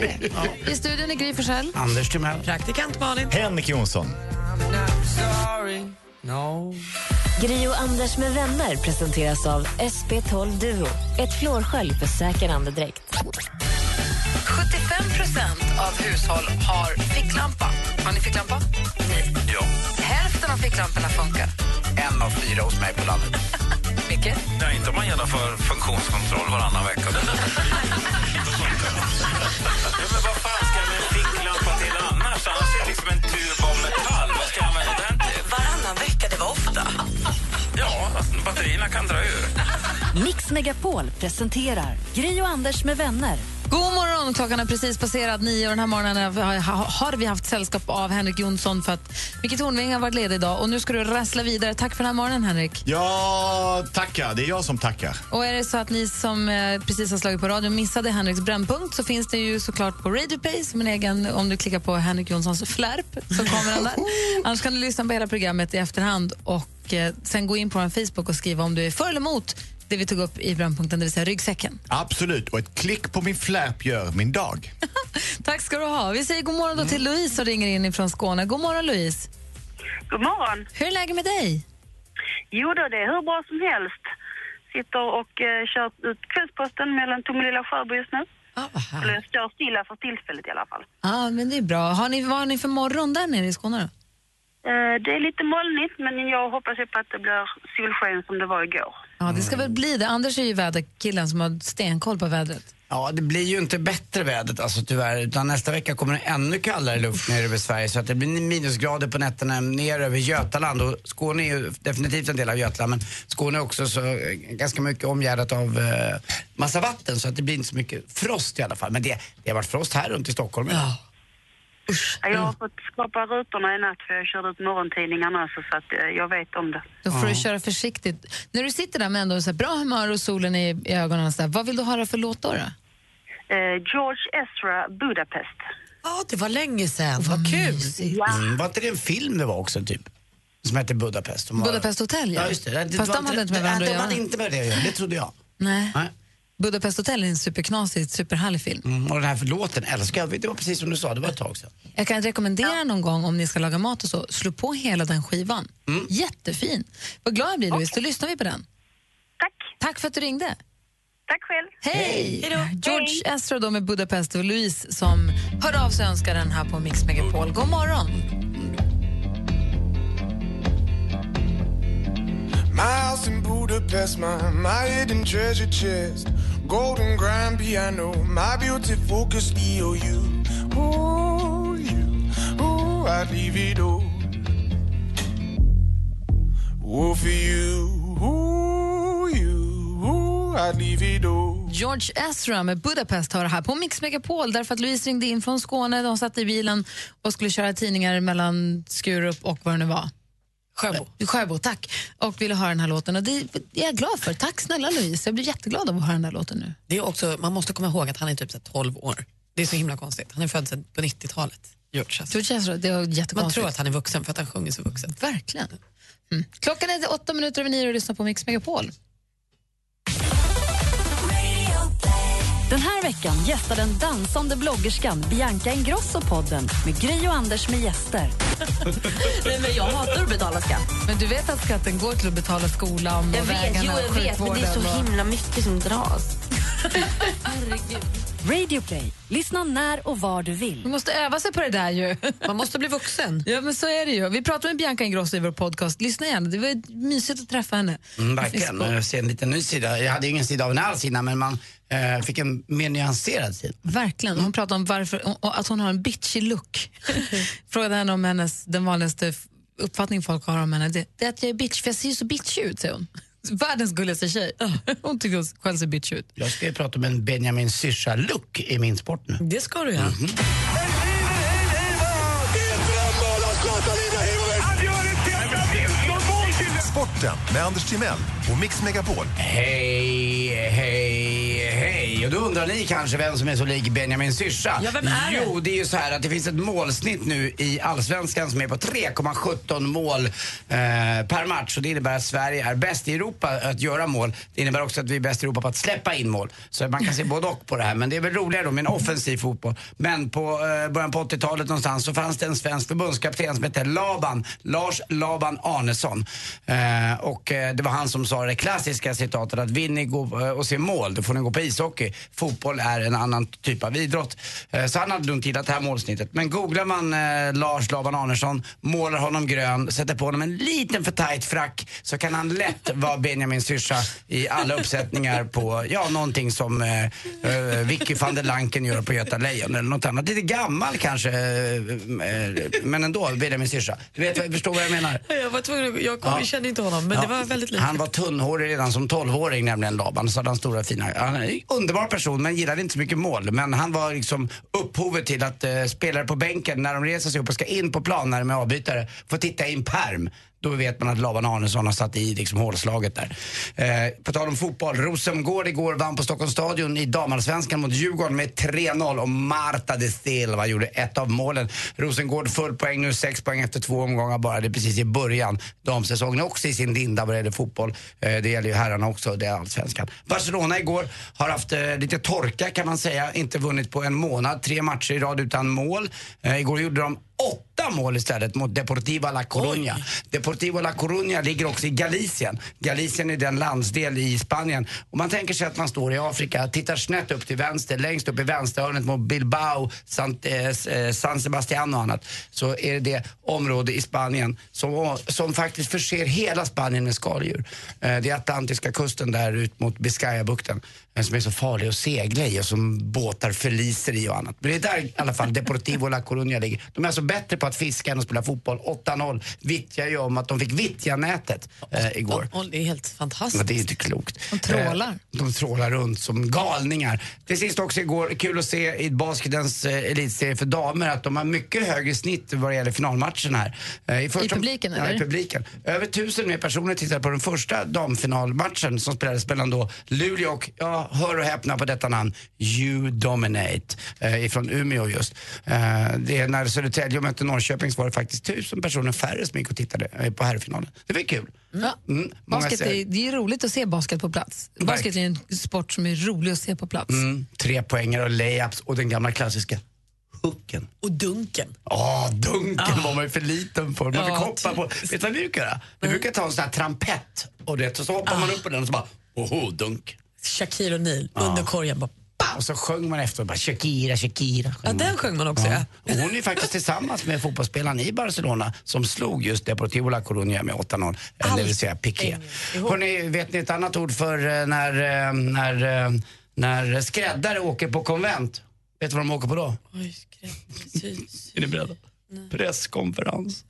[SPEAKER 3] det. I studion är Gry Forssell.
[SPEAKER 4] Anders Timell.
[SPEAKER 5] Praktikant Malin.
[SPEAKER 16] Henrik Jonsson.
[SPEAKER 6] Sorry. No.
[SPEAKER 2] Gri och Anders med vänner presenteras av SP12 Duo. Ett flårskölj för säker andedräkt.
[SPEAKER 3] 75 av hushåll har ficklampa. Har ni ficklampa? Nej.
[SPEAKER 4] Ja.
[SPEAKER 3] Hälften av ficklamporna funkar.
[SPEAKER 4] En av fyra hos mig på landet.
[SPEAKER 3] Micke?
[SPEAKER 11] Nej, inte om man genomför funktionskontroll varannan vecka. ja, men vad fan ska jag med en ficklampa till annars? Annars är det liksom en tub av metall. Vad ska jag använda den till? Varannan vecka, det var ofta. ja, batterierna kan dra ur.
[SPEAKER 1] Mix Megapol presenterar Gri och Anders med vänner.
[SPEAKER 3] God morgon! Klockan är precis passerat nio och den här morgonen har- har vi haft sällskap av Henrik Jonsson för att Micke Tornving har varit ledig idag och nu ska du rassla vidare. Tack för den här morgonen, Henrik.
[SPEAKER 16] Ja, tackar. Det är jag som tackar.
[SPEAKER 3] Och är det så att ni som eh, precis har slagit på radion missade Henriks brännpunkt så finns det ju såklart på Radioplay som en egen, om du klickar på Henrik Jonssons flärp så kommer den där. Annars kan du lyssna på hela programmet i efterhand och eh, sen gå in på vår Facebook och skriva om du är för eller emot det det vi tog upp i Brännpunkten, det vill säga ryggsäcken.
[SPEAKER 16] Absolut, och ett klick på min flärp gör min dag.
[SPEAKER 3] Tack ska du ha. Vi säger god morgon då till Louise som ringer in från Skåne. God morgon Louise.
[SPEAKER 10] God morgon.
[SPEAKER 3] Hur är läget med dig?
[SPEAKER 10] Jo då, det är hur bra som helst. Sitter och eh, kör ut Kvällsposten mellan Tomelilla och Sjöbo just nu.
[SPEAKER 3] Ah,
[SPEAKER 10] Eller står stilla för tillfället i alla fall.
[SPEAKER 3] Ja, men det är bra. Har ni, vad har ni för morgon där nere i Skåne då?
[SPEAKER 10] Eh, det är lite molnigt men jag hoppas ju på att det blir solsken som det var igår.
[SPEAKER 3] Ja, det
[SPEAKER 10] Mm.
[SPEAKER 3] ska väl bli det. Anders är ju väderkillen som har stenkoll på vädret.
[SPEAKER 4] Ja, det blir ju inte bättre vädret alltså tyvärr. Utan nästa vecka kommer det ännu kallare luft ner över Sverige. Så att det blir minusgrader på nätterna ner över Götaland. Och Skåne är ju definitivt en del av Götaland. Men Skåne är också så, eh, ganska mycket omgärdat av eh, massa vatten. Så att det blir inte så mycket frost i alla fall. Men det, det har varit frost här runt i Stockholm idag.
[SPEAKER 10] Ja, Jag har fått skapa rutorna i natt för jag körde ut morgontidningarna också, så att eh, jag vet om det.
[SPEAKER 3] Då får du köra försiktigt. När du sitter där med ändå så här bra humör och solen i, i ögonen, och så här, vad vill du höra för låt då? då?
[SPEAKER 10] Eh, George Ezra, Budapest.
[SPEAKER 5] Ja, det var länge sedan. Vad kul.
[SPEAKER 4] Mm, var inte det en film det var också typ? Som hette Budapest. som var-
[SPEAKER 3] Budapest Hotel, ja.
[SPEAKER 4] ja. just det. det
[SPEAKER 3] Fast
[SPEAKER 4] var
[SPEAKER 3] de hade inte med
[SPEAKER 4] det-
[SPEAKER 3] varandra
[SPEAKER 4] de
[SPEAKER 3] att
[SPEAKER 4] hade
[SPEAKER 3] göra.
[SPEAKER 4] inte med det att göra, det trodde jag.
[SPEAKER 3] Nej.
[SPEAKER 4] Nej.
[SPEAKER 3] Budapest Hotel är en superknasig, superhärlig film.
[SPEAKER 4] Mm, och den här låten älskar jag. Det var precis som du sa, det var ett tag sedan.
[SPEAKER 3] Jag kan rekommendera någon gång om ni ska laga mat och så, slå på hela den skivan. Jättefin. Vad glad jag blir Louise, då lyssnar vi på den. Tack. Tack för att du ringde.
[SPEAKER 10] Tack själv.
[SPEAKER 3] Hej! George Ezra då med Budapest och Louise som hörde av sig och önskade den här på Mix Megapol. God morgon!
[SPEAKER 6] My house in Budapest, my, my hidden treasure chest, golden grand piano, my beauty focus EOU. Ooh, you, ooh, I'd leave it all. Ooh, for you, ooh, you, ooh, I'd leave it all.
[SPEAKER 3] George Ezra med Budapest har det här på Mix Megapol därför att Louise ringde in från Skåne, de satt i bilen och skulle köra tidningar mellan Skurup och vad det nu var. Sjöbo. Sjöbo, tack. Och ville höra den här låten och det är jag glad för. Tack snälla Louise, jag blir jätteglad av att höra den här låten nu.
[SPEAKER 5] Det är också, man måste komma ihåg att han är typ så här 12 år. Det är så himla konstigt. Han är född sedan på 90-talet. George Ezra.
[SPEAKER 3] George Ezra, det är jättekonstigt.
[SPEAKER 5] Man tror att han är vuxen för att han sjunger så vuxen.
[SPEAKER 3] Verkligen. Mm. Klockan är åtta minuter över nio och lyssnar på Mix Megapol.
[SPEAKER 1] Den här veckan gästar den dansande bloggerskan Bianca Ingrosso podden med Gry och Anders med gäster. Nej, men jag hatar att betala skatt.
[SPEAKER 3] Men du vet att skatten går till att betala skolan och
[SPEAKER 9] Jag vet,
[SPEAKER 3] vägarna
[SPEAKER 9] jo, jag
[SPEAKER 3] och
[SPEAKER 9] vet, men det är
[SPEAKER 3] sjukvården
[SPEAKER 9] så
[SPEAKER 3] och-
[SPEAKER 9] himla mycket som dras.
[SPEAKER 1] Radio Play. Lyssna när och var du vill.
[SPEAKER 3] Man måste öva sig på det där ju. Man måste bli vuxen. Ja, men så är det ju. Vi pratade med Bianca Ingrosso i vår podcast. Lyssna igen, det var mysigt att träffa henne.
[SPEAKER 4] Mm, verkligen. Jag ser en liten ny sida. Jag hade ju ingen sida av henne alls innan men man eh, fick en mer nyanserad sida.
[SPEAKER 3] Verkligen. Hon pratar om varför, och- och att hon har en bitchy look. Frågade henne om hennes, den vanligaste f- uppfattning folk har om henne. Det, det är att jag är bitch, för jag ser ju så bitchy ut, säger hon. Världens gulligaste tjej. Hon tycker hon själv ser bitchy ut.
[SPEAKER 4] Jag ska ju prata om en Benjamin Syrsa-look i min Mhm. sport nu.
[SPEAKER 5] Det ska du göra.
[SPEAKER 12] Sporten med Anders Timell och Mix Megapol.
[SPEAKER 4] Hej, hej, hej. Och då undrar ni kanske vem som är så lik Benjamin Syrsa.
[SPEAKER 12] Ja, vem är det?
[SPEAKER 4] Jo, det är ju så här att det finns ett målsnitt nu i Allsvenskan som är på 3,17 mål eh, per match. Och det innebär att Sverige är bäst i Europa att göra mål. Det innebär också att vi är bäst i Europa på att släppa in mål. Så man kan se både och på det här. Men det är väl roligare då med en offensiv fotboll. Men på eh, början på 80-talet någonstans så fanns det en svensk förbundskapten som hette Laban, Lars Laban Arnesson. Eh, och eh, det var han som sa det klassiska citatet att vill ni gå eh, och se mål, då får ni gå på ishockey. Fotboll är en annan typ av idrott. Eh, så han hade nog inte gillat det här målsnittet. Men googlar man eh, Lars Laban Arnesson, målar honom grön, sätter på honom en liten för tight frack så kan han lätt vara Benjamin Syrsa i alla uppsättningar på, ja, någonting som eh, eh, Vicky van der Lanken gör på Göta Lejon eller något annat. Lite gammal kanske, eh, eh, men ändå Benjamin Syrsa. Du vet, förstår vad jag menar?
[SPEAKER 5] Jag, var tvungen, att- jag kom,
[SPEAKER 4] Ja.
[SPEAKER 5] kände inte honom, men
[SPEAKER 4] Ja,
[SPEAKER 5] det var väldigt likt.
[SPEAKER 4] Han var tunnhårig redan som 12-åring nämligen Laban. Så hade han stora fina... Han är en underbar person men gillade inte så mycket mål. Men han var liksom upphovet till att eh, spelare på bänken när de reser sig upp och ska in på plan när de är avbytare får titta i en perm. då vet man att Laban Arnesson har satt i liksom hålslaget där. Eh, på tal om fotboll, Rosengård igår vann på Stockholms stadion i damallsvenskan mot Djurgården med 3-0 och Marta de Silva gjorde ett av målen. Rosengård full poäng nu, sex poäng efter två omgångar bara. Det är precis i början. Damsäsongen är också i sin linda vad det gäller fotboll. Eh, det gäller ju herrarna också, det är allsvenskan. Barcelona igår har haft eh, lite torka kan man säga, inte vunnit på en månad. Tre matcher i rad utan mål. Eh, igår gjorde de åtta mål istället mot Deportiva La Coruña. Deportivo La Coruña ligger också i Galicien. Galicien är den landsdel i Spanien. Och man tänker sig att man står i Afrika, tittar snett upp till vänster, längst upp i vänsterhörnet mot Bilbao, San, eh, S- eh, San Sebastian och annat. Så är det det område i Spanien som, som faktiskt förser hela Spanien med skaldjur. Eh, Det är Atlantiska kusten där ut mot Biscayabukten eh, som är så farlig att segla i och som båtar förliser i och annat. Men det är där i alla fall Deportivo La Coruña ligger. De är alltså bättre på att fiska än att spela fotboll. 8-0 vittjar ju om att de fick Vittjanätet eh, igår.
[SPEAKER 5] Och det är helt fantastiskt.
[SPEAKER 4] Men det är ju inte klokt.
[SPEAKER 5] De trålar.
[SPEAKER 4] Eh, De trålar runt som galningar. Till sist också igår, kul att se i basketens eh, elitserie för damer att de har mycket högre snitt vad det gäller finalmatchen här. Eh, I, första-
[SPEAKER 3] publiken,
[SPEAKER 4] ja,
[SPEAKER 3] eller?
[SPEAKER 4] i publiken. Över tusen mer personer tittade på den första damfinalmatchen som spelades mellan då Luleå och, ja, hör och häpna på detta namn, You Dominate eh, ifrån Umeå just. Eh, det är när Södertälje mötte Norrköping så var det faktiskt tusen personer färre som gick och tittade eh, på herrfinalen. Det var kul.
[SPEAKER 3] Ja.
[SPEAKER 4] Mm, många
[SPEAKER 3] Basket
[SPEAKER 4] ser-
[SPEAKER 3] är, det är ju roligt att se basket på plats. Basket är ju en sport som är rolig att se på plats.
[SPEAKER 4] Mm, tre poänger och layups och den gamla klassiska hooken.
[SPEAKER 5] Och dunken.
[SPEAKER 4] Ja, dunken var man ju för liten för. Man
[SPEAKER 5] Ja,
[SPEAKER 4] fick hoppa på. Vet du vad vi brukar göra? Vi brukar ta en sån här trampett och det, så hoppar man upp på den och så bara, oho, dunk.
[SPEAKER 5] Shaquille O'Neal under korgen. Bara,
[SPEAKER 4] Och så sjöng man efter och bara Shakira, Shakira.
[SPEAKER 5] ja, den sjöng man också. Ja.
[SPEAKER 4] Och hon är ju faktiskt tillsammans med fotbollsspelaren i Barcelona som slog just Deportivo La Coruña med 8-0. Eller det vill säga Piqué. Hörrni, vet ni ett annat ord för eh, när, eh, när, eh, när skräddare åker på konvent? Vet du vad de åker på då? Är ni beredda? Presskonferens.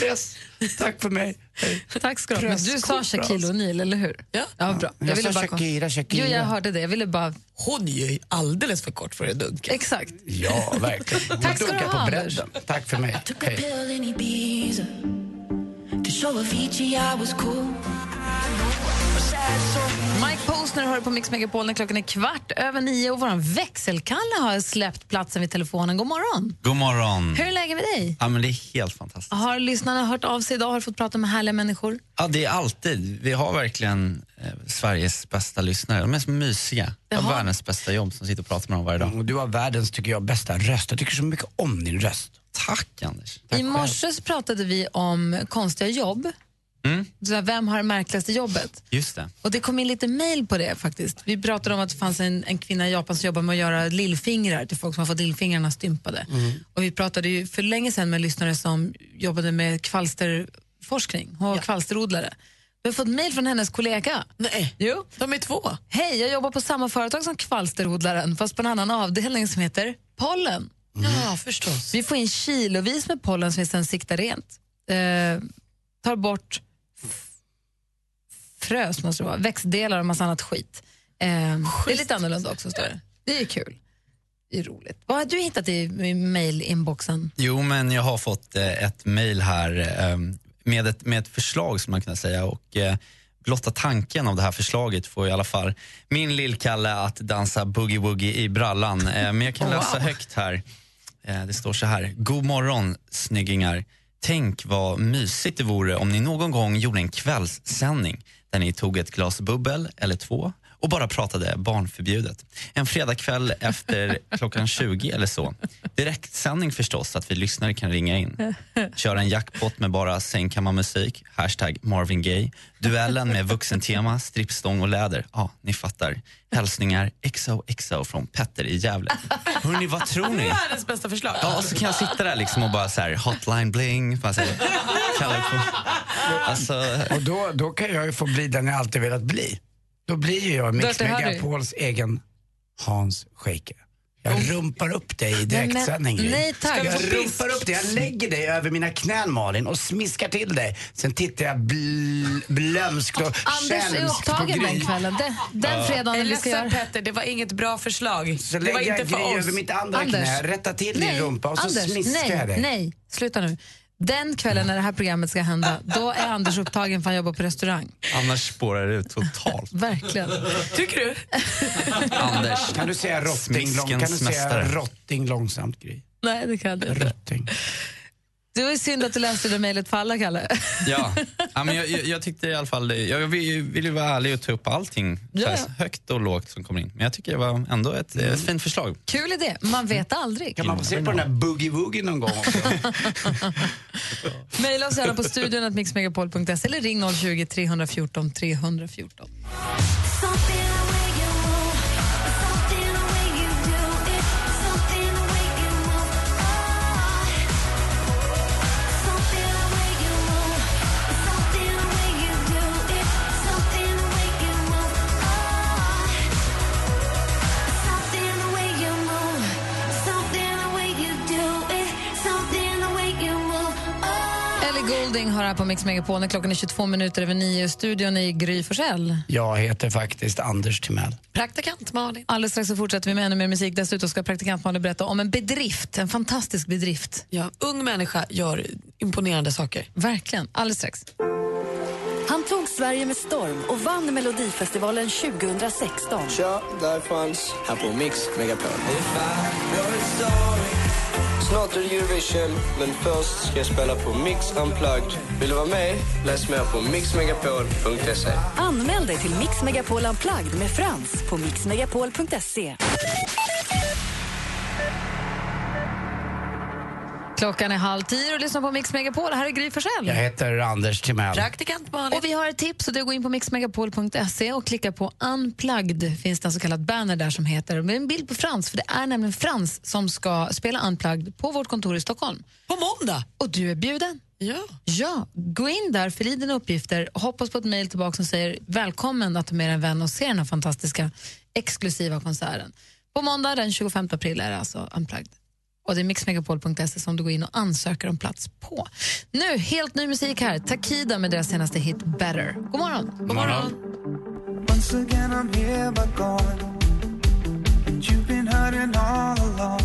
[SPEAKER 4] Press. Tack för mig.
[SPEAKER 3] Tack ska du ha. Men du sa
[SPEAKER 4] Presskonferens.
[SPEAKER 3] Shaquille O'Neal, eller hur? Ja. bra.
[SPEAKER 4] Jag sa Shakira, Shakira.
[SPEAKER 3] Jo, jag hörde det. Jag ville bara...
[SPEAKER 5] Hon är ju alldeles för kort för att dunka.
[SPEAKER 3] Exakt.
[SPEAKER 4] Ja, verkligen.
[SPEAKER 3] Tack ska du
[SPEAKER 4] Dunkar
[SPEAKER 3] ha,
[SPEAKER 4] på bredden. Tack för mig.
[SPEAKER 15] Took a
[SPEAKER 4] Hej.
[SPEAKER 15] pill in Ibiza to show Avicii I was cool.
[SPEAKER 3] Mike Posner hör på Mix Megapol när klockan är kvart över nio och vår växelkalle har släppt platsen vid telefonen. God morgon!
[SPEAKER 9] God
[SPEAKER 4] Mm.
[SPEAKER 9] morgon.
[SPEAKER 3] Hur är läget med dig?
[SPEAKER 9] Ja, men det är helt fantastiskt.
[SPEAKER 3] Har lyssnarna hört av sig idag? Har du fått prata med härliga människor?
[SPEAKER 9] Ja, det är alltid. Vi har verkligen eh, Sveriges bästa lyssnare. De är så mysiga. De har världens bästa jobb som sitter och pratar med dem varje dag.
[SPEAKER 4] Och du har världens, tycker jag, bästa röst. Jag tycker så mycket om din röst.
[SPEAKER 9] Tack, Anders.
[SPEAKER 3] I morse så pratade vi om konstiga jobb.
[SPEAKER 9] Mm,
[SPEAKER 3] Så här, Vem har det märkligaste jobbet?
[SPEAKER 9] just det.
[SPEAKER 3] Och Det kom in lite mejl på det. faktiskt. Vi pratade om att det fanns en, en kvinna i Japan som jobbar med att göra lillfingrar till folk som har fått lillfingrarna stympade.
[SPEAKER 5] Mm.
[SPEAKER 3] Och vi pratade ju för länge sedan med en lyssnare som jobbade med kvalsterforskning. Hon var kvalsterodlare. Vi har fått mejl från hennes kollega.
[SPEAKER 5] Nej,
[SPEAKER 3] jo.
[SPEAKER 5] de är två.
[SPEAKER 3] Hej, jag jobbar på samma företag som kvalsterodlaren fast på en annan avdelning som heter pollen.
[SPEAKER 5] Ja, förstås.
[SPEAKER 3] Vi får in kilovis med pollen som vi sen siktar rent. Eh, tar bort f- frös, måste det vara, växtdelar och massa annat skit. Eh, det är lite annorlunda också, står det. Det är ju kul. Det är roligt. Vad har du hittat i, i mail-inboxen?
[SPEAKER 9] Jo, men jag har fått eh, ett mejl här eh, med ett, med ett förslag skulle man kunna säga. Och, eh, blotta tanken av det här förslaget får i alla fall min lillkalle att dansa boogie-woogie i brallan. Eh, men jag kan läsa högt här. Eh, det står så här. God morgon, snyggingar. Tänk vad mysigt det vore om ni någon gång gjorde en kvällssändning där ni tog ett glas bubbel eller två och bara pratade barnförbjudet. En fredagkväll efter klockan 20 eller så. Direktsändning förstås, så att vi lyssnare kan ringa in. Köra en jackpot med bara sängkammarmusik, hashtag Marvin Gaye. Duellen med vuxentema, strippstång och läder. Ja, ni fattar. Hälsningar XOXO från Petter i Gävle. Hörni, vad tror ni?
[SPEAKER 5] Världens bästa förslag.
[SPEAKER 9] Ja,
[SPEAKER 4] alltså,
[SPEAKER 9] och så kan jag sitta där liksom och bara så här, hotline bling. Bara så här, kalla på. Alltså,
[SPEAKER 4] Och då, då kan jag ju få bli den jag alltid velat bli. Då blir ju jag Mix
[SPEAKER 9] Dirty Harry.
[SPEAKER 4] Megapols egen Hans Scheike. Jag rumpar upp dig i direktsändning.
[SPEAKER 3] Mm. Nej, men-
[SPEAKER 4] Gry.
[SPEAKER 3] nej, tack. Ska vi få
[SPEAKER 4] Jag rumpar
[SPEAKER 3] pisk?
[SPEAKER 4] upp dig. Jag lägger dig över mina knän Malin och smiskar till dig. Sen tittar jag bl- blömskt och
[SPEAKER 3] Anders är
[SPEAKER 4] tjälmskt på
[SPEAKER 3] upptagen den
[SPEAKER 4] Gry.
[SPEAKER 3] kvällen. Den, den
[SPEAKER 4] Ja.
[SPEAKER 3] fredagen
[SPEAKER 4] Jag är
[SPEAKER 3] vi ska
[SPEAKER 4] ledsen,
[SPEAKER 3] göra...
[SPEAKER 5] Petter, det var inget bra förslag.
[SPEAKER 4] Så lägger jag Gry över mitt andra knä, rättar till din rumpa och så
[SPEAKER 3] Anders,
[SPEAKER 4] smiskar
[SPEAKER 3] nej,
[SPEAKER 4] jag dig.
[SPEAKER 3] Nej, sluta nu. Den kvällen när det här programmet ska hända, då är Anders upptagen för han jobbar på restaurang.
[SPEAKER 9] Annars spårar det ut totalt.
[SPEAKER 3] Verkligen.
[SPEAKER 5] Tycker du?
[SPEAKER 9] Anders.
[SPEAKER 4] Kan du säga rotting, lång, kan du
[SPEAKER 9] Smiskens mästare.
[SPEAKER 4] säga rotting långsamt, Gry?
[SPEAKER 3] Nej, det kan jag inte.
[SPEAKER 4] Rotting.
[SPEAKER 3] Det var ju synd att du läste det mejlet för alla, Kalle.
[SPEAKER 9] Ja. ja men jag, jag, jag tyckte i alla fall, jag vill, ju- vill ju vara ärlig och ta upp allting så här, högt och lågt som kommer in. Men jag tycker det var ändå ett, eh, fint förslag.
[SPEAKER 3] Kul idé, man vet aldrig.
[SPEAKER 4] Kan man få se på den där boogie-woogie någon gång också?
[SPEAKER 3] Mejla oss gärna på studion att mixmegapol.se eller ring 020 314 314. Ellie Goulding har här på Mix Megapol när klockan är 22 minuter över nio. Studion i Gry Forssell.
[SPEAKER 4] Jag heter faktiskt Anders Timell.
[SPEAKER 3] Praktikant Malin. Alldeles strax så fortsätter vi med ännu mer musik. Dessutom ska praktikant Malin berätta om en bedrift, en fantastisk bedrift.
[SPEAKER 5] Ja, ung människa gör imponerande saker.
[SPEAKER 3] Verkligen, alldeles strax.
[SPEAKER 1] Han tog Sverige med storm och vann Melodifestivalen 2016.
[SPEAKER 7] Tja, där fanns här på Mix Megapol. Snart är det Eurovision, men först ska jag spela på Mix Unplugged. Vill du vara med? Läs mer på mixmegapol.se.
[SPEAKER 1] Anmäl dig till Mix Megapol Unplugged med Frans på mixmegapol.se.
[SPEAKER 3] Klockan är halv tio och lyssnar på Mix Megapol. Här är Gry Forssell.
[SPEAKER 4] Jag heter Anders Timell.
[SPEAKER 3] Praktikant Malin. Och vi har ett tips och du går in på mixmegapol.se och klickar på unplugged. finns det en så kallad banner där som heter med en bild på Frans för det är nämligen Frans som ska spela unplugged på vårt kontor i Stockholm.
[SPEAKER 5] På måndag?
[SPEAKER 3] Och du är bjuden.
[SPEAKER 5] Ja.
[SPEAKER 3] Ja, gå in där, fyll i dina uppgifter och hoppas på ett mejl tillbaka som säger välkommen att du är med en vän och ser den här fantastiska exklusiva konserten. På måndag den 25 april är det alltså unplugged. Och det är mixmegapol.se som du går in och ansöker om plats på. Nu, helt ny musik här. Takida med deras senaste hit Better. God morgon. God morgon.
[SPEAKER 14] Once again, I'm here but gone. And you've been hurting all along.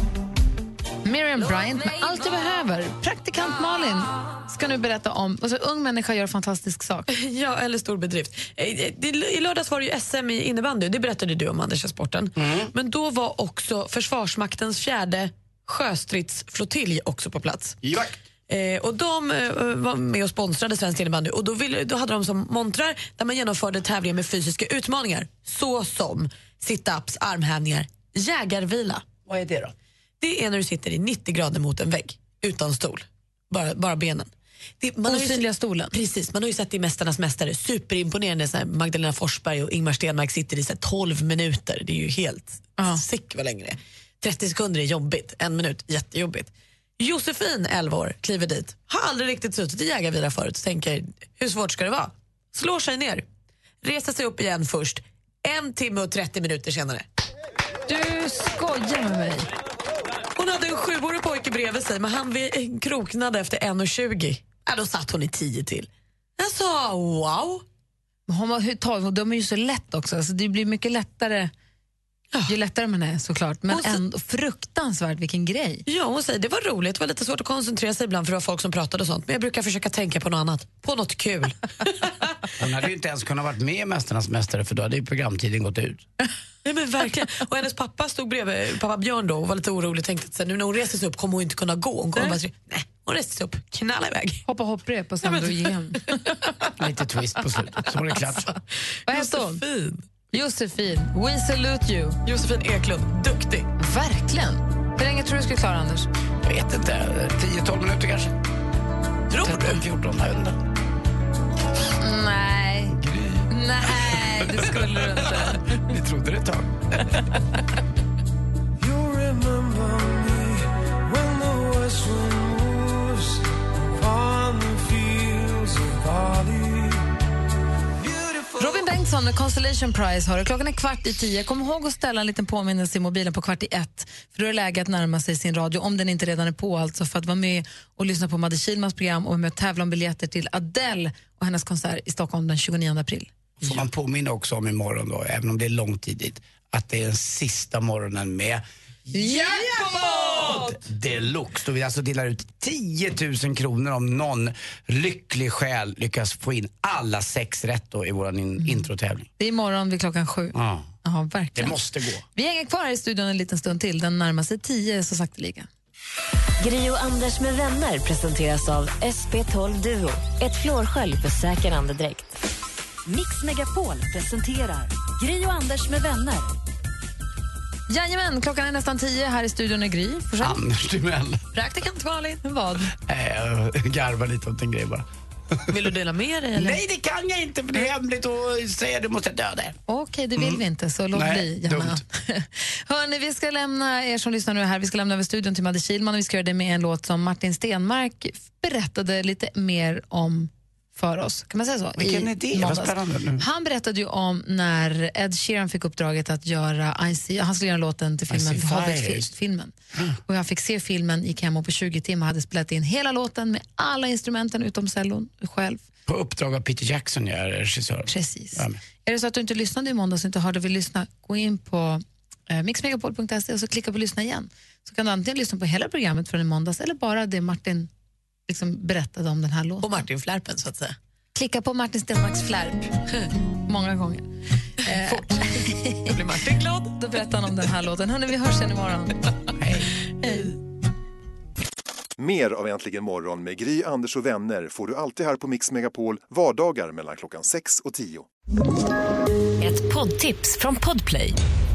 [SPEAKER 3] Miriam Bryant med Allt du behöver. Praktikant Malin ska nu berätta om... Alltså, ung människa gör fantastisk sak.
[SPEAKER 5] Ja, eller stor bedrift. Eh, eh, det- I lördags var det ju SM i innebandy, det berättade du om Anders i sporten.
[SPEAKER 21] Mm.
[SPEAKER 5] Men då var också Försvarsmaktens fjärde sjöstridsflottilj också på plats. Eh, och de eh, var med och sponsrade svensk innebandy och då, ville, då hade de som montrar där man genomförde tävlingar med fysiska utmaningar såsom sit-ups, armhävningar, jägarvila.
[SPEAKER 21] Vad är det då?
[SPEAKER 5] Det är när du sitter i 90 grader mot en vägg utan stol, bara, bara benen. Det, man Osynliga
[SPEAKER 3] stolen.
[SPEAKER 5] Precis, man har ju sett i Mästarnas mästare, superimponerande så här Magdalena Forsberg och Ingmar Stenmark sitter i så här 12 minuter. Det är ju helt sick vad länge det är. 30 sekunder är jobbigt, en minut jättejobbigt. Josefin, 11 år, kliver dit. Har aldrig riktigt suttit i jägarvila förut. Tänker, hur svårt ska det vara? Slår sig ner, reser sig upp igen först. En timme och 30 minuter senare.
[SPEAKER 3] Du skojar med mig.
[SPEAKER 5] Hon hade en sjuårig pojke bredvid sig, men han vi- kroknade efter 1.20. Ja, då satt hon i 10 till. Jag sa Alltså, wow.
[SPEAKER 3] Hon var, hur tar, de är ju så lätt också. Alltså, det blir mycket lättare ju lättare man är såklart. Men ändå fruktansvärt vilken grej.
[SPEAKER 5] Ja, hon säger det var roligt. Det var lite svårt att koncentrera sig ibland för det var folk som pratade och sånt. Men jag brukar försöka tänka på något annat. På något kul.
[SPEAKER 4] Hon hade ju inte ens kunnat varit med i Mästarnas mästare för då hade ju programtiden gått ut.
[SPEAKER 5] Nej, men verkligen. Och hennes pappa stod bredvid, pappa Björn då, och var lite orolig. Tänkte att så här, nu när hon reser sig upp kommer hon inte kunna gå. Hon kommer bara, så- nej, hon reser sig upp, knalla iväg.
[SPEAKER 3] Hoppa hopprep och sen drog igenom.
[SPEAKER 4] Lite twist på slutet, så var det klart.
[SPEAKER 3] Vad hette hon? Josefin. We salute you.
[SPEAKER 5] Josefin Eklund, duktig.
[SPEAKER 3] Verkligen. Hur länge tror du skulle klara, Anders?
[SPEAKER 4] Jag vet inte, 10-12 minuter kanske?
[SPEAKER 5] Tror
[SPEAKER 4] du? 14, jag vet inte.
[SPEAKER 3] Nej. Nej, det skulle du inte.
[SPEAKER 4] Vi trodde det ett tag.
[SPEAKER 14] You remember me when the west wind moves upon the fields of Bali.
[SPEAKER 3] Robin Bengtsson med Constellation Prize har det. Klockan är kvart i tio. Kom ihåg att ställa en liten påminnelse i mobilen på kvart i ett. För då är det läge att närma sig sin radio, om den inte redan är på, alltså för att vara med och lyssna på Madde Kihlmans program och vara med och tävla om biljetter till Adele och hennes konsert i Stockholm den 29 april.
[SPEAKER 4] Får man påminna också om imorgon då, även om det är lång tid dit, att det är den sista morgonen med Jackpot! Deluxe. Då vi alltså delar ut 10 000 kronor om någon lycklig själ lyckas få in alla sex rätt då i vår
[SPEAKER 5] Mm.
[SPEAKER 4] in- introtävling.
[SPEAKER 3] Det är imorgon vid klockan sju.
[SPEAKER 4] Ja,
[SPEAKER 3] Ja,
[SPEAKER 4] det
[SPEAKER 3] verkligen.
[SPEAKER 4] måste gå.
[SPEAKER 3] Vi hänger kvar här i studion en liten stund till. Den närmar sig tio så sakteliga.
[SPEAKER 2] Gri och Anders med vänner presenteras av SP12 Duo. Ett flårskölj för säker andedräkt.
[SPEAKER 1] Mix Megapol presenterar Gri och Anders med vänner.
[SPEAKER 3] Jajamän, klockan är nästan tio. Här i studion är Gry. Forssell.
[SPEAKER 4] Anders Timell.
[SPEAKER 3] Praktikant Malin. Vad?
[SPEAKER 4] Nej, jag garvar lite åt en grej bara.
[SPEAKER 5] Vill du dela med dig? Eller?
[SPEAKER 4] Nej, det kan jag inte för det är hemligt och säger du måste döda er.
[SPEAKER 3] Okej, det vill vi inte, så låt
[SPEAKER 4] Nej,
[SPEAKER 3] bli. Janna.
[SPEAKER 4] dumt.
[SPEAKER 3] Hörni, vi ska lämna er som lyssnar nu här, vi ska lämna över studion till Madde Kihlman och vi ska göra det med en låt som Martin Stenmark berättade lite mer om för oss. Kan man säga så?
[SPEAKER 4] Vilken
[SPEAKER 3] I
[SPEAKER 4] är det? Vad
[SPEAKER 3] måndags.
[SPEAKER 4] spännande. nu.
[SPEAKER 3] Han berättade ju om när Ed Sheeran fick uppdraget att göra I see, han skulle göra låten till
[SPEAKER 4] I
[SPEAKER 3] filmen
[SPEAKER 4] see fires.
[SPEAKER 3] Hobbit-filmen. Och jag fick se filmen, gick hem och på 20 timmar hade spelat in hela låten med alla instrumenten utom cellon själv.
[SPEAKER 4] På uppdrag av Peter Jackson, jag är regissör.
[SPEAKER 3] Precis.
[SPEAKER 4] Ja, men.
[SPEAKER 3] Är det så att du inte lyssnade i måndags och inte hörde och vill lyssna, gå in på eh, mixmegapol.se och så klicka på lyssna igen. Så kan du antingen lyssna på hela programmet från i måndags eller bara det Martin liksom berättade om den här låten.
[SPEAKER 5] Och Martin Flärpen, så att säga.
[SPEAKER 3] Klicka på Martin Stenmarcks flärp många gånger. Eh, Fort. Då blir Martin glad. Då berättar han om den här låten. Hörni, vi hörs sen imorgon. Hej.
[SPEAKER 12] Mer av Äntligen morgon med Gry, Anders och vänner får du alltid här på Mix Megapol vardagar mellan klockan 6 och 10.
[SPEAKER 2] Ett poddtips från Podplay.